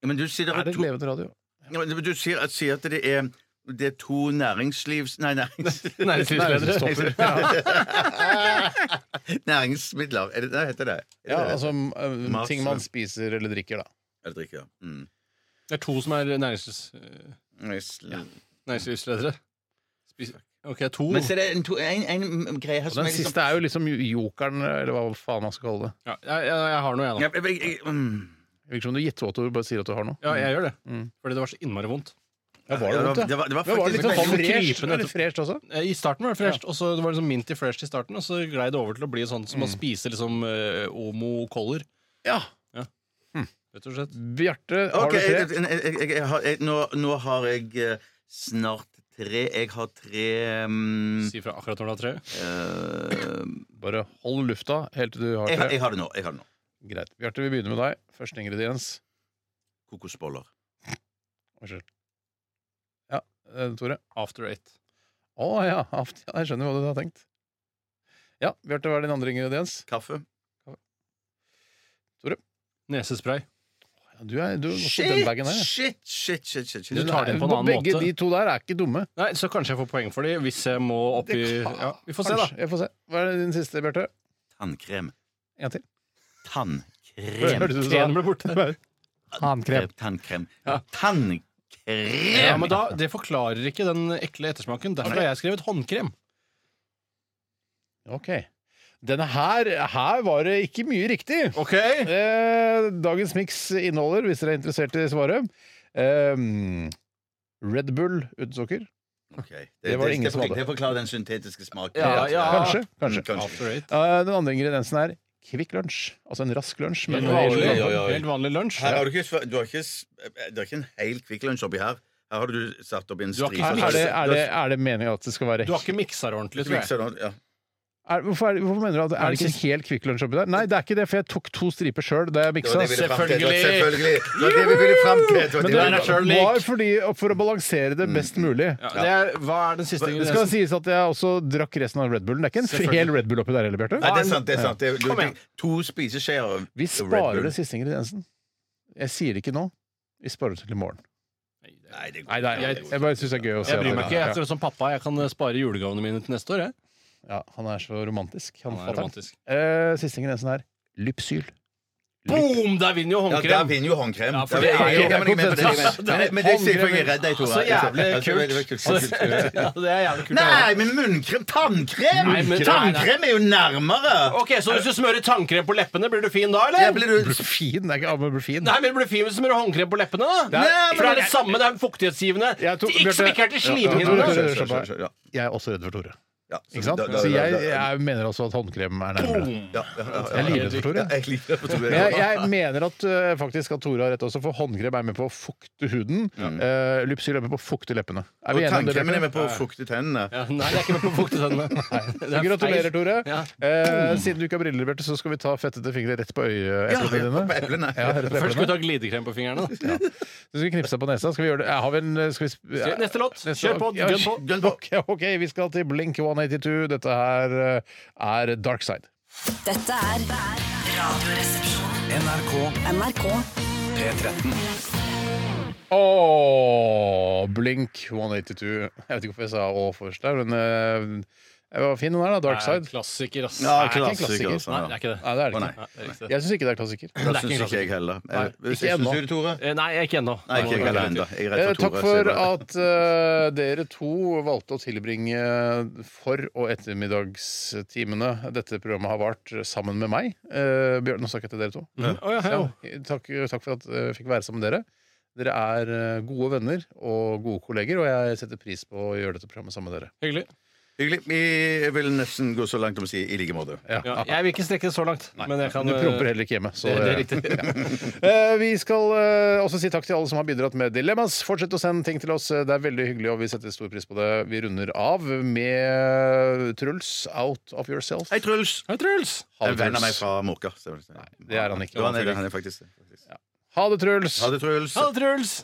C: Ja, Men du sier, det
B: Er
C: er
B: det
C: to,
B: levende radio?
C: ja, men du sier, at, sier at det er det er to næringslivs... Nei,
B: [laughs]
C: nærings,
D: Næringslivsledere. [laughs]
C: næringsmidler. Er det det heter det? Er
B: Ja,
C: det det
B: altså eh,
C: Mat,
B: ting man
C: så-
B: spiser eller drikker, da.
C: Eller drikker, ja. Mm.
D: Det er to som er næringslivs, eh,
C: Næringsl-
D: næringslivsledere. Spis- OK, to.
C: Men så er det en, to, en, en greie her
B: Og
C: som
B: den
C: er liksom
B: siste er jo liksom jokeren, eller hva faen man skal kalle det.
D: Ja, jeg, jeg, jeg har noe, jeg, da.
C: ja, jeg, jeg, jeg, mm.
B: Virker som du gjetter hva du bare sier at du har noe.
D: Ja, jeg gjør det.
B: Mm.
D: Fordi det var så innmari vondt.
B: Ja,
C: Ja, det var- det var- det var
B: Men var det
C: faktisk
B: litt sånn
C: veldig
B: fresh,
D: krypende
B: var det
D: etterpå.
B: fresh også?
D: Eh, I starten var det fresh, og så det var liksom mint i fresh i starten, og så glei det over til å bli sånn som å spise liksom eh, Omo Color,
B: Ja.
D: rett og slett.
B: Bjarte, har
C: Ok, jeg,
B: du tre?
C: jeg, jeg, jeg, jeg, har- jeg, nå, nå har jeg eh, snart tre Jeg har tre mm,
D: Si fra akkurat når du har tre.
C: eh,
B: Bare hold lufta helt til du har
C: jeg, har-
B: tre.
C: jeg har det nå. Jeg har det nå.
B: Greit. Bjarte, vi begynner med deg. Første ingrediens.
C: Kokosboller.
B: Unnskyld. Ja, eh, Tore.
D: After eight.
B: Å ja, aft- ja, jeg skjønner hva du har tenkt. Ja, Bjarte, hva er din andre ingrediens?
C: Kaffe.
D: Nesespray.
B: Ja, Du er, du, er også den
C: Shit,
B: bagen der, ja.
C: shit, shit, shit, shit,
D: Du
C: shit.
D: tar det på en annen
B: Begge
D: måte.
B: de to der er ikke dumme.
D: Nei, så kanskje jeg får poeng for de hvis jeg må opp i ja, Vi får se, da.
B: Kanskje. Jeg får se. Hva er din siste, Bjarte?
C: Tannkrem.
B: En til.
C: Tannkrem. Eh,
B: Hørte du det?
D: Tenen ble borte.
B: Tannkrem.
C: Tannkrem.
D: Ja.
C: Tannkrem!
D: Ja, men da, Det forklarer ikke den ekle ettersmaken. Derfor har jeg skrevet håndkrem.
B: Ok. Denne her, her var det ikke mye riktig.
D: Ok
B: Eh, dagens miks inneholder, hvis dere er interessert i svaret, eh, Red Bull uten sukker.
C: Ok,
B: Det var det ingen som
C: forklarer-
B: hadde.
C: Det forklarer den syntetiske smaken.
D: Ja, ja.
B: Kanskje. kanskje.
C: Mm, kanskje.
D: After eight.
B: Eh, den andre ingrediensen er Kvikk Lunsj. Altså en rask lunsj. Men
D: Helt
B: med
D: vanlig,
C: ja,
B: sjokolade.
C: ja.
D: helt vanlig lunsj.
C: Her har du ikke, sv- du har ikke, s- det er ikke en hel Kvikk Lunsj oppi her. Her har du satt oppi en
D: Du har ikke-
C: stripe.
B: er, er det, er det, er det meningen at det skal være
D: Du har ikke miksa det ordentlig, tror jeg.
C: Mikser nå, ja.
B: er, hvorfor, er, det- hvorfor mener du at det er
D: det
B: det ikke en hel Kvikk Lunsj oppi der? Nei, det er ikke det, for jeg tok to striper sjøl da
C: Det
B: jeg
C: var
B: miksa.
C: det vi ville fram til. Det var
D: Selvfølgelig.
C: selvfølgelig. Det var det vi ville fram til. Det var det
B: Men
C: vi Mm.
D: Den
C: ville
D: er
C: fram til.
D: sjøl
B: det var
D: lik.
B: fordi, for å balansere det best mulig.
D: Ja, det er, hva er den siste
B: Det skal
D: ingrediensen?
B: sies at jeg også drakk resten av Red Bullen. Det er ikke en
D: Selvfølgelig.
B: hel Red Bull oppi der heller,
C: Nei,
B: Bjarte.
C: det er sant. det er sant det, du,
D: Kom igjen.
C: To spiseskjeer av
B: Vi
C: Red
B: sparer
C: Bull.
B: det siste ingrediensen. Jeg sier det ikke nå. Vi sparer det til i morgen.
C: Nei, det
B: Nei, det er, jeg, jeg bare syns det er gøy å se.
D: Jeg bryr
B: at-
D: meg ikke. Jeg tror som pappa jeg kan eh, spare julegavene mine til neste år. Jeg.
B: Ja, han er så romantisk. Han,
D: Han er
B: fatter'n.
D: romantisk.
B: Eh, siste ingrediensen er lypsyl.
D: Boom! Der vinner jo
C: Ja, der
D: håndkrem!
C: vinner jo håndkrem.
D: Ja,
C: Der
D: for det er
C: vinner
D: jo-
C: håndkrem, men jeg mener det-
B: konsensus. Altså,
C: men- men- Men det sier for jeg er redd deg, Tore.
D: Så jævlig
C: Ja, så veldig, veldig
D: kult. [laughs] Så- Ja, det er jævlig kult.
C: Nei, men munnkrem! Tannkrem!
D: Nei, men-
C: tannkrem er jo nærmere!
D: Ok, Så hvis du smører tannkrem på leppene, blir du fin da,
C: Der
D: eller?
C: blir du
B: Blir fin? Det er ikke Amor blir fin.
D: Nei, men det blir fin hvis du smører håndkrem på leppene, da.
B: Nei, men-
D: For det er det samme, det er fuktighetsgivende.
B: Jeg tok-
D: Til- Ikke som
B: Bjarte-
D: ikke er til
B: Ja, Tore, Tore,
D: slimhinnene.
B: Tore, slapp av.
C: Ja, ja,
B: Jeg er også redd for Tore.
C: ja.
B: Ikke sant?
C: Da- da-
B: Så jeg,
C: da- da-
B: jeg mener også at håndkrem er nærmere.
C: Ja, ja, ja,
B: Jeg er
C: ja.
B: livredd for Tore.
C: Ja, jeg liker det, Tore.
B: Men jeg, jeg mener at eh, faktisk at Tore har rett også, for håndkrem er med på å fukte huden. Eh, Lypsyl er med på å fukte leppene. Er
C: Og
B: vi enige om det?
C: tannkremen er
B: Bjarte?
C: med på å fukte tennene.
D: Ja, nei, det er ikke med på å fukte tennene.
B: Eh, Gratulerer, Tore.
D: Ja.
B: Eh, siden du ikke har briller, Bjarte, så skal vi ta fettete fingre rett på
C: Ja,
B: øyeeplene
C: på
B: dine.
C: eplene.
B: Ja, rett på
D: Først skal vi
B: eplene.
D: ta glidekrem på fingrene. da.
B: Så skal vi knipse deg på nesa. Skal vi gjøre det? Ja, Har vi en, eh, skal vi sp- ja.
D: Neste låt.
B: Neste-
D: Kjør på.
B: Ja,
D: Gønn på.
C: Gun på.
B: Ok, ok, vi skal til Blink 182. Dette her eh, er Dark Side.
K: Dette er Radioresepsjonen.
F: NRK
K: NRK.
F: P13.
B: Åh, Blink 182. Jeg vet ikke hvorfor jeg sa å først der, men eh, jeg var fin den her, da. Dark
D: Nei,
B: Side.
D: Klassiker, ass.
C: Ja,
D: Nei,
B: ikke en
C: klassiker.
B: klassiker.
C: altså, ja.
D: det er ikke det.
B: Nei, det er det
C: Å,
B: ikke.
C: nei.
D: Nei, det er ikke det.
B: Jeg syns ikke det er klassiker.
C: Det
D: ikke
C: syns ikke jeg heller. Eh,
B: Nei,
C: Jeg- Syns
B: ikke ennå.
C: du det, Tore?
D: Eh, Nei, jeg er ikke ennå.
C: Nei, ikke jeg heller ennå. Jeg er
B: Eh,
C: redd for
B: takk
C: Tore.
B: for
C: så jeg bare-
B: at eh, dere to valgte å tilbringe for- og ettermiddagstimene dette programmet har vart, sammen med meg. Eh, Bjørn, nå snakker jeg til dere to.
D: Å, ja, hei, jo.
B: Ja, takk, takk for at jeg fikk være sammen med dere. Dere er eh, gode venner og gode kolleger, og jeg setter pris på å gjøre dette programmet sammen med dere.
D: Hyggelig.
C: Hyggelig. Vi vil nesten gå så langt om å si i like måte.
D: Ja, jeg vil ikke strekke det så langt. Men jeg kan
B: Du promper heller ikke hjemme. Så
D: Eh, Det, det
B: [laughs]
D: er riktig.
B: Eh, Vi skal eh, også si takk til alle som har bidratt med dilemmas. Fortsett å sende ting til oss. Eh, Det er veldig hyggelig, og vi setter stor pris på det. Vi runder av med Truls, 'Out of Yourself'.
C: Hei, Truls!
D: Hei, Truls!
B: Ha det,
C: En venn av meg
B: Truls.
C: fra Måka. så jeg vil si.
B: Det er han ikke.
C: Jo, han er det, han er faktisk det.
B: Ha det, Truls!
C: Ha det, Truls.
D: Ha det, Truls!